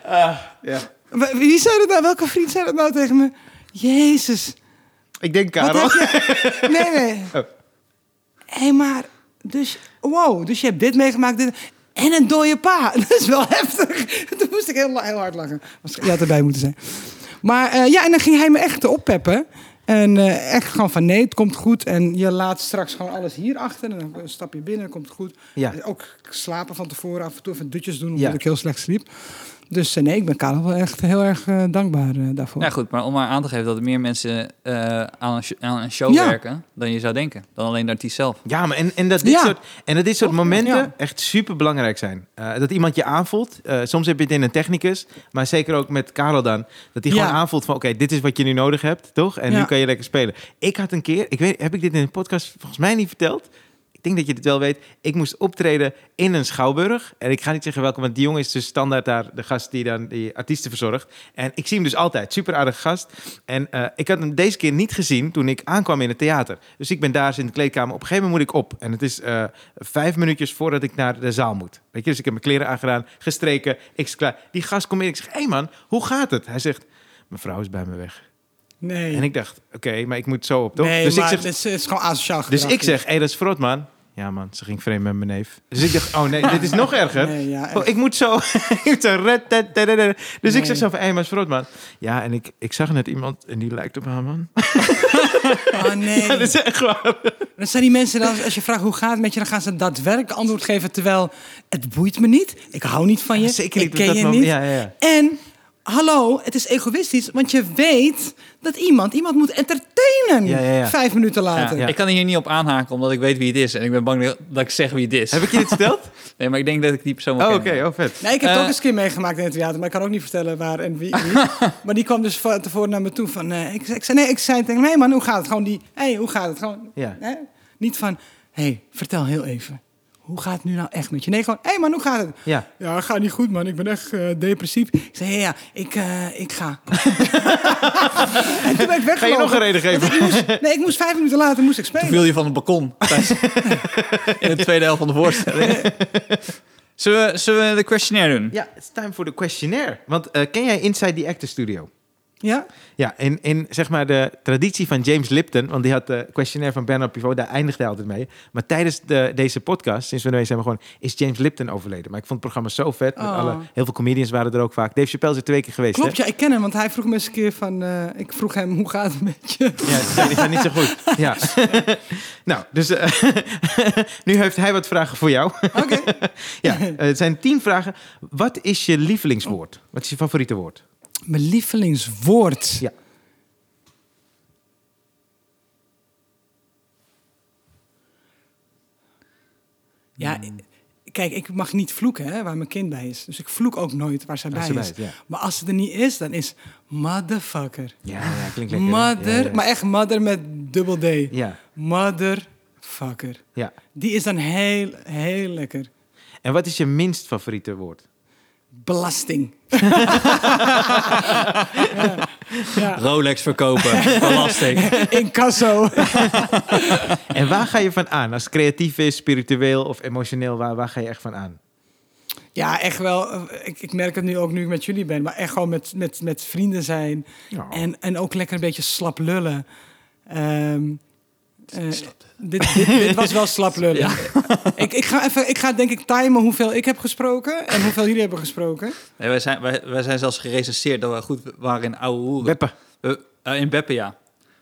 Speaker 3: ja.
Speaker 1: ja.
Speaker 3: W- Wie zei dat nou? Welke vriend zei dat nou tegen me? Jezus.
Speaker 1: Ik denk
Speaker 3: Wat
Speaker 1: Karel.
Speaker 3: heb je- Nee, nee. Hé,
Speaker 1: (laughs) Oh.
Speaker 3: maar... Dus... Wow, dus je hebt dit meegemaakt, dit... En een dode pa. (laughs) Dat is wel heftig. (laughs) Toen moest ik heel, la- heel hard lachen. Was- Je had erbij moeten zijn. Maar eh, ja, en dan ging hij me echt oppeppen. En eh, echt gewoon van nee, het komt goed. En je laat straks gewoon alles hier achter. En dan stap je binnen, komt het goed.
Speaker 1: Ja.
Speaker 3: Ook slapen van tevoren, af en toe even dutjes doen. Omdat
Speaker 1: Ja.
Speaker 3: ik heel slecht sliep. Dus eh, nee, ik ben Karel wel echt heel erg eh, dankbaar eh, daarvoor.
Speaker 2: Nou goed, maar om maar aan te geven dat er meer mensen eh, aan, een sh- aan een show
Speaker 3: Ja.
Speaker 2: werken dan je zou denken. Dan alleen de artiest zelf.
Speaker 1: Ja, maar en, en dat dit
Speaker 3: Ja.
Speaker 1: soort, en dat dit soort momenten
Speaker 3: Ja.
Speaker 1: echt super belangrijk zijn. Eh, dat iemand je aanvoelt. Eh, soms heb je het in een technicus, maar zeker ook met Karel dan. Dat hij
Speaker 3: Ja.
Speaker 1: gewoon aanvoelt van: oké, dit is wat je nu nodig hebt, toch? En
Speaker 3: Ja.
Speaker 1: nu kan je lekker spelen. Ik had een keer, ik weet, heb ik dit in een podcast volgens mij niet verteld? Ik denk dat je dit wel weet. Ik moest optreden in een schouwburg. En ik ga niet zeggen welke, want die jongen is dus standaard daar de gast die dan die artiesten verzorgt. En ik zie hem dus altijd. Super aardige gast. En eh, ik had hem deze keer niet gezien toen ik aankwam in het theater. Dus ik ben daar eens in de kleedkamer. Op een gegeven moment moet ik op. En het is eh, vijf minuutjes voordat ik naar de zaal moet. Weet je, dus ik heb mijn kleren aangedaan, gestreken. Ik is klaar. Die gast komt in. Ik zeg, hé hey man, hoe gaat het? Hij zegt, mijn vrouw is bij me weg.
Speaker 3: nee.
Speaker 1: En ik dacht, oké, maar ik moet zo op, toch?
Speaker 3: Nee,
Speaker 1: dus
Speaker 3: maar
Speaker 1: ik zeg,
Speaker 3: het is, het is gewoon asociaal
Speaker 1: dus
Speaker 3: gedrag,
Speaker 1: ik
Speaker 3: dit.
Speaker 1: zeg, hé, dat is frot, man. Ja, man, ze ging vreemd met mijn neef. Dus ik dacht, oh nee, dit is nog erger.
Speaker 3: Nee, ja,
Speaker 1: oh,
Speaker 3: echt.
Speaker 1: ik moet zo... (laughs) ik moet zo red, red, red, red, red. Dus ik
Speaker 3: Nee.
Speaker 1: zeg zo van, hé, maar is frot, man. Ja, en ik, ik zag net iemand en die lijkt op haar, man.
Speaker 3: Oh
Speaker 1: (laughs)
Speaker 3: nee.
Speaker 1: dat is echt waar.
Speaker 3: Dan zijn die mensen, dan, als je vraagt hoe gaat het met je, dan gaan ze daadwerkelijk antwoord geven. Terwijl het boeit me niet. Ik hou niet van je.
Speaker 1: Zeker niet
Speaker 3: ik
Speaker 1: op
Speaker 3: ken
Speaker 1: dat
Speaker 3: je
Speaker 1: moment.
Speaker 3: niet.
Speaker 1: Ja, ja, ja.
Speaker 3: En hallo, het is egoïstisch, want je weet dat iemand iemand moet entertainen.
Speaker 1: Ja, ja, ja.
Speaker 3: Vijf minuten
Speaker 2: Ja,
Speaker 3: later.
Speaker 2: Ik kan hier niet op aanhaken omdat ik weet wie het is. En ik ben bang dat- dat ik zeg wie het is.
Speaker 1: Heb ik je dit
Speaker 3: (laughs)
Speaker 1: verteld?
Speaker 2: Nee, maar ik denk dat ik die persoon wel
Speaker 1: Oh, oké,
Speaker 2: ken.
Speaker 1: oh, vet.
Speaker 3: Nee, ik heb het
Speaker 2: Eh.
Speaker 3: ook eens een keer meegemaakt in het theater, maar ik kan ook niet vertellen waar en wie.
Speaker 1: (laughs)
Speaker 3: wie. maar die kwam dus van tevoren naar me toe van, eh, ik, ik zei nee, ik zei tegen hem, hey man, hoe gaat het? Gewoon die, hey, hoe gaat het? Gewoon,
Speaker 1: Ja.
Speaker 3: hè? niet van, hey, vertel heel even, hoe gaat het nu nou echt met je? Nee, gewoon, hey man, hoe gaat het?
Speaker 1: Ja.
Speaker 3: Ja, gaat niet goed, man. Ik ben echt eh, depressief. Ik zei, ja, ja ik, eh, ik
Speaker 1: (laughs)
Speaker 3: ga. en toen ben ik weggelopen.
Speaker 1: Ga je nog een reden geven?
Speaker 3: Nee, ik moest vijf minuten later moest ik
Speaker 2: Toen
Speaker 3: spelen.
Speaker 2: viel je van het balkon. tijdens- in de tweede helft van de voorstelling. zullen, we, zullen we de questionnaire doen?
Speaker 1: Ja, it's time for the questionnaire. Want eh, ken jij Inside the Actor Studio?
Speaker 3: Ja?
Speaker 1: Ja, in, in zeg maar de traditie van James Lipton, want die had de questionnaire van Bernard Pivot, daar eindigde hij altijd mee. Maar tijdens de, deze podcast, sinds we nu eens hebben gewoon, is James Lipton overleden. Maar ik vond het programma zo vet. Met
Speaker 3: Oh.
Speaker 1: alle, heel veel comedians waren er ook vaak. Dave Chappelle is er twee keer geweest.
Speaker 3: Klopt,
Speaker 1: hè?
Speaker 3: ja, ik ken hem, want hij vroeg me eens een keer van... eh, ik vroeg hem, hoe gaat het met je?
Speaker 1: Ja, die zijn- die zijn niet zo goed. Ja. (laughs) nou, dus eh, (laughs) nu heeft hij wat vragen voor jou.
Speaker 3: Oké.
Speaker 1: (laughs) ja, eh, het zijn tien vragen. Wat is je lievelingswoord? Wat is je favoriete woord?
Speaker 3: Mijn lievelingswoord.
Speaker 1: Ja.
Speaker 3: Ja, kijk, ik mag niet vloeken hè, waar mijn kind bij is. Dus ik vloek ook nooit waar zij
Speaker 1: Waar
Speaker 3: bij,
Speaker 1: ze bij
Speaker 3: is.
Speaker 1: is, ja.
Speaker 3: Maar als ze er niet is, dan is motherfucker.
Speaker 1: Ja, ja klinkt lekker. hè?
Speaker 3: Mother,
Speaker 1: Ja, ja.
Speaker 3: maar echt mother met dubbel D.
Speaker 1: ja,
Speaker 3: Motherfucker.
Speaker 1: ja.
Speaker 3: Die is dan heel, heel lekker.
Speaker 1: En wat is je minst favoriete woord?
Speaker 3: Belasting. (laughs) ja.
Speaker 2: Rolex (laughs) verkopen, belasting.
Speaker 3: ja. Incasso.
Speaker 1: En waar ga je van aan? Als het creatief is, spiritueel of emotioneel, waar, waar ga je echt van aan?
Speaker 3: Ja, echt wel. eh, Ik, ik merk het nu ook nu ik met jullie ben. Maar echt gewoon met, met, met vrienden zijn.
Speaker 1: Ja.
Speaker 3: En, en ook lekker een beetje slap lullen. Ehm, eh, dit, dit, dit was wel slap lullen. ik, ik, ga even, ik ga denk ik timen hoeveel ik heb gesproken en hoeveel jullie hebben gesproken.
Speaker 2: Nee, wij, zijn, wij, wij zijn zelfs gerecenseerd dat we goed waren in oude hoeren.
Speaker 1: Beppe.
Speaker 2: We- eh, in Beppe, ja.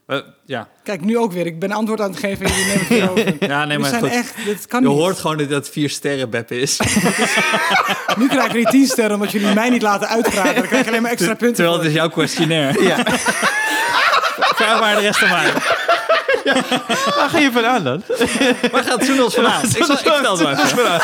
Speaker 2: We- ja.
Speaker 3: Kijk, nu ook weer. Ik ben antwoord aan het geven en jullie nemen het weer over.
Speaker 2: (laughs) ja, nee,
Speaker 3: Jullie
Speaker 2: maar
Speaker 3: zijn
Speaker 2: goed.
Speaker 3: echt, dit kan
Speaker 2: Je
Speaker 3: niet.
Speaker 2: hoort gewoon dat dat vier sterren Beppe is.
Speaker 3: Nu krijg ik weer 10 sterren omdat jullie mij niet laten uitpraten. Dan krijg ik alleen maar extra punten.
Speaker 2: Terwijl het
Speaker 3: voor.
Speaker 2: is jouw
Speaker 3: (laughs)
Speaker 2: questionnaire.
Speaker 1: Ja. (laughs)
Speaker 2: Vraag maar de rest aan mij.
Speaker 1: Waar ga je van aan dan?
Speaker 2: Waar gaat Soenels vandaan? Ik, zal, ik stel het maar even.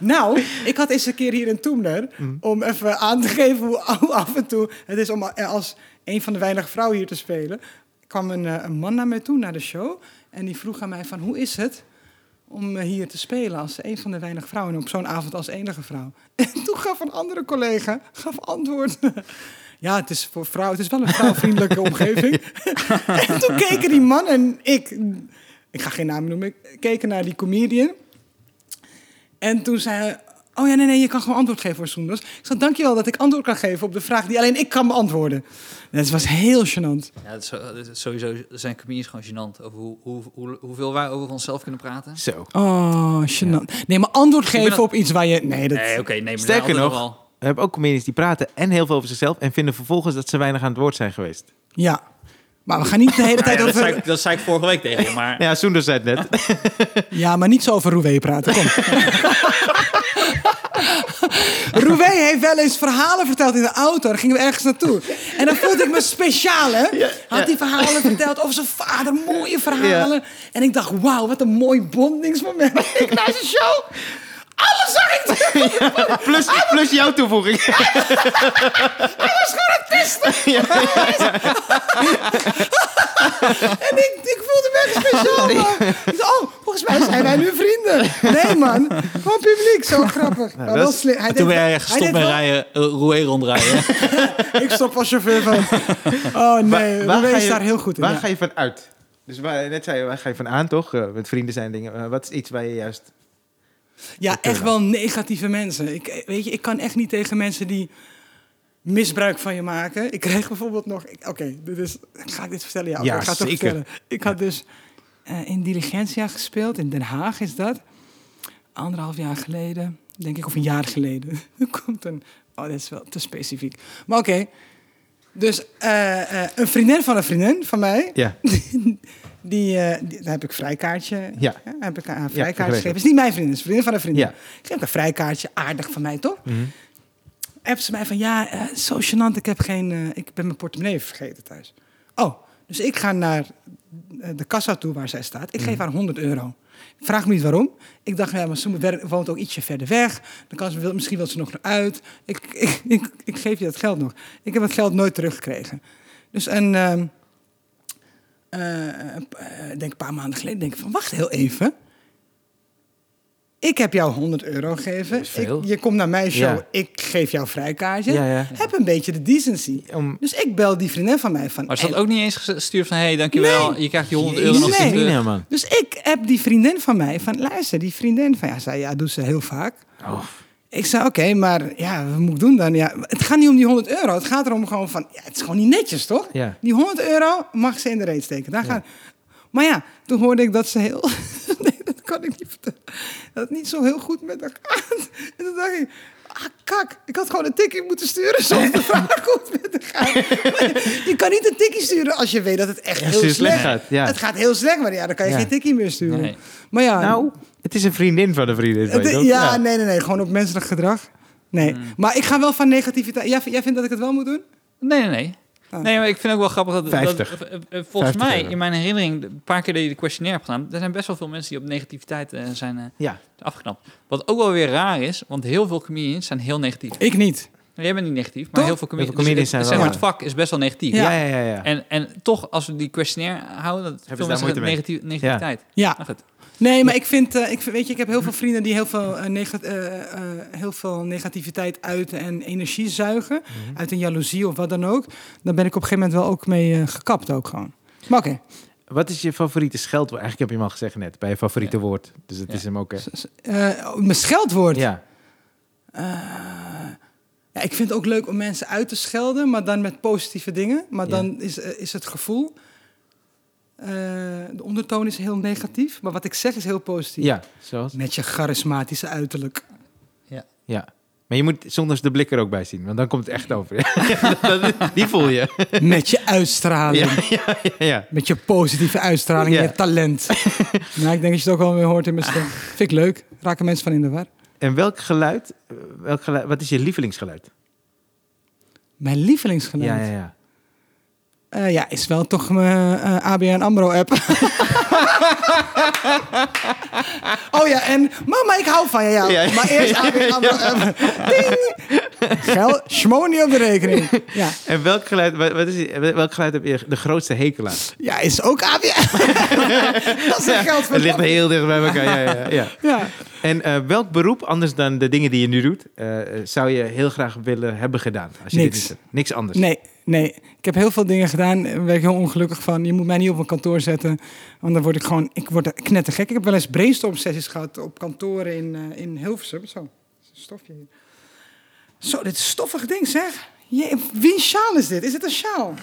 Speaker 3: Nou, ik had eens een keer hier een Toemler om even aan te geven hoe hoe af en toe het is om eh, als een van de weinige vrouwen hier te spelen. kwam een, eh, een man naar mij toe, naar de show. En die vroeg aan mij van, hoe is het om eh, hier te spelen als een van de weinige vrouwen... en op zo'n avond als enige vrouw? (laughs) En toen gaf een andere collega gaf antwoord. (laughs) Ja, het is voor vrouwen, het is wel een vrouwvriendelijke omgeving. en toen keken die man en ik... Ik ga geen naam noemen. ik- Keken naar die comedian... En toen zei hij... Oh ja, nee, nee, je kan gewoon antwoord geven voor Soenders. Ik zei, dankjewel dat ik antwoord kan geven op de vraag die alleen ik kan beantwoorden. Dat was heel gênant.
Speaker 2: Ja, het is, het is sowieso zijn comedians gewoon gênant over hoe, hoe, hoe, hoeveel wij over onszelf kunnen praten.
Speaker 1: Zo.
Speaker 3: Oh, gênant. Nee, maar antwoord geven
Speaker 2: Dus al-
Speaker 3: op iets waar je... Nee, dat...
Speaker 2: Nee, oké, nee, maar
Speaker 1: Sterker
Speaker 2: altijd
Speaker 1: nog,
Speaker 2: wel.
Speaker 1: we hebben ook comedians die praten en heel veel over zichzelf en vinden vervolgens dat ze weinig aan het woord zijn geweest.
Speaker 3: Ja. Maar we gaan niet de hele
Speaker 2: Nou (laughs) ja,
Speaker 3: tijd
Speaker 2: dat,
Speaker 3: over...
Speaker 2: zei ik, dat zei ik vorige week tegen je, maar
Speaker 1: Nou ja, Soender zei het (laughs) net.
Speaker 3: Ja, maar niet zo over Roué praten. Kom. Roué heeft wel eens verhalen verteld in de auto. Dan gingen we ergens naartoe. En dan voelde ik me speciaal, hè? Had die verhalen verteld over zijn vader. Mooie verhalen. En ik dacht, wauw, wat een mooi bondingsmoment. ik nou, naar zijn show. Alles zag ik terug.
Speaker 1: Plus, plus jouw toevoeging. (laughs)
Speaker 3: (laughs) En ik, ik voelde me echt speciaal, man. Ik dacht, oh, volgens mij zijn wij nu vrienden. Nee, man. Gewoon publiek. Zo grappig. Maar wel
Speaker 1: dat is-
Speaker 3: slim. Hij
Speaker 2: toen
Speaker 3: deed wel-
Speaker 2: ben je
Speaker 3: hij
Speaker 2: gestopt
Speaker 3: deed
Speaker 2: met
Speaker 3: wel-
Speaker 2: rijden, eh, roer rondrijden.
Speaker 3: Ik stop als chauffeur van... Oh nee,
Speaker 1: Waar
Speaker 3: Roué
Speaker 1: ga
Speaker 3: is
Speaker 1: je-
Speaker 3: daar heel goed in.
Speaker 1: Waar
Speaker 3: ja.
Speaker 1: ga je van uit? Dus waar, net zei je, waar ga je van aan toch? Eh, met vrienden zijn dingen. Eh, wat is iets waar je juist...
Speaker 3: Ja, echt wel negatieve mensen. Ik, eh, weet je, ik kan echt niet tegen mensen die misbruik van je maken. Ik kreeg bijvoorbeeld nog... ik- Oké, dit is... Ga ik dit vertellen? Ja, oké,
Speaker 1: Ja,
Speaker 3: ik ga het toch
Speaker 1: zeker.
Speaker 3: vertellen. Ik had dus eh, in Diligentia gespeeld. In Den Haag is dat. Anderhalf jaar geleden, denk ik. Of een jaar geleden. (laughs) Er komt een... Oh, dat is wel te specifiek. Maar oké. Dus eh, eh, een vriendin van een vriendin van mij...
Speaker 1: Ja,
Speaker 3: Die, eh, die- daar heb ik vrijkaartje.
Speaker 1: Ja.
Speaker 3: heb ik haar een
Speaker 1: Ja,
Speaker 3: vrijkaartje
Speaker 1: geregeld.
Speaker 3: gegeven. is niet mijn vriendin, is vriendin van een vriendin.
Speaker 1: Ja.
Speaker 3: Geef ik een vrijkaartje, aardig van mij toch?
Speaker 1: Mhm.
Speaker 3: Appt ze mij van ja, eh zo gênant, ik heb geen, eh, ik ben mijn portemonnee vergeten thuis. Oh, dus ik ga naar eh, de kassa toe waar zij staat. Ik geef
Speaker 1: Mhm.
Speaker 3: haar 100 euro. Vraag me niet waarom. Ik dacht, ja, maar ze wer- woont ook ietsje verder weg. Dan kan ze, wil- misschien wil ze nog naar uit. Ik, ik, (laughs) ik, ik geef je dat geld nog. Ik heb het geld nooit teruggekregen. Dus een, ehm, eh, eh, denk een paar maanden geleden, denk ik van wacht heel even. Ik heb jou 100 euro gegeven.
Speaker 1: is veel.
Speaker 3: Ik- je komt naar mijn show,
Speaker 1: Ja.
Speaker 3: ik geef jou vrijkaartje.
Speaker 1: Ja, ja.
Speaker 3: Heb een beetje de decency.
Speaker 1: Om-
Speaker 3: Dus ik bel die vriendin van mij van...
Speaker 2: (laughs) Maar ze
Speaker 3: "Hey,
Speaker 2: had ook niet eens gestuurd van, hé, hey, dankjewel,
Speaker 3: Nee.
Speaker 2: je krijgt die 100 euro nog
Speaker 3: Nee.
Speaker 2: eens terug.
Speaker 1: Nee, man.
Speaker 3: Dus ik heb die vriendin van mij van luister, die vriendin van ja, zij ja, doet ze heel vaak.
Speaker 1: Oh.
Speaker 3: Ik zei, oké, maar ja, wat moet ik doen dan? Ja, het gaat niet om die 100 euro. Het gaat erom gewoon van, ja, het is gewoon niet netjes, toch?
Speaker 1: Ja.
Speaker 3: Die 100 euro mag ze in de reet steken. Daar gaat... Maar ja, toen hoorde ik dat ze heel... (laughs) nee, dat kan ik niet vertellen. Dat het niet zo heel goed met elkaar... (laughs) en toen dacht ik... Ah, kak, ik had gewoon een tikkie moeten sturen zonder te vragen hoe het met elkaar... Maar je, je kan niet een tikkie sturen als je weet dat het echt
Speaker 1: Ja,
Speaker 3: heel
Speaker 1: zeer
Speaker 3: slecht,
Speaker 1: slecht gaat, ja.
Speaker 3: Het gaat heel slecht, maar ja, dan kan je
Speaker 1: Ja.
Speaker 3: geen tikkie meer sturen.
Speaker 2: Nee.
Speaker 3: Maar ja...
Speaker 1: Nou, het is een vriendin van een vriendin.
Speaker 3: Het-
Speaker 1: weet je
Speaker 3: ja, Hmm.
Speaker 1: ook?
Speaker 3: nee, nee, nee. Gewoon op menselijk gedrag. Nee. Maar ik ga wel van negativiteit. Jij, jij vindt dat ik het wel moet doen?
Speaker 2: Nee, nee, nee.
Speaker 3: Ah.
Speaker 2: Nee, maar ik vind ook wel grappig dat... dat-
Speaker 1: 50.
Speaker 2: eh, eh, volgens
Speaker 1: 50
Speaker 2: mij,
Speaker 1: euro.
Speaker 2: in mijn herinnering, een paar keer dat je de questionnaire hebt gedaan... er zijn best wel veel mensen die op negativiteit eh, zijn eh,
Speaker 1: Ja.
Speaker 2: afgeknapt. Wat ook wel weer raar is, want heel veel comedians zijn heel negatief. Nou,
Speaker 3: Ik niet.
Speaker 2: Jij bent niet negatief, maar
Speaker 3: Toch?
Speaker 2: heel veel comedians,
Speaker 1: Heel veel comedians
Speaker 2: dus het-
Speaker 1: zijn wel
Speaker 2: zeg maar, het vak is best wel negatief.
Speaker 1: Ja, ja, ja. ja.
Speaker 2: En, en toch, als we die questionnaire houden, dat
Speaker 1: ze
Speaker 2: veel
Speaker 1: daar
Speaker 2: mensen
Speaker 1: moeite
Speaker 2: zeggen
Speaker 1: mee?
Speaker 2: negatief, negativiteit.
Speaker 3: Ja.
Speaker 2: Nou goed.
Speaker 3: Nee, maar ik vind, eh, ik, vind- weet je, ik heb heel veel vrienden die heel veel, eh, nega- eh, eh, heel veel negativiteit uiten en energie zuigen. Uit een jaloezie of wat dan ook. Daar ben ik op een gegeven moment wel ook mee eh, gekapt ook gewoon. Maar oké.
Speaker 1: Wat is je favoriete scheldwoord? Eigenlijk heb je hem al gezegd net, bij je favoriete woord. Dus het
Speaker 2: Ja.
Speaker 1: is hem ook, hè?
Speaker 3: Eh, oh, mijn scheldwoord.
Speaker 1: Ja.
Speaker 3: Eh, Ja, ik vind het ook leuk om mensen uit te schelden, maar dan met positieve dingen. Maar dan is, eh, is het gevoel. eh, de ondertoon is heel negatief, maar wat ik zeg is heel positief.
Speaker 1: Ja, zoals?
Speaker 3: Met je charismatische uiterlijk. (laughs)
Speaker 1: Ja. Maar je moet zonder de blik er ook bij zien, want dan komt het echt over. Dat- Die voel
Speaker 3: (laughs)
Speaker 1: je.
Speaker 3: Met je uitstraling.
Speaker 1: Ja, ja, ja, ja.
Speaker 3: Met je positieve uitstraling,
Speaker 1: Ja.
Speaker 3: je
Speaker 1: (laughs)
Speaker 3: talent. nou, ik denk dat je het ook wel weer hoort in mijn stem. Vind ik leuk. Raken mensen van in de war.
Speaker 1: En welk geluid, eh, welk geluid, wat is je lievelingsgeluid?
Speaker 3: Mijn lievelingsgeluid.
Speaker 1: Ja,
Speaker 3: Ja,
Speaker 1: ja, ja.
Speaker 3: Eh, ja, is wel toch mijn eh, ABN
Speaker 1: (laughs)
Speaker 3: AMRO-app. oh ja, en mama, ik hou van je. Ja.
Speaker 1: Ja.
Speaker 3: Maar eerst ABN AMRO-app. Geld, schmonie op de
Speaker 1: (laughs)
Speaker 3: rekening. Ja,
Speaker 1: En welk geluid, wat, wat is, welk geluid heb je de grootste hekel aan?
Speaker 3: ja is ook ABN. (laughs) dat is een geld
Speaker 1: Het ligt heel dicht bij elkaar. Ja, ja, ja, ja.
Speaker 3: Ja.
Speaker 1: En eh, welk beroep, anders dan de dingen die je nu doet, eh, zou je heel graag willen hebben gedaan? Als je
Speaker 3: Niks.
Speaker 1: Dit niet, niks anders.
Speaker 3: Nee, nee. Ik heb heel veel dingen gedaan. Daar ben ik heel ongelukkig van. Je moet mij niet op een kantoor zetten. Want dan word ik gewoon... Ik word er knettergek. Ik heb wel eens brainstorm sessies gehad op kantoren in, eh, in Hilversum. Zo, is een stofje hier. Zo, dit is een stoffig ding zeg. Je, wie een sjaal is dit? Is dit een sjaal?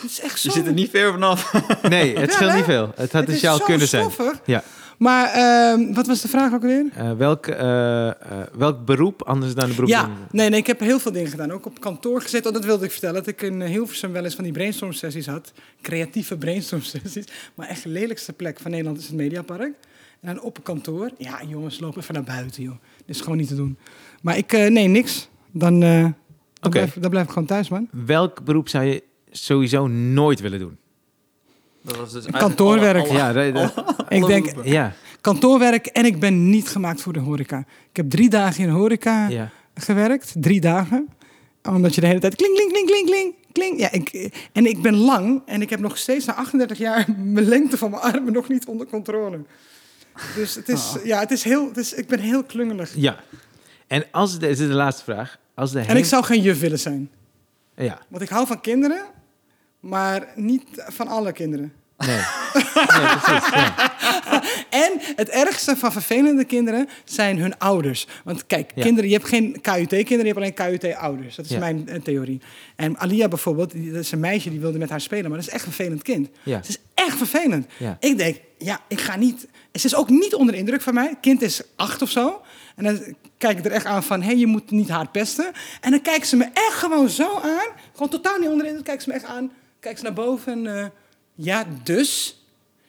Speaker 3: Het is echt zo...
Speaker 4: Je zit er niet ver vanaf.
Speaker 1: Nee, het
Speaker 3: Ja,
Speaker 1: scheelt
Speaker 3: hè?
Speaker 1: niet veel. Het had
Speaker 3: Het
Speaker 1: een
Speaker 3: is
Speaker 1: sjaal
Speaker 3: zo
Speaker 1: kunnen zijn.
Speaker 3: stoffig.
Speaker 1: Ja.
Speaker 3: Maar ehm, wat was de vraag ook weer?
Speaker 1: Eh, welk, eh, eh, welk beroep anders dan de beroep?
Speaker 3: Ja,
Speaker 1: van-
Speaker 3: nee, nee, ik heb heel veel dingen gedaan. Ook op kantoor gezet. Oh, dat wilde ik vertellen. Dat ik in eh, Hilversum wel eens van die brainstorm sessies had. Creatieve brainstorm sessies. Maar echt de lelijkste plek van Nederland is het Mediapark. En dan op een kantoor. Ja, jongens, loop even naar buiten, joh. Dit is gewoon niet te doen. Maar ik, eh, nee, niks. Dan, eh dan,
Speaker 1: Oké.
Speaker 3: blijf, dan blijf ik gewoon thuis, man.
Speaker 1: Welk beroep zou je sowieso nooit willen doen?
Speaker 4: Dat was dus
Speaker 3: Kantoorwerk.
Speaker 1: Ja, dat- dat-
Speaker 3: Ik denk,
Speaker 1: ja,
Speaker 3: kantoorwerk en ik ben niet gemaakt voor de horeca. Ik heb drie dagen in de horeca
Speaker 1: ja.
Speaker 3: gewerkt. Drie dagen. Omdat je de hele tijd kling, kling, kling, kling, kling. kling. Ja, ik, en ik ben lang en ik heb nog steeds na 38 jaar (laughs) mijn lengte van mijn armen nog niet onder controle. Dus het is, ja, het is heel, het is, ik ben heel klungelig.
Speaker 1: ja. En als, de- dit is de laatste vraag. Als de
Speaker 3: En ik
Speaker 1: heen-
Speaker 3: zou geen juf willen zijn.
Speaker 1: Ja,
Speaker 3: Want ik hou van kinderen, maar niet van alle kinderen.
Speaker 1: nee. nee precies, ja.
Speaker 3: En het ergste van vervelende kinderen zijn hun ouders. Want kijk,
Speaker 1: Ja.
Speaker 3: kinderen, je hebt geen KUT-kinderen, je hebt alleen KUT-ouders. Dat is
Speaker 1: Ja.
Speaker 3: mijn eh, theorie. En Alia bijvoorbeeld, die- dat is een meisje die wilde met haar spelen, maar dat is echt een vervelend kind.
Speaker 1: Ja.
Speaker 3: Het is echt vervelend.
Speaker 1: Ja.
Speaker 3: Ik denk, ja, ik ga niet. Ze is ook niet onder de indruk van mij. Kind is acht of zo. En dan kijk ik er echt aan van, hé, je moet niet haar pesten. En dan kijkt ze me echt gewoon zo aan. Gewoon totaal niet onder de indruk. Kijkt ze me echt aan. Kijkt ze naar boven en, eh, ja, dus.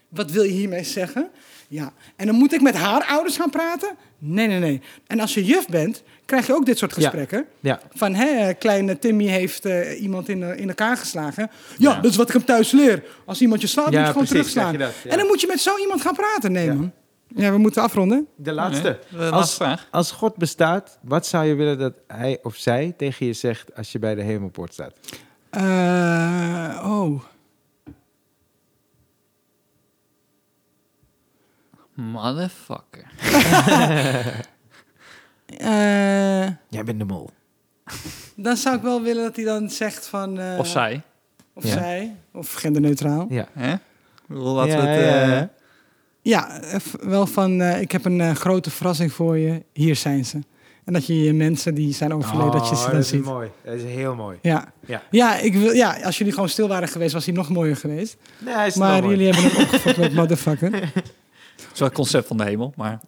Speaker 3: Wat wil je hiermee zeggen? Ja. En dan moet ik met haar ouders gaan praten? Nee, nee, nee. En als je juf bent, krijg je ook dit soort
Speaker 1: Ja.
Speaker 3: gesprekken.
Speaker 1: ja.
Speaker 3: Van, hè, kleine Timmy heeft eh, iemand in, in elkaar geslagen. Ja, dat is wat ik hem thuis leer. Als iemand je slaat,
Speaker 1: Ja,
Speaker 3: moet je gewoon
Speaker 1: precies,
Speaker 3: terugslaan.
Speaker 1: zeg je dat, ja.
Speaker 3: En dan moet je met zo iemand gaan praten. Nee,
Speaker 1: Ja.
Speaker 3: man. Ja, we moeten afronden.
Speaker 1: De laatste.
Speaker 2: De laatste
Speaker 1: Als,
Speaker 2: vraag.
Speaker 1: als God bestaat, wat zou je willen dat hij of zij tegen je zegt als je bij de hemelpoort staat?
Speaker 3: Eh, oh.
Speaker 2: Motherfucker.
Speaker 3: Eh,
Speaker 1: Jij bent de mol.
Speaker 3: dan zou ik wel willen dat hij dan zegt van... eh,
Speaker 2: Of zij.
Speaker 3: Of
Speaker 1: Ja.
Speaker 3: zij. Of genderneutraal.
Speaker 1: Ja.
Speaker 4: Hè? Ik bedoel, Laten
Speaker 1: Ja,
Speaker 4: we het...
Speaker 1: ja,
Speaker 4: eh,
Speaker 1: ja.
Speaker 3: Ja, eh, v- wel van eh, ik heb een eh, grote verrassing voor je. Hier zijn ze. En dat je je mensen die zijn overleden, dat je ze dan
Speaker 1: Oh, dat is
Speaker 3: ziet.
Speaker 1: mooi. Dat is heel mooi.
Speaker 3: Ja.
Speaker 1: Ja.
Speaker 3: Ja, ik wil, ja, als jullie gewoon stil waren geweest, was hij nog mooier geweest.
Speaker 1: Nee, is wel
Speaker 3: Maar
Speaker 1: mooi.
Speaker 3: jullie hebben hem opgefokt
Speaker 1: (laughs)
Speaker 3: met motherfucker.
Speaker 2: Het is wel het concept van de hemel, maar...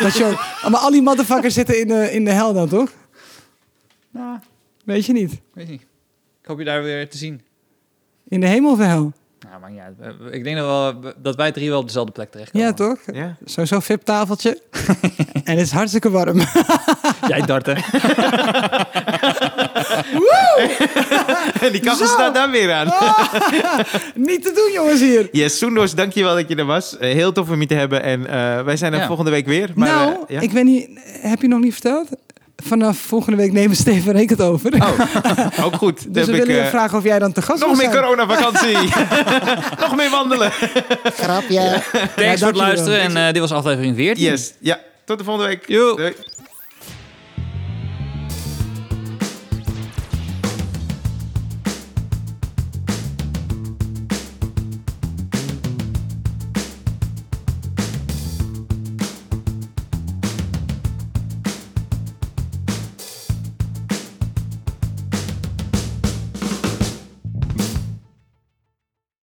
Speaker 3: Dat je ook- maar al die motherfuckers zitten in de, in de hel dan, toch?
Speaker 2: Nou,
Speaker 3: Weet je niet.
Speaker 2: weet niet. Ik hoop je daar weer te zien.
Speaker 3: In de hemel of de hel?
Speaker 2: Nou, maakt niet uit. Eh, Ik denk dat, wel, dat wij drie wel op dezelfde plek terechtkomen.
Speaker 3: Ja, toch?
Speaker 1: Ja.
Speaker 3: Sowieso VIP-tafeltje. en het is hartstikke warm.
Speaker 2: (laughs)
Speaker 3: (laughs)
Speaker 2: Jij darten.
Speaker 1: (laughs) En die kachel
Speaker 3: Zo. Oh.
Speaker 1: staat daar weer aan.
Speaker 3: niet te doen, jongens, hier.
Speaker 1: Yes, Soendos, dankjewel dat je er was. Eh, Heel tof om je te hebben. En eh, wij zijn er
Speaker 2: Ja.
Speaker 1: volgende week weer. Maar,
Speaker 3: nou,
Speaker 1: eh, ja?
Speaker 3: ik weet niet, heb je nog niet verteld? Vanaf volgende week nemen Steven Reek het over.
Speaker 1: Oh, ook goed. Dan
Speaker 3: (laughs) dus we
Speaker 1: heb ik,
Speaker 3: willen
Speaker 1: eh,
Speaker 3: je vragen of jij dan te gast
Speaker 1: nog
Speaker 3: wil
Speaker 1: meer
Speaker 3: zijn.
Speaker 1: coronavakantie.
Speaker 3: (laughs)
Speaker 1: (laughs) nog meer wandelen.
Speaker 3: Grapje.
Speaker 2: Thanks voor
Speaker 3: dank
Speaker 2: het
Speaker 3: jullie wel.
Speaker 2: luisteren en eh, dit was aflevering 14.
Speaker 1: Yes. Ja, tot de volgende week.
Speaker 2: Yo.
Speaker 1: Doei.